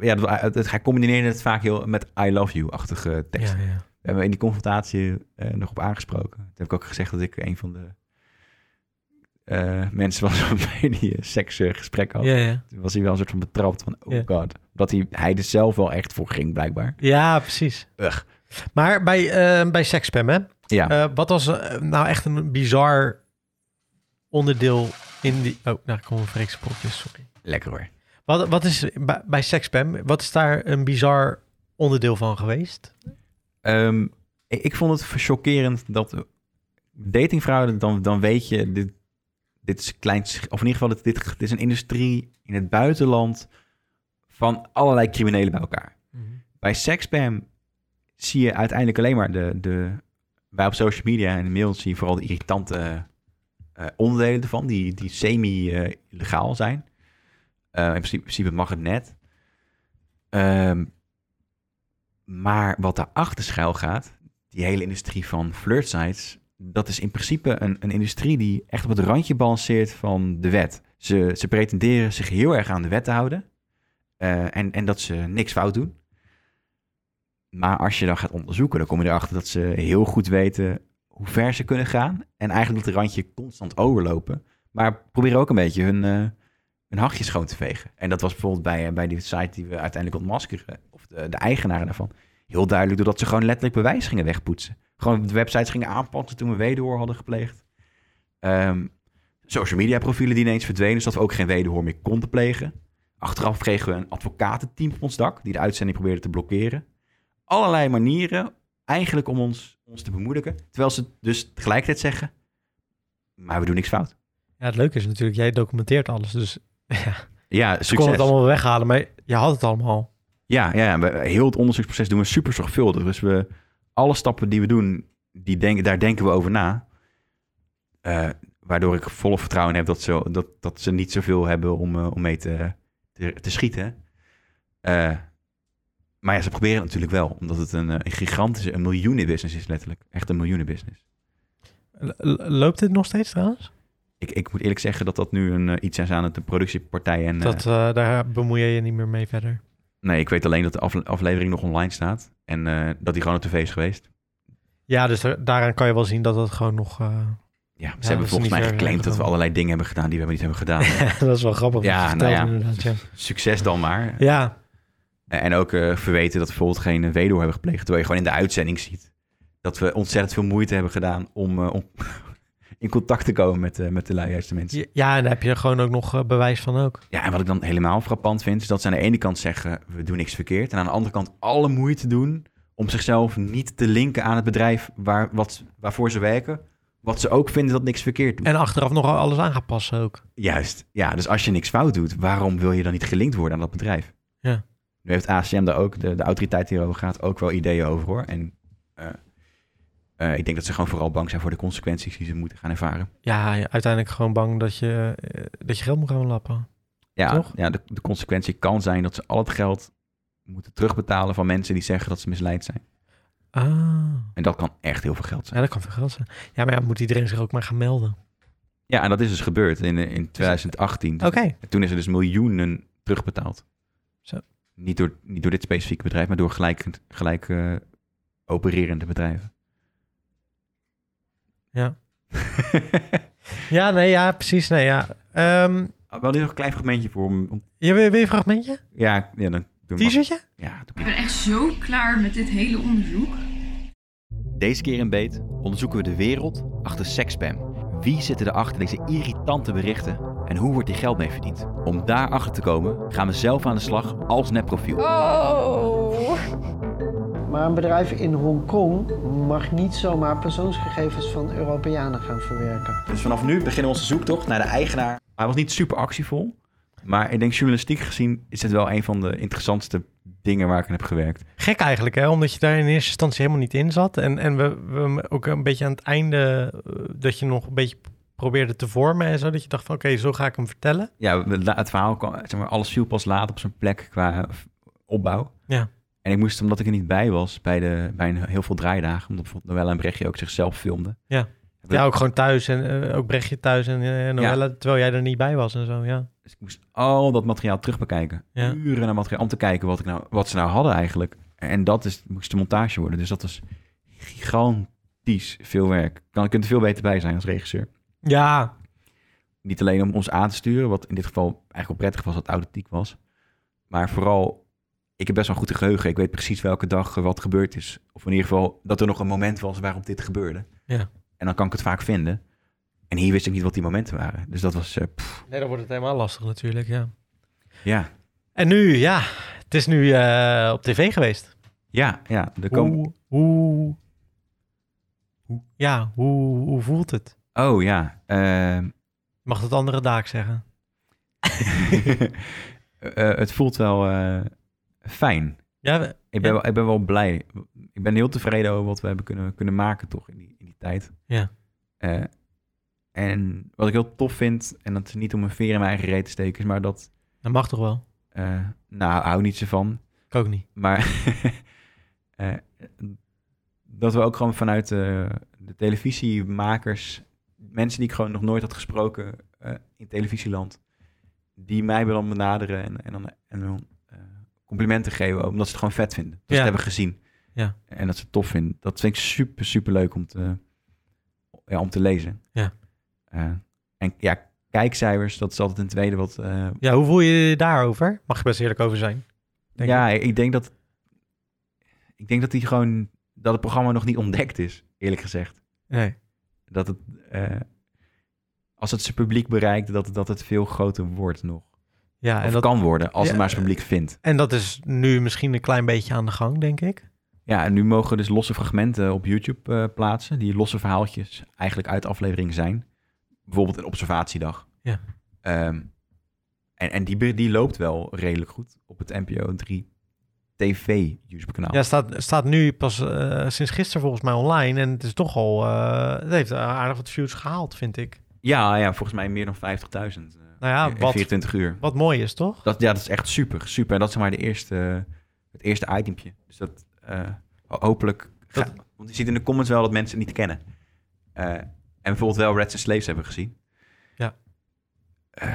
ja, dat, ah, het, het- hij combineerde het vaak heel met I love you-achtige teksten. Ja, ja. We hebben in die confrontatie eh, nog op aangesproken. Toen heb ik ook gezegd dat ik een van de eh, mensen was waarmee die eh, seksgesprek had. Ja, ja. Toen was hij wel een soort van betrapt van, oh Ja. god. Dat hij, hij er zelf wel echt voor ging, blijkbaar. Ja, precies. Ugh. Maar bij, eh bij sekspam, hè? Ja. Eh, wat was eh, nou echt een bizar onderdeel in die... Oh, daar komen Freekse popjes, dus sorry. Lekker hoor. Wat, wat is bij, bij sekspam, wat is daar een bizar onderdeel van geweest? Ehm, ik, ik vond het chockerend dat datingfraude, dan, dan weet je, dit, dit is klein, sch- of in ieder geval, dit, dit, dit is een industrie in het buitenland van allerlei criminelen bij elkaar. Bij sekspam zie je uiteindelijk alleen maar de, de, wij op social media en de mail zie je vooral de irritante eh, onderdelen ervan, die, die semi-legaal zijn. Eh, in principe, in principe mag het net. Ehm, maar wat daarachter schuil gaat, die hele industrie van flirtsites, dat is in principe een, een industrie die echt op het randje balanceert van de wet. Ze, ze pretenderen zich heel erg aan de wet te houden eh, en, en dat ze niks fout doen. Maar als je dan gaat onderzoeken, dan kom je erachter dat ze heel goed weten hoe ver ze kunnen gaan. En eigenlijk dat randje constant overlopen. Maar proberen ook een beetje hun, eh, hun hachje schoon te vegen. En dat was bijvoorbeeld bij, eh, bij die site die we uiteindelijk ontmaskeren. Of de, de eigenaren daarvan. Heel duidelijk doordat ze gewoon letterlijk bewijs gingen wegpoetsen. Gewoon de websites gingen aanpassen toen we wederhoor hadden gepleegd. Ehm, social media profielen die ineens verdwenen, zodat we ook geen wederhoor meer konden plegen. Achteraf kregen we een advocatenteam op ons dak, die de uitzending probeerde te blokkeren. Allerlei manieren eigenlijk om ons, ons te bemoedigen. Terwijl ze dus tegelijkertijd zeggen, maar we doen niks fout. Ja, het leuke is natuurlijk, jij documenteert alles. Dus ja, Ja, ze kon succes. het allemaal weghalen, maar je had het allemaal. Ja, ja, ja, we- heel het onderzoeksproces doen we super zorgvuldig. Dus we, alle stappen die we doen, die denken, daar denken we over na. Eh, waardoor ik volle vertrouwen heb dat ze, dat, dat ze niet zoveel hebben om, eh, om mee te, te, te schieten. Eh, maar ja, ze proberen het natuurlijk wel. Omdat het een, eh, een gigantische, een miljoenenbusiness is letterlijk. Echt een miljoenenbusiness. L- l- loopt dit nog steeds trouwens? Ik, ik moet eerlijk zeggen dat dat nu een, eh, iets is aan de productiepartij. En, eh, Dat, eh, daar bemoei je je niet meer mee verder. nee, ik weet alleen dat de afle- aflevering nog online staat. En eh, dat die gewoon op tv is geweest. Ja, dus er- daaraan kan je wel zien dat het gewoon nog... eh, Ja, ze dat hebben is volgens niet mij ver geclaimd dat we gekomen. allerlei dingen hebben gedaan die we niet hebben gedaan. dat is wel grappig. wat ja, je nou vertelt ja. inderdaad, ja. Succes dan maar. Ja. En en ook eh, verweten dat we bijvoorbeeld geen eh, weduwe hebben gepleegd. Terwijl je gewoon in de uitzending ziet dat we ontzettend veel moeite hebben gedaan om, eh, om in contact te komen met, eh, met de juiste mensen. Ja, en daar heb je er gewoon ook nog eh, bewijs van ook. Ja, en wat ik dan helemaal frappant vind, is dat ze aan de ene kant zeggen, we doen niks verkeerd. En aan de andere kant alle moeite doen om zichzelf niet te linken aan het bedrijf waar, wat, waarvoor ze werken. Wat ze ook vinden dat niks verkeerd doet. En achteraf nog alles aan gaat passen ook. Juist, ja. Dus als je niks fout doet, waarom wil je dan niet gelinkt worden aan dat bedrijf? Ja. Nu heeft ACM daar ook, de, de autoriteit die hierover gaat, ook wel ideeën over hoor. En eh, eh, ik denk dat ze gewoon vooral bang zijn voor de consequenties die ze moeten gaan ervaren. Ja, ja, uiteindelijk gewoon bang dat je, eh, dat je geld moet gaan lappen. Ja, Toch? ja de, de consequentie kan zijn dat ze al het geld moeten terugbetalen van mensen die zeggen dat ze misleid zijn. Ah, En dat kan echt heel veel geld zijn. ja, dat kan veel geld zijn. Ja, maar ja, moet iedereen zich ook maar gaan melden. Ja, en dat is dus gebeurd in, eh, in 2018. Oké. En Toen is er dus miljoenen terugbetaald. Zo. Niet, door, niet door dit specifieke bedrijf, maar door gelijk, gelijk eh, opererende bedrijven. Ja. ja, nee, ja, precies. Nee, ja. Ehm, Ah, Wel dit nog een klein fragmentje voor om... om- je, wil, wil je een fragmentje? ja, ja, dan doen we T-shirtje? Ja, doe Ik ben echt zo klaar met dit hele onderzoek. Deze keer in Beet onderzoeken we de wereld achter sekspam. Wie zitten er achter deze irritante berichten? En hoe wordt hier geld mee verdiend? Om daarachter te komen gaan we zelf aan de slag als nepprofiel. Oh. Maar een bedrijf in Hongkong mag niet zomaar persoonsgegevens van Europeanen gaan verwerken. Dus vanaf nu beginnen we onze zoektocht naar de eigenaar. Hij was niet super actievol, maar ik denk journalistiek gezien is het wel een van de interessantste dingen waar ik aan heb gewerkt. Gek eigenlijk, hè? Omdat je daar in eerste instantie helemaal niet in zat. En, en we, we ook een beetje aan het einde... eh, dat je nog een beetje probeerde te vormen en zo. Dat je dacht van, oké, zo ga ik hem vertellen. Ja, we- la- het verhaal kwam, zeg maar, alles viel pas laat op zijn plek qua opbouw. Ja. En ik moest, omdat ik er niet bij was, bij, de, bij een, heel veel draaidagen, omdat bijvoorbeeld Noël en Brechtje ook zichzelf filmden. Ja. Hebben- Ja, ook gewoon thuis en eh, ook Brechtje thuis en eh, Noelle, terwijl jij er niet bij was en zo, ja. Dus ik moest al dat materiaal terugbekijken. Ja. Uren naar materiaal om te kijken wat, ik nou, wat ze nou hadden eigenlijk. En dat is, moest de montage worden. Dus dat was gigantisch veel werk. Kan, je kunt er veel beter bij zijn als regisseur. Ja. Niet alleen om ons aan te sturen, wat in dit geval eigenlijk wel prettig was dat het authentiek was. Maar vooral, ik heb best wel een goed geheugen. Ik weet precies welke dag eh, wat gebeurd is. Of in ieder geval dat er nog een moment was waarop dit gebeurde. Ja. En dan kan ik het vaak vinden. En hier wist ik niet wat die momenten waren. Dus dat was, eh, pff, Nee, dan wordt het helemaal lastig natuurlijk, ja. ja. En nu, ja, het is nu eh, op tv geweest. Ja, ja. Er komen... Hoe, hoe, ja, hoe, hoe voelt het? Oh ja. ehm, mag het andere daak zeggen. Eh, het voelt wel eh, fijn. Ja, we- ik, ben ja. Wel, ik ben wel blij. Ik ben heel tevreden over wat we hebben kunnen, kunnen maken toch in die, in die tijd. Ja. Eh, en wat ik heel tof vind, en dat is niet om een veer in mijn eigen reet te steken, is maar dat... Dat mag toch wel? eh, nou, hou niet zo van. Ik ook niet. Maar eh, dat we ook gewoon vanuit eh, de televisiemakers, mensen die ik gewoon nog nooit had gesproken eh, in televisieland, die mij willen benaderen en, en dan en hun, eh, complimenten geven, omdat ze het gewoon vet vinden. Dat Ja. ze het hebben gezien. Ja. En dat ze het tof vinden. Dat vind ik super, super leuk om te, ja, om te lezen. Ja. Eh, en ja, kijkcijfers, dat is altijd een tweede wat, eh, Ja, hoe voel je je daarover? Mag je best eerlijk over zijn. denk ja, ik. denk dat. Ik denk dat die gewoon. dat het programma nog niet ontdekt is, eerlijk gezegd. Nee. Dat het. eh, als het zijn publiek bereikt, dat, dat het veel groter wordt nog. Ja, of en dat- kan worden, als het Ja, maar zijn publiek vindt. En dat is nu misschien een klein beetje aan de gang, denk ik. Ja, en nu mogen we dus losse fragmenten op YouTube eh, plaatsen. Die losse verhaaltjes eigenlijk uit de aflevering zijn. Bijvoorbeeld een observatiedag. Ja. Ehm, en en die, be- die loopt wel redelijk goed op het NPO 3 TV YouTube kanaal. Ja, staat, staat nu pas eh, sinds gisteren volgens mij online. En het is toch al. eh, het heeft aardig wat views gehaald, vind ik. Ja, ja, volgens mij meer dan 50.000. eh, Nou ja, in wat- 24 uur. Wat mooi is, toch? Dat, ja, dat is echt super, super. En dat is maar de eerste, het eerste itempje. Dus dat eh, ho- hopelijk... ga- want je ziet in de comments wel dat mensen het niet kennen. Eh, en bijvoorbeeld wel Reds and Slaves hebben gezien. 59.000.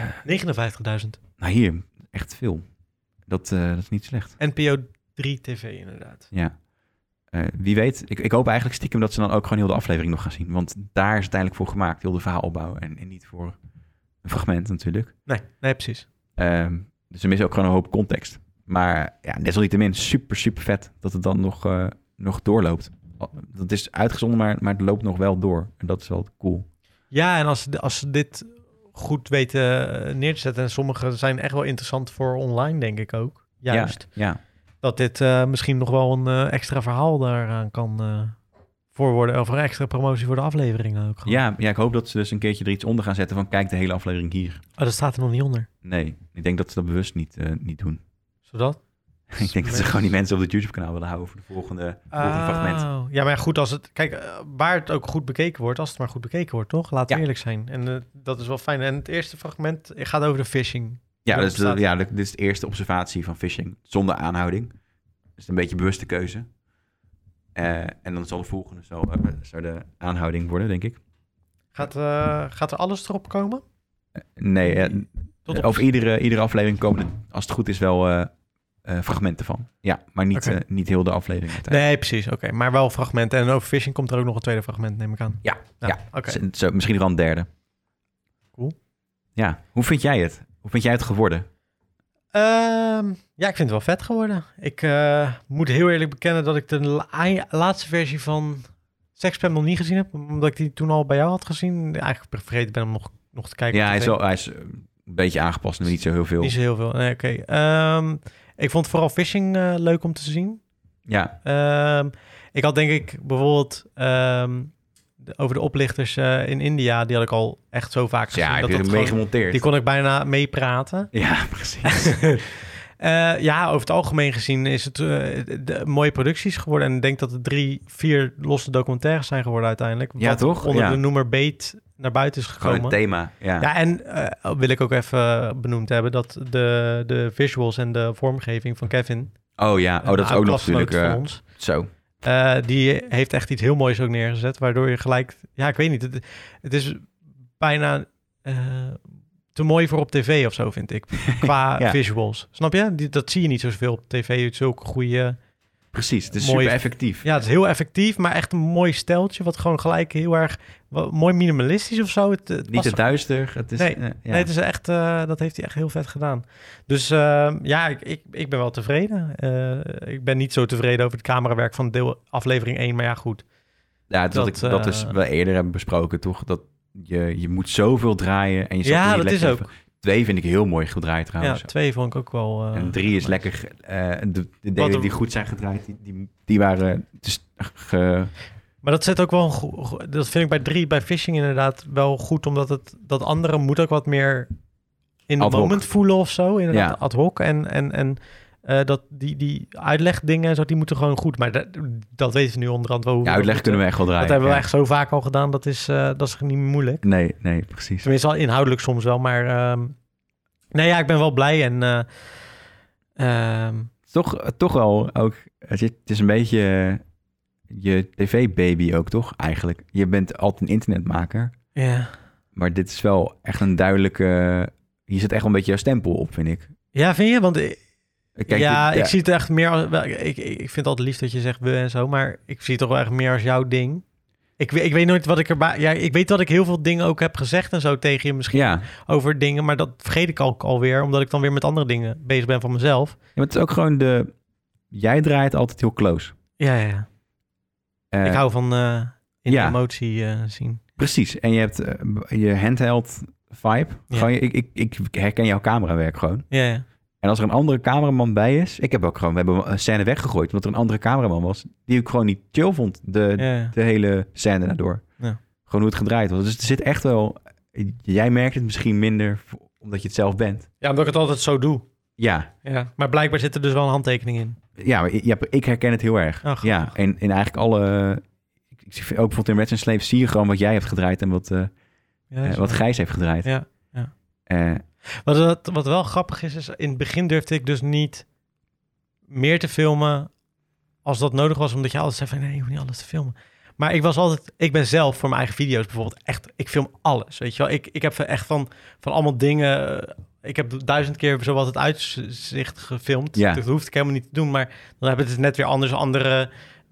Nou hier, echt veel. Dat, eh, dat is niet slecht. NPO 3 TV, inderdaad. Ja. Eh, wie weet, ik, ik hoop eigenlijk stiekem dat ze dan ook gewoon heel de aflevering nog gaan zien. Want daar is het uiteindelijk voor gemaakt, heel de verhaalopbouw. En, en niet voor een fragment natuurlijk. Nee, nee, precies. Ehm, dus ze missen ook gewoon een hoop context. Maar ja, desalniettemin super, super vet dat het dan nog, eh, nog doorloopt. Al- Dat is uitgezonden, maar, maar het loopt nog wel door. En dat is wel cool. Ja, en als, ze- als ze dit goed weten eh, neer te zetten. En sommige zijn echt wel interessant voor online, denk ik ook. Ja, Juist. ja. Dat dit eh, misschien nog wel een eh, extra verhaal daaraan kan eh, voor worden. Of een extra promotie voor de afleveringen ook. Ja, ja, ik hoop dat ze dus een keertje er iets onder gaan zetten van kijk de hele aflevering hier. Oh, dat staat er nog niet onder. Nee, ik denk dat ze dat bewust niet, eh, niet doen. Zodat? ik denk dat ze gewoon die mensen op het YouTube-kanaal willen houden voor de volgende, volgende fragment. Oh, Ja, maar goed, als het. Kijk, eh, waar het ook goed bekeken wordt, als het maar goed bekeken wordt, toch? Laten we eerlijk zijn. En eh, dat is wel fijn. En het eerste fragment gaat over de phishing. Ja, Dat dus de- bestaat- ja, dit is de eerste observatie van phishing. Zonder aanhouding. Dus een beetje bewuste keuze. Eh, en dan zal de volgende zo, eh, zou de aanhouding worden, denk ik. Gaat, eh, gaat er alles erop komen? Nee, eh, Tot op- over iedere, iedere aflevering komen er, als het goed is, wel eh, eh, fragmenten van. Ja, maar niet, Oké. eh, niet heel de aflevering. uiteindelijk. Nee, precies. Oké, maar wel fragmenten. En over phishing komt er ook nog een tweede fragment, neem ik aan. Ja, ja. oké. Z- Dus Zo, misschien wel een derde. Cool. Ja, hoe vind jij het? Hoe vind jij het geworden? Ehm, ja, ik vind het wel vet geworden. Ik eh, moet heel eerlijk bekennen dat ik de la- laatste versie van Sexpam nog niet gezien heb. Omdat ik die toen al bij jou had gezien. Eigenlijk vergeten ben om nog, nog te kijken. ja, op hij tv. is, wel, hij is eh, een beetje aangepast, maar niet zo heel veel. Niet zo heel veel. Nee, oké. Ehm, ik vond vooral phishing eh, leuk om te zien. Ja. Ehm, ik had denk ik bijvoorbeeld ehm, de- over de oplichters eh, in India, die had ik al echt zo vaak gezien. Ja, heb je dat er mee gewoon- gemonteerd. Die kon ik bijna meepraten. Ja, precies. Eh, ja, over het algemeen gezien is het eh, de, mooie producties geworden. En ik denk dat het drie, vier losse documentaires zijn geworden uiteindelijk. Ja, wat toch? onder Ja. de noemer Beet naar buiten is Gewoon gekomen. een thema, ja. en eh, wil ik ook even benoemd hebben dat de, de visuals en de vormgeving van Kevin... Oh ja, oh, dat is een ook nog klasgenoot natuurlijk... eh, van ons. Zo. Eh, die heeft echt iets heel moois ook neergezet, waardoor je gelijk... Ja, ik weet niet. Het, het is bijna eh, te mooi voor op tv of zo, vind ik. Qua Ja. visuals. Snap je? Die, dat zie je niet zoveel op tv. Zulke goede... Precies, het is mooie- super effectief. Ja, het is heel effectief, maar echt een mooi steltje... wat gewoon gelijk heel erg... wa- mooi minimalistisch of zo. Het, het Niet past te er- duister, het is... nee, eh, ja. nee, het is echt, eh, dat heeft hij echt heel vet gedaan. Dus eh, ja, ik, ik, ik ben wel tevreden. Eh, ik ben niet zo tevreden over het camerawerk van deel aflevering 1, maar ja, goed. Ja, dat, ik, dat is eh, we eerder hebben besproken, toch? Dat je, je moet zoveel draaien en je zat Ja, er niet dat lekker is even- Twee vind ik heel mooi gedraaid Ja, trouwens. twee vond ik ook wel... eh, en drie is lekker... eh, de de Wat delen een- die goed zijn gedraaid, die, die, die waren... Het is eh, dus ge- Maar dat zet ook wel. een go- go- Dat vind ik bij drie, bij phishing inderdaad wel goed, omdat het dat andere moet ook wat meer in het Ad hoc. moment voelen of zo. Inderdaad, Ja. ad hoc. En, en, en eh, dat die, die uitlegdingen en zo, die moeten gewoon goed. Maar dat, dat weten we nu onderhand wel hoe. Ja, uitleg dat kunnen we moeten. echt wel draaien, Dat hebben we ja. echt zo vaak al gedaan. Dat is, eh, dat is niet meer moeilijk. Nee, nee, precies. Tenminste, wel inhoudelijk soms wel. Maar ehm, nee, ja, ik ben wel blij. En eh, ehm, Toch, toch wel ook, het is, het is een beetje eh, je tv-baby ook, toch? Eigenlijk. Je bent altijd een internetmaker. Ja. Maar dit is wel echt een duidelijke... Hier zit echt wel een beetje jouw stempel op, vind ik. Ja, vind je? Want i- kijk ja, dit- ja. ik zie het echt meer als... wel, Ik, ik, ik vind het altijd lief dat je zegt we en zo, maar ik zie het toch wel echt meer als jouw ding. Ik, we- ik weet nooit wat ik erbij... Ja, ik weet dat ik heel veel dingen ook heb gezegd en zo tegen je misschien Ja. over dingen, maar dat vergeet ik ook alweer, omdat ik dan weer met andere dingen bezig ben van mezelf. Ja, maar het is ook gewoon de... Jij draait altijd heel close. Ja, ja, ja. Eh, ik hou van eh, in ja. de emotie eh, zien. Precies. En je hebt eh, je handheld vibe. Ja. Gewoon, ik, ik, ik herken jouw camerawerk gewoon. Ja, ja. En als er een andere cameraman bij is... Ik heb ook gewoon... We hebben een scène weggegooid... omdat er een andere cameraman was... die ik gewoon niet chill vond. De, Ja. de hele scène daardoor. Ja. Gewoon hoe het gedraaid was. Dus er zit echt wel... Jij merkt het misschien minder... omdat je het zelf bent. Ja, omdat ik het altijd zo doe. Ja. Ja, maar blijkbaar zit er dus wel een handtekening in. Ja, maar ik, ja, ik herken het heel erg. Ach, ja, en in eigenlijk alle... Ik, ik zie ook bijvoorbeeld in Reds and Slaves zie je gewoon wat jij hebt gedraaid... en wat, eh, Ja, eh, is wat waar. Gijs heeft gedraaid. Ja, ja. Eh, Wat, wat, wat wel grappig is, is in het begin durfde ik dus niet meer te filmen als dat nodig was. Omdat je altijd zei van, nee, je hoeft niet alles te filmen. Maar ik was altijd, ik ben zelf voor mijn eigen video's bijvoorbeeld echt, ik film alles, weet je wel. Ik, ik heb echt van, van allemaal dingen, eh, ik heb duizend keer zowat het uitzicht gefilmd. Ja. Dat hoefde ik helemaal niet te doen, maar dan heb ik het net weer anders. Andere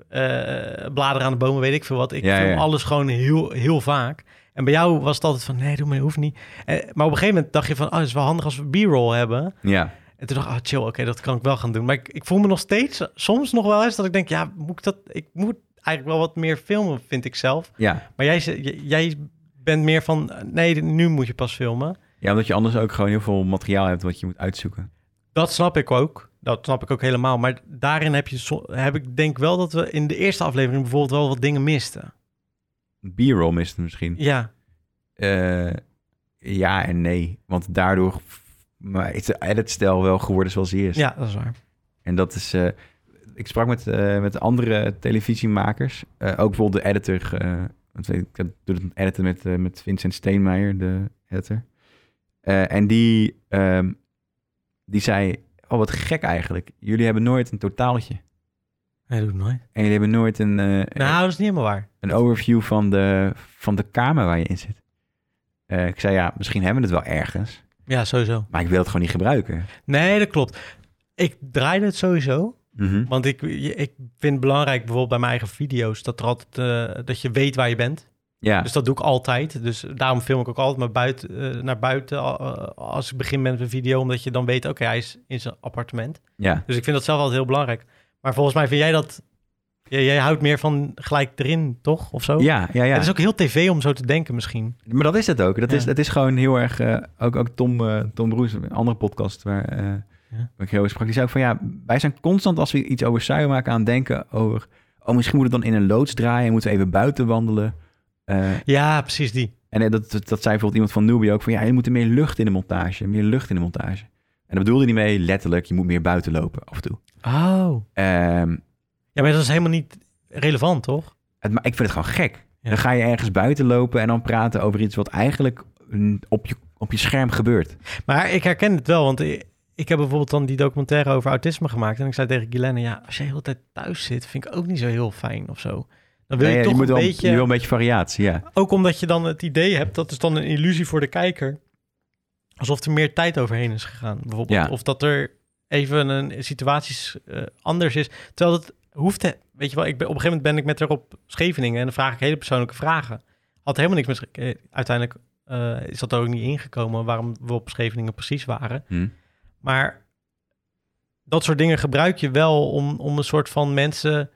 eh, bladeren aan de bomen, weet ik veel wat. Ik Ja, film ja. alles gewoon heel, heel vaak. En bij jou was het altijd van, nee, doe maar, hoeft niet. Eh, maar op een gegeven moment dacht je van, oh, het is wel handig als we b-roll hebben. Ja. En toen dacht ik, ah, chill, oké, dat kan ik wel gaan doen. Maar ik, ik voel me nog steeds, soms nog wel eens, dat ik denk, ja, moet ik dat, ik moet eigenlijk wel wat meer filmen, vind ik zelf. Ja. Maar jij, ze- j- jij bent meer van, nee, nu moet je pas filmen. ja, omdat je anders ook gewoon heel veel materiaal hebt... wat je moet uitzoeken. Dat snap ik ook. Dat snap ik ook helemaal. Maar daarin heb, je, so- heb ik denk wel dat we in de eerste aflevering bijvoorbeeld wel wat dingen misten. B-roll miste misschien. Ja. Eh, ja en nee. Want daardoor maar is de editstijl wel geworden zoals hij is. Ja, dat is waar. En dat is... eh, ik sprak met, eh, met andere televisiemakers. eh, ook bijvoorbeeld de editor. eh, want ik heb- doe het editen met, eh, met Vincent Steenmeijer, de editor. Eh, en die, ehm, die zei... Oh, wat gek eigenlijk. Jullie hebben nooit een totaaltje. Nee, doe het nooit. En jullie hebben nooit een... eh, Nou, dat is niet helemaal waar. een overview van de, van de kamer waar je in zit. Eh, ik zei ja, misschien hebben we het wel ergens, Ja, sowieso. maar ik wil het gewoon niet gebruiken. Nee, dat klopt. Ik draaide het sowieso. Mhm. Want ik, ik vind het belangrijk bijvoorbeeld bij mijn eigen video's dat, er altijd, eh, dat je weet waar je bent. Ja. Dus dat doe ik altijd. Dus daarom film ik ook altijd maar buiten, eh, naar buiten eh, als ik begin met een video. Omdat je dan weet, oké, hij is in zijn appartement. Ja. Dus ik vind dat zelf altijd heel belangrijk. Maar volgens mij vind jij dat... Jij, jij houdt meer van gelijk erin, toch? Of zo? Ja, ja, ja. Het is ook heel tv om zo te denken misschien. Maar dat is het ook. Dat, is, Ja. dat is gewoon heel erg... eh, ook, ook Tom, eh Tom Broes, een andere podcast waar, eh, waar ik heel erg sprak, die zei ook van ja, wij zijn constant als we iets over suiker maken aan het denken over... Oh, misschien moeten we dan in een loods draaien, moeten we even buiten wandelen. Eh, Ja, precies die. En eh, dat, dat, dat zei bijvoorbeeld iemand van Newbie ook van ja, je moet er meer lucht in de montage, meer lucht in de montage. En dat bedoelde hij niet mee letterlijk, je moet meer buiten lopen af en toe. Oh. Ehm, Ja, maar dat is helemaal niet relevant, toch? het, maar ik vind het gewoon gek. Dan ga je ergens buiten lopen en dan praten over iets wat eigenlijk mm, op je, op je scherm gebeurt. Maar ik herken het wel, want ik, ik heb bijvoorbeeld dan die documentaire over autisme gemaakt. En ik zei tegen Guylaine, ja, als je de hele tijd thuis zit, vind ik ook niet zo heel fijn of zo. Dan wil Nee, je ja, toch moet een wel, beetje... je wil een beetje variatie, ja. Ook omdat je dan het idee hebt, dat is dan een illusie voor de kijker. Alsof er meer tijd overheen is gegaan, bijvoorbeeld. Ja. Of dat er even een situatie eh, anders is. Terwijl dat hoeft, hè. weet je wel, ik ben, op een gegeven moment ben ik met haar op Scheveningen en dan vraag ik hele persoonlijke vragen. Had helemaal niks met, eh, uiteindelijk eh, is dat er ook niet ingekomen waarom we op Scheveningen precies waren. Hm. Maar dat soort dingen gebruik je wel om, om een soort van mensen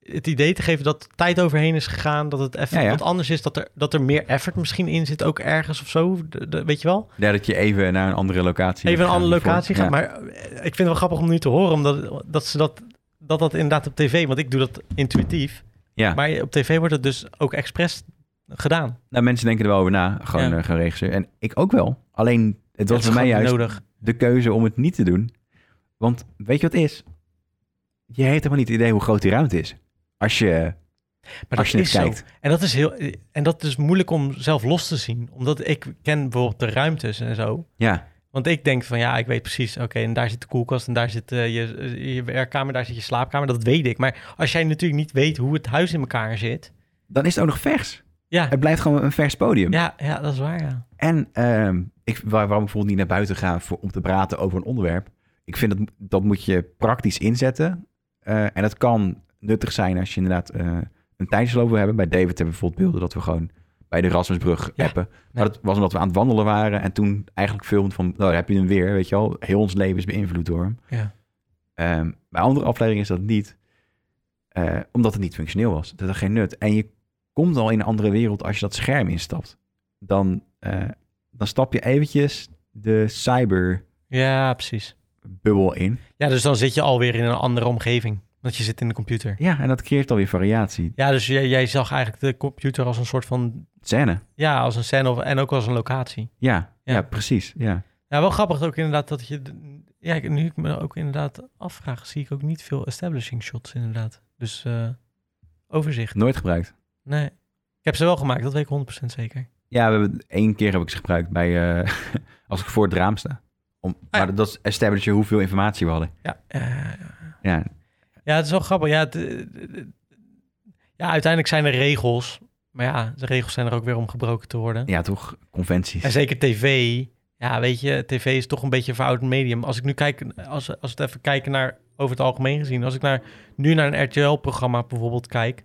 het idee te geven dat tijd overheen is gegaan, dat het even Ja, ja. wat anders is, dat er, dat er meer effort misschien in zit, ook ergens of zo, de- de- weet je wel? Ja, dat je even naar een andere locatie Even een gaat andere voor- locatie ja. gaan, maar eh, ik vind het wel grappig om nu te horen, omdat dat ze dat, dat, dat inderdaad op tv, want ik doe dat intuïtief, Ja. Maar op tv wordt het dus ook expres gedaan. Nou, mensen denken er wel over na, gewoon, Ja. eh, gewoon regisseur. En ik ook wel. Alleen, het was is voor mij gewoon juist nodig. de keuze om het niet te doen. Want weet je wat het is? Je heeft helemaal niet het idee hoe groot die ruimte is. Als je, Maar als je dat het is zo. kijkt. En dat is heel en dat is moeilijk om zelf los te zien, omdat ik ken bijvoorbeeld de ruimtes en zo. Ja. Want ik denk van ja, ik weet precies. Oké, en daar zit de koelkast en daar zit eh, je, je werkkamer, daar zit je slaapkamer. Dat weet ik. Maar als jij natuurlijk niet weet hoe het huis in elkaar zit, Dan is het ook nog vers. Ja. Het blijft gewoon een vers podium. ja, ja, dat is waar. Ja. En ehm, ik, waar- waarom ik bijvoorbeeld niet naar buiten gaan voor, om te praten over een onderwerp. Ik vind dat, dat moet je praktisch inzetten. Eh, en dat kan nuttig zijn als je inderdaad eh, een tijdsloop wil hebben. Bij David hebben we bijvoorbeeld beelden dat we gewoon bij de Rasmusbrug appen. Maar dat was omdat we aan het wandelen waren. En toen eigenlijk filmden van, nou daar heb je hem weer, weet je wel. Heel ons leven is beïnvloed door hem. Ja. Ehm, bij andere afleveringen is dat niet. Eh, omdat het niet functioneel was. Dat had geen nut. En je komt al in een andere wereld als je dat scherm instapt. Dan, eh, dan stap je eventjes de cyberbubbel ja, precies. in. Ja, dus dan zit je alweer in een andere omgeving, want je zit in de computer. Ja, en dat creëert alweer variatie. Ja, dus jij, jij zag eigenlijk de computer als een soort van Scène. ja, als een scène of, en ook als een locatie. Ja, ja. precies. Ja. Ja, wel grappig ook inderdaad dat je... de- Ja, ik- nu ik me ook inderdaad afvraag, zie ik ook niet veel establishing shots inderdaad. Dus eh, overzicht. Nooit gebruikt. Nee. Ik heb ze wel gemaakt, dat weet ik 100% zeker. Ja, we hebben, één keer heb ik ze gebruikt bij, eh, als ik voor het raam sta. Om, Ah, Maar dat is establishen hoeveel informatie we hadden. Ja, eh, Ja, ja het is wel grappig. Ja, het, eh, ja, uiteindelijk zijn er regels. Maar ja, de regels zijn er ook weer om gebroken te worden. ja toch? Conventies. En zeker tv. Ja, weet je, tv is toch een beetje een verouderd medium. Als ik nu kijk, als, als we het even kijken naar over het algemeen gezien. Als ik naar, nu naar een RTL-programma bijvoorbeeld kijk,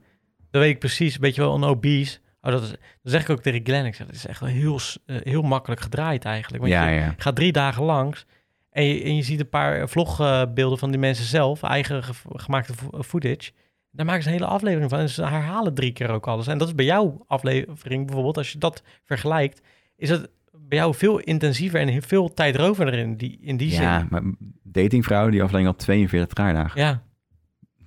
dan weet ik precies, weet je wel, een obese. Oh, dat is, dan zeg ik ook tegen Glenn, ik zeg, dat is echt wel heel, s- eh, heel makkelijk gedraaid eigenlijk. Want Ja, je ja. gaat drie dagen langs en je, en je ziet een paar vlogbeelden van die mensen zelf, eigen ge- gemaakte vo- footage. Daar maken ze een hele aflevering van en ze herhalen drie keer ook alles. En dat is bij jouw aflevering bijvoorbeeld, als je dat vergelijkt, is dat bij jou veel intensiever en heel veel tijdrovender in die, in die zin. Ja, maar datingvrouwen die aflevering had 42 draaidagen. Ja.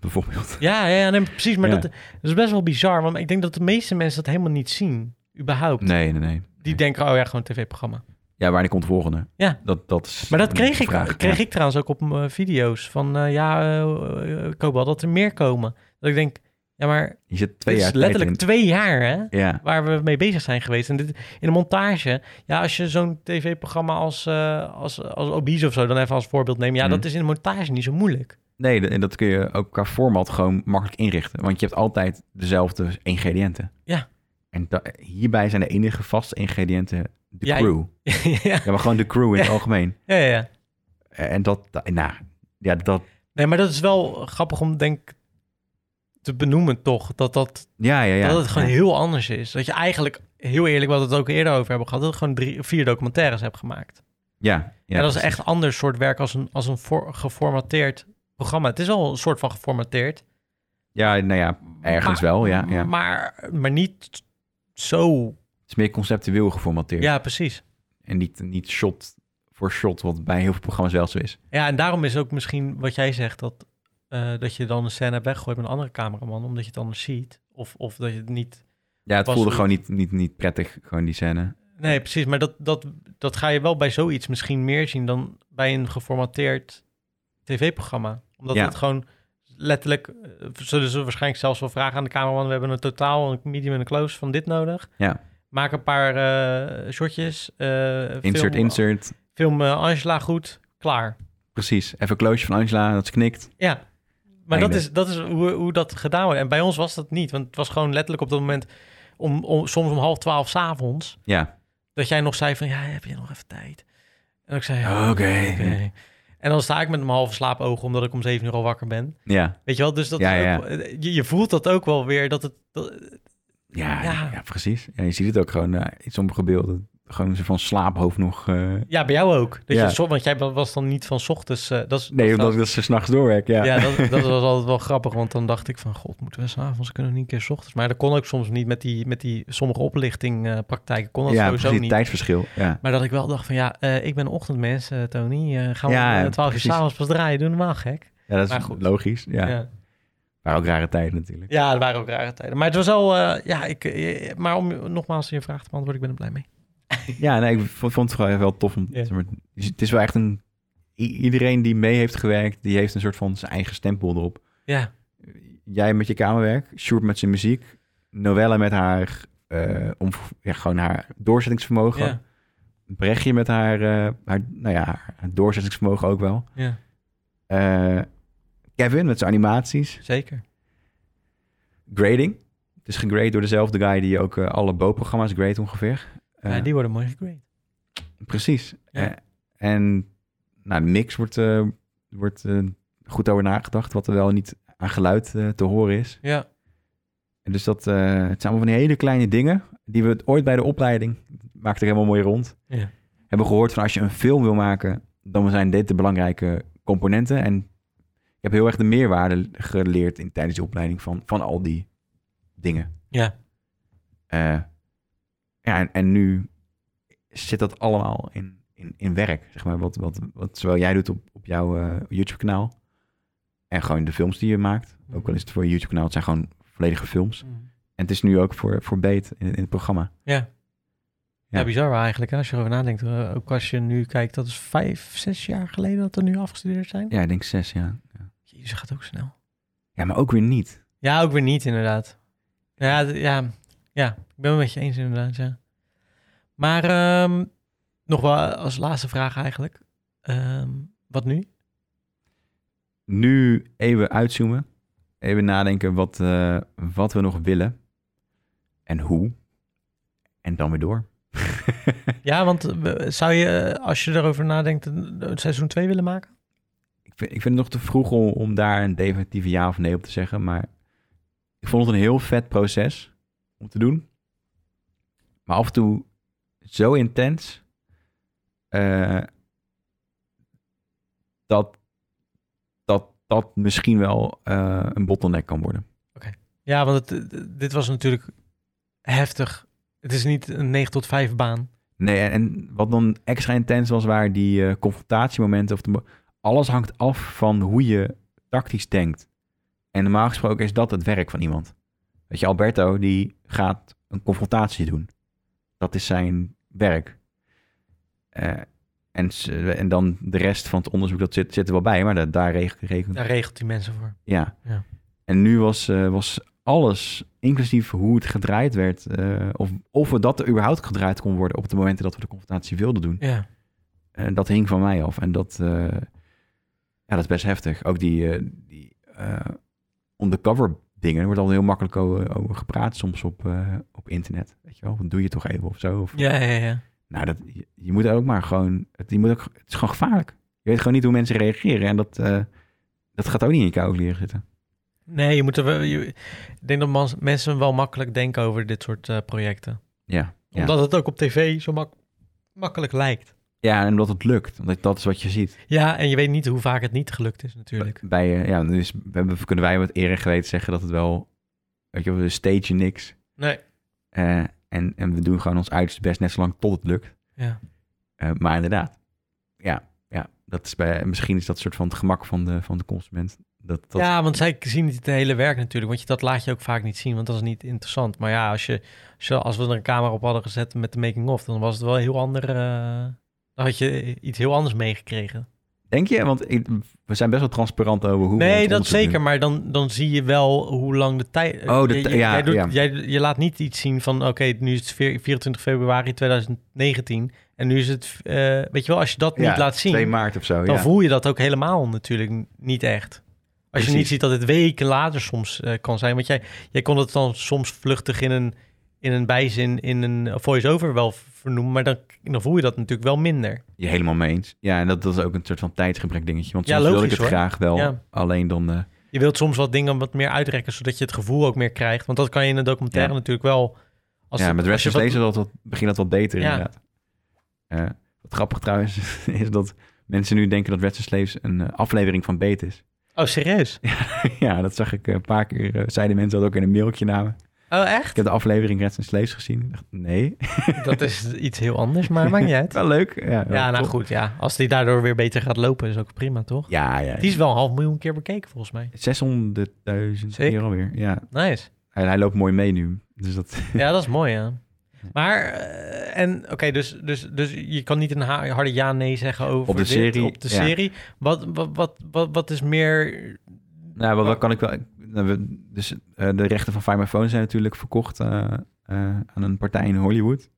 Bijvoorbeeld. Ja, ja, ja, nee, precies. Maar Ja. dat, dat is best wel bizar. Want ik denk dat de meeste mensen dat helemaal niet zien. Überhaupt. Nee, nee, nee. Die denken, oh ja, gewoon een tv-programma. Ja, wanneer komt de volgende? Ja. Dat, dat is Maar dat een kreeg, ik, vraag, kreeg ja. ik trouwens ook op mijn video's. Van eh, ja, eh, eh, ik hoop wel dat er meer komen. Dat ik denk, ja, maar. Je zit twee dit jaar is tijd dus letterlijk in. twee jaar, hè? Ja. Waar we mee bezig zijn geweest. En dit, in de montage, ja, als je zo'n tv-programma als, eh als, als Obese of zo dan even als voorbeeld neemt. Ja, Mhm. dat is in de montage niet zo moeilijk. Nee, de- en dat kun je ook qua format gewoon makkelijk inrichten. Want je hebt altijd dezelfde ingrediënten. Ja. En da- hierbij zijn de enige vaste ingrediënten de Ja, crew. ja. maar gewoon de crew in het Ja. algemeen. Ja, ja, ja. En dat, da- nou, ja, dat, Nee, maar dat is wel grappig om denk ik, te benoemen toch. Dat, dat, Ja, ja, ja. dat het gewoon Ja. heel anders is. Dat je eigenlijk, heel eerlijk, wat we het ook eerder over hebben gehad... dat je gewoon drie, vier documentaires hebt gemaakt. ja. ja, en dat is precies. echt ander soort werk als een, als een voor- geformateerd programma. Het is al een soort van geformateerd. Ja, nou ja, ergens Maar- wel, ja. ja. Maar, maar niet zo... Het is meer conceptueel geformateerd. Ja, precies. En niet, niet shot voor shot, wat bij heel veel programma's wel zo is. Ja, en daarom is ook misschien wat jij zegt... dat, eh, dat je dan een scène hebt weggegooid met een andere cameraman... omdat je het anders ziet. Of, of dat je het niet... Ja, het pas voelde hoe- gewoon niet, niet, niet prettig, gewoon die scène. Nee, precies. Maar dat, dat, dat ga je wel bij zoiets misschien meer zien dan bij een geformateerd tv-programma. Omdat Ja. het gewoon letterlijk... eh, zullen ze waarschijnlijk zelfs wel vragen aan de cameraman... we hebben een totaal, een medium en een close van dit nodig. Ja. Maak een paar eh, shotjes. eh, Insert, film, insert. Film eh, Angela goed, klaar. Precies. Even een kloosje van Angela, dat ze knikt. Ja, maar dat Einde. is, dat is hoe, hoe dat gedaan wordt. En bij ons was dat niet, want het was gewoon letterlijk op dat moment... Om, om, soms om half twaalf s'avonds... Ja. dat jij nog zei van, ja, heb je nog even tijd? En ik zei, Oké. oké. En dan sta ik met mijn halve slaapogen... omdat ik om zeven uur al wakker ben. Ja. Weet je wel, dus dat Ja, is ja. ook- je, je voelt dat ook wel weer, dat het... dat- Ja, ja. Ja. precies. Ja, je ziet het ook gewoon eh, in sommige beelden. Gewoon zo van slaaphoofd nog. eh, ja, bij jou ook. Dat Ja. je, zo- want jij was dan niet van 's ochtends... eh, dat is, Nee, dat omdat ik dat ze s'nachts doorwerk, ja. Ja, dat, dat was altijd wel grappig, want dan dacht ik van... God, moeten we s'avonds kunnen we niet een keer 's ochtends? Maar dat kon ook soms niet met die, met die sommige oplichtingpraktijken. kon dat ja, sowieso precies, niet. tijdsverschil. Ja. Maar dat ik wel dacht van ja, eh, ik ben een ochtendmens, eh, Tony. Eh, gaan we Ja, om 12 uur precies. s'avonds pas draaien? Doe normaal gek. ja, dat is maar goed. logisch. Ja. Ja. Maar ook rare tijden natuurlijk. Ja, er waren ook rare tijden. Maar het was al, eh, ja, ik, eh, maar om nogmaals je vraag te beantwoorden, ik ben er blij mee. Ja, nee, ik vond vond het gewoon wel tof. Om, zeg maar, dus het is wel echt een... i- Iedereen die mee heeft gewerkt, die heeft een soort van zijn eigen stempel erop. Ja. Jij met je kamerwerk, Sjoerd met zijn muziek, Noelle met haar, eh, om, ja, gewoon haar doorzettingsvermogen. Ja. Brechtje met haar, eh, haar, nou ja, haar doorzettingsvermogen ook wel. Ja. Eh, Kevin met zijn animaties. Zeker. Grading. Het is gegrade door dezelfde guy die ook eh, alle Bo-programma's grade ongeveer. Eh, ja, die worden mooi gegrade. Precies. Eh, en nou, de mix wordt, eh, wordt eh, goed over nagedacht, wat er wel en niet aan geluid eh, te horen is. Ja. En dus dat, eh, het zijn allemaal van die hele kleine dingen die we het ooit bij de opleiding, maakte ik helemaal mooi rond, Ja. hebben gehoord van als je een film wil maken, dan zijn dit de belangrijke componenten. En ik heb heel erg de meerwaarde geleerd in, tijdens die opleiding van, van al die dingen. Ja. Eh, ja, en, en nu zit dat allemaal in, in, in werk, zeg maar. Wat, wat, wat zowel jij doet op, op jouw eh, YouTube-kanaal en gewoon de films die je maakt. Ook al is het voor je YouTube-kanaal, het zijn gewoon volledige films. En het is nu ook voor, voor Beet in, in het programma. Ja. Ja, bizar wel eigenlijk. Hè? Als je erover nadenkt, eh, ook als je nu kijkt, dat is vijf, zes jaar geleden dat er nu afgestudeerd zijn. Ja, ik denk zes, ja. Jezus, gaat ook snel. Ja, maar ook weer niet. Ja, ook weer niet inderdaad. Ja, d- ja, ja ik ben het met je eens inderdaad, ja. Maar ehm, nog wel als laatste vraag eigenlijk. Ehm, wat nu? nu even uitzoomen. Even nadenken wat, eh, wat we nog willen. En hoe. En dan weer door. Ja, want eh, we- zou je, eh, als je erover nadenkt, een- een seizoen 2 willen maken? Ik vind, ik vind het nog te vroeg om, om daar een definitieve ja of nee op te zeggen. Maar ik vond het een heel vet proces om te doen. Maar af en toe zo intens. eh, dat, dat dat misschien wel eh, een bottleneck kan worden. Ja, want het, eh, dit was natuurlijk heftig. Het is niet een 9 tot 5 baan. Nee, en, en wat dan extra intens was, waren die eh, confrontatiemomenten. Of de mo- alles hangt af van hoe je tactisch denkt. En normaal gesproken is dat het werk van iemand. Weet je, Alberto, die gaat een confrontatie doen. Dat is zijn werk. Eh, en, ze- en dan de rest van het onderzoek, dat zit, zit er wel bij, maar dat, daar reg- rekent... Daar regelt die mensen voor. Ja. Ja. En nu was, eh, was alles, inclusief hoe het gedraaid werd, eh, of, of we dat er überhaupt gedraaid kon worden op de momenten dat we de confrontatie wilden doen. Ja. En dat hing van mij af. En dat, eh, ja, dat is best heftig. Ook die, eh, die eh, undercover dingen, er wordt al heel makkelijk o- over gepraat soms op, eh, op internet. Weet je wel, wat doe je toch even of zo? Of, Ja, ja, ja. Nou, dat, je, je moet ook maar gewoon, het, je moet ook, het is gewoon gevaarlijk. Je weet gewoon niet hoe mensen reageren. En dat, eh, dat gaat ook niet in je koude leren zitten. Nee, je moet er wel, je- ik denk dat mans- mensen wel makkelijk denken over dit soort eh, projecten. Ja, ja. Omdat het ook op tv zo mak- makkelijk lijkt. Ja, en omdat het lukt. Omdat dat is wat je ziet. Ja, en je weet niet hoe vaak het niet gelukt is natuurlijk. Bij, eh, ja, dus we hebben- kunnen wij met eer en geweten zeggen dat het wel... Weet je, wel, we stagen niks. Nee. Eh, en, en we doen gewoon ons uiterste best net zo lang tot het lukt. Ja. Eh, maar inderdaad. Ja, ja dat is bij, misschien is dat soort van het gemak van de, van de consument. Dat, dat, Ja, want zij zien niet het hele werk natuurlijk. Want je, dat laat je ook vaak niet zien, want dat is niet interessant. Maar ja, als, je, als, je- als we er een camera op hadden gezet met de making-of... dan was het wel een heel ander... eh, dan had je iets heel anders meegekregen. Denk je? Want ik- we zijn best wel transparant over hoe we ons nee, dat onderzoek zeker. doen. Maar dan, dan zie je wel hoe lang de tijd... Oh, de je- tij- je- ja, jij doet- ja. Jij, je laat niet iets zien van... oké, nu is het veer- 24 februari 2019... en nu is het... eh, weet je wel, als je dat Ja, niet laat zien... 2 maart of zo, Dan ja. voel je dat ook helemaal natuurlijk niet echt. Als je Precies. niet ziet dat het weken later soms eh, kan zijn. Want jij, jij kon het dan soms vluchtig in een, in een bijzin, in een voice-over wel vernoemen. Maar dan, dan voel je dat natuurlijk wel minder. Je helemaal mee eens. Ja, en dat, dat is ook een soort van tijdsgebrek dingetje. Want Ja, soms wil ik logisch, het hoor. graag wel. Ja. Alleen dan... eh, Je wilt soms wat dingen wat meer uitrekken, zodat je het gevoel ook meer krijgt. Want dat kan je in een documentaire Ja. natuurlijk wel. ja, het- met je Rest is wat- Laser dat, dat, begint dat wat beter Ja. inderdaad. Eh, wat grappig trouwens is dat mensen nu denken dat Rest in Slaves een eh, aflevering van Beet is. Oh, serieus? ja, dat zag ik eh, een paar keer. eh, zeiden mensen dat ook in een mailtje namen. Oh, echt? Ik heb de aflevering Reds en Slaves gezien. Ik dacht, nee. Dat is iets heel anders, maar maakt niet uit. Wel leuk. Ja, wel Ja, nou tof. goed, ja. Als die daardoor weer beter gaat lopen, is ook prima, toch? Ja, ja. Die is wel een half miljoen keer bekeken, volgens mij. 600.000 euro weer. Ja. Nice. Hij, hij loopt mooi mee nu. Dus dat... Ja, dat is mooi, ja. Maar, eh, en oké, dus, dus, dus je kan niet een ha- harde ja-nee zeggen over Op de dit, serie, op de ja. serie. Wat, wat, wat, wat, wat is meer... Nou, wat, wat kan ik wel. ik- nou, we- Dus eh, de rechten van Find My Phone zijn natuurlijk verkocht eh, eh, aan een partij in Hollywood.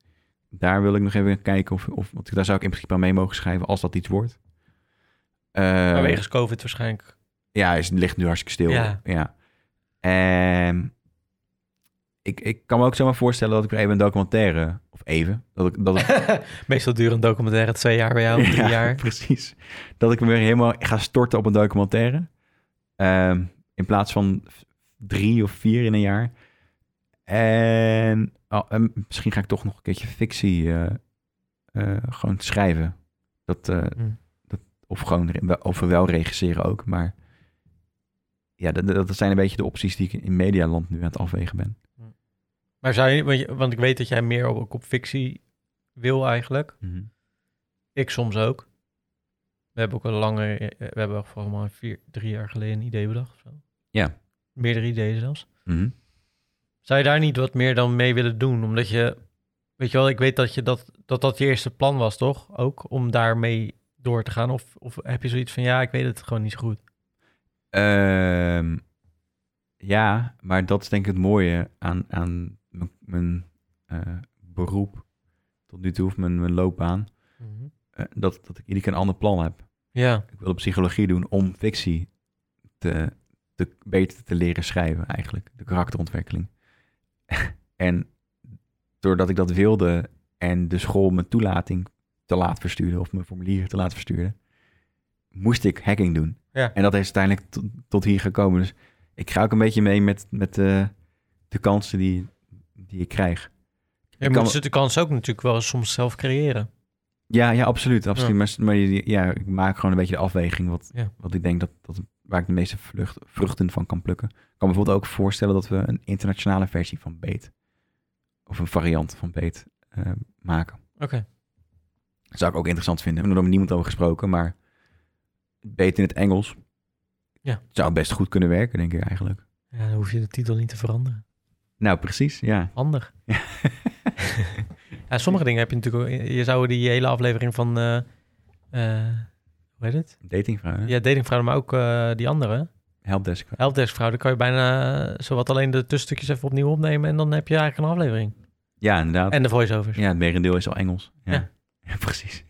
Daar wil ik nog even kijken of, of want daar zou ik in principe aan mee mogen schrijven als dat iets wordt. Eh, Vanwege COVID waarschijnlijk. ja, is, ligt nu hartstikke stil. Ja. Ja. En ik, ik kan me ook zomaar voorstellen dat ik weer even een documentaire. Of even. Dat ik, dat ik, Meestal duurt een documentaire twee jaar bij jou, drie Ja, jaar. Precies. Dat ik me weer helemaal ga storten op een documentaire. Ehm, in plaats van drie of vier in een jaar. En, oh, en misschien ga ik toch nog een keertje fictie eh, eh, gewoon schrijven. Dat, eh, Hmm. dat, of gewoon re- of wel regisseren ook. Maar ja, dat, dat zijn een beetje de opties die ik in Medialand nu aan het afwegen ben. Maar zou je, want je- want ik weet dat jij meer op, ook op fictie wil eigenlijk. Mhm. Ik soms ook. We hebben ook een lange, eh, we hebben volgens mij vier, drie jaar geleden een idee bedacht. of zo. Ja. Meerdere ideeën zelfs. Mhm. Zou je daar niet wat meer dan mee willen doen? Omdat je, weet je wel, ik weet dat je dat, dat, dat je eerste plan was, toch? Ook om daarmee door te gaan. Of, of heb je zoiets van, ja, ik weet het gewoon niet zo goed. Ehm, ja, maar dat is denk ik het mooie aan, aan mijn, mijn, eh, beroep tot nu toe, of mijn, mijn loopbaan. Mhm. Eh, dat, dat ik iedere keer een ander plan heb. Ja. Ik wilde psychologie doen om fictie te, te, beter te leren schrijven, eigenlijk. De karakterontwikkeling. en doordat ik dat wilde en de school mijn toelating te laat verstuurde, of mijn formulier te laat verstuurde, moest ik hacking doen. Ja. En dat is uiteindelijk tot, tot hier gekomen. Dus ik ga ook een beetje mee met, met eh, de kansen die, die ik krijg. Je Ik moet kan- ze de kans ook natuurlijk wel soms zelf creëren. ja, ja, absoluut. absoluut. Ja. Maar, maar je- ja, ik maak gewoon een beetje de afweging wat, Ja. wat ik denk dat, dat waar ik de meeste vlucht, vruchten van kan plukken. Ik kan me bijvoorbeeld ook voorstellen dat we een internationale versie van Beet. Of een variant van Beet eh, maken. Oké. Dat zou ik ook interessant vinden. We hebben er nog niemand over gesproken, maar Beet in het Engels Ja. zou best goed kunnen werken, denk ik eigenlijk. Ja, dan hoef je de titel niet te veranderen. Nou, precies, ja. Handig. ja, sommige dingen heb je natuurlijk ook... Je zou die hele aflevering van... eh, eh, hoe heet het? Datingvragen. Ja, datingvrouwen, maar ook eh, die andere. Helpdesk. Helpdeskvrouw, dan kan je bijna eh, zowat alleen de tussenstukjes even opnieuw opnemen... en dan heb je eigenlijk een aflevering. Ja, inderdaad. En de voiceovers. Ja, het merendeel is al Engels. Ja, Ja. Ja, precies.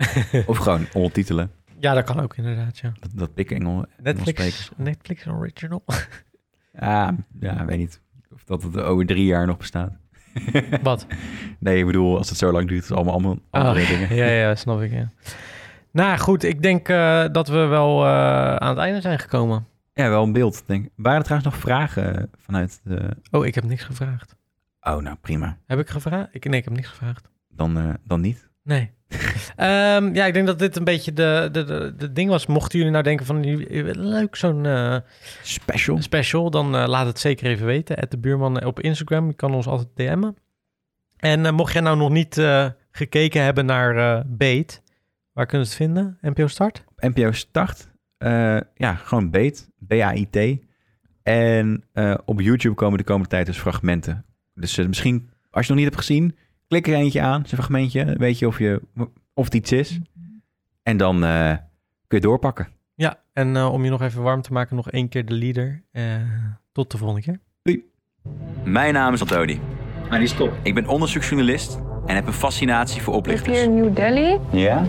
of gewoon ondertitelen. Ja, dat kan ook inderdaad, ja. Dat, dat pik Engel, Engels Netflix, Netflix original. Ja, ja, weet niet. Of dat het over drie jaar nog bestaat. Wat? Nee, ik bedoel, als het zo lang duurt, is het allemaal, allemaal Oh, andere dingen. Ja, ja, snap ik, ja. Nou goed, ik denk eh, dat we wel eh, aan het einde zijn gekomen. Ja, wel een beeld, denk ik. Waren er trouwens nog vragen eh, vanuit de... Oh, ik heb niks gevraagd. Oh, nou prima. Heb ik gevraagd? Ik, nee, ik heb niks gevraagd. Dan, eh, dan niet. Nee. Ehm, ja, ik denk dat dit een beetje de, de, de, de ding was. Mochten jullie nou denken van leuk zo'n eh, special. special, dan eh, laat het zeker even weten. At de buurman eh, op Instagram. Je kan ons altijd DM'en. En eh, mocht jij nou nog niet eh, gekeken hebben naar eh Beet, waar kunnen ze het vinden? NPO Start? NPO Start. eh, ja, gewoon BAIT. B-A-I-T. En eh, op YouTube komen de komende tijd dus fragmenten. Dus eh, misschien, als je nog niet hebt gezien, klik er eentje aan, zo'n fragmentje. Weet je of, je of het iets is. En dan eh, kun je doorpakken. Ja, en eh, om je nog even warm te maken, nog één keer de leader. Eh, tot de volgende keer. Mijn naam is Antoni. Maar die stop. Ik ben onderzoeksjournalist en heb een fascinatie voor oplichters. Here in New Delhi. Ja?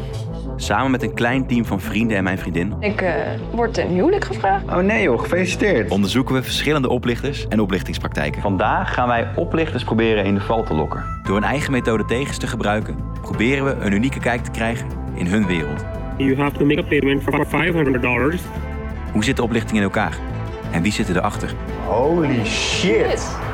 Samen met een klein team van vrienden en mijn vriendin Ik eh, word ten huwelijk gevraagd. Oh nee joh, gefeliciteerd. Onderzoeken we verschillende oplichters en oplichtingspraktijken. Vandaag gaan wij oplichters proberen in de val te lokken. Door hun eigen methode tegens te gebruiken, proberen we een unieke kijk te krijgen in hun wereld. You have to make a payment for $500. Hoe zit de oplichting in elkaar? En wie zit erachter? Holy shit!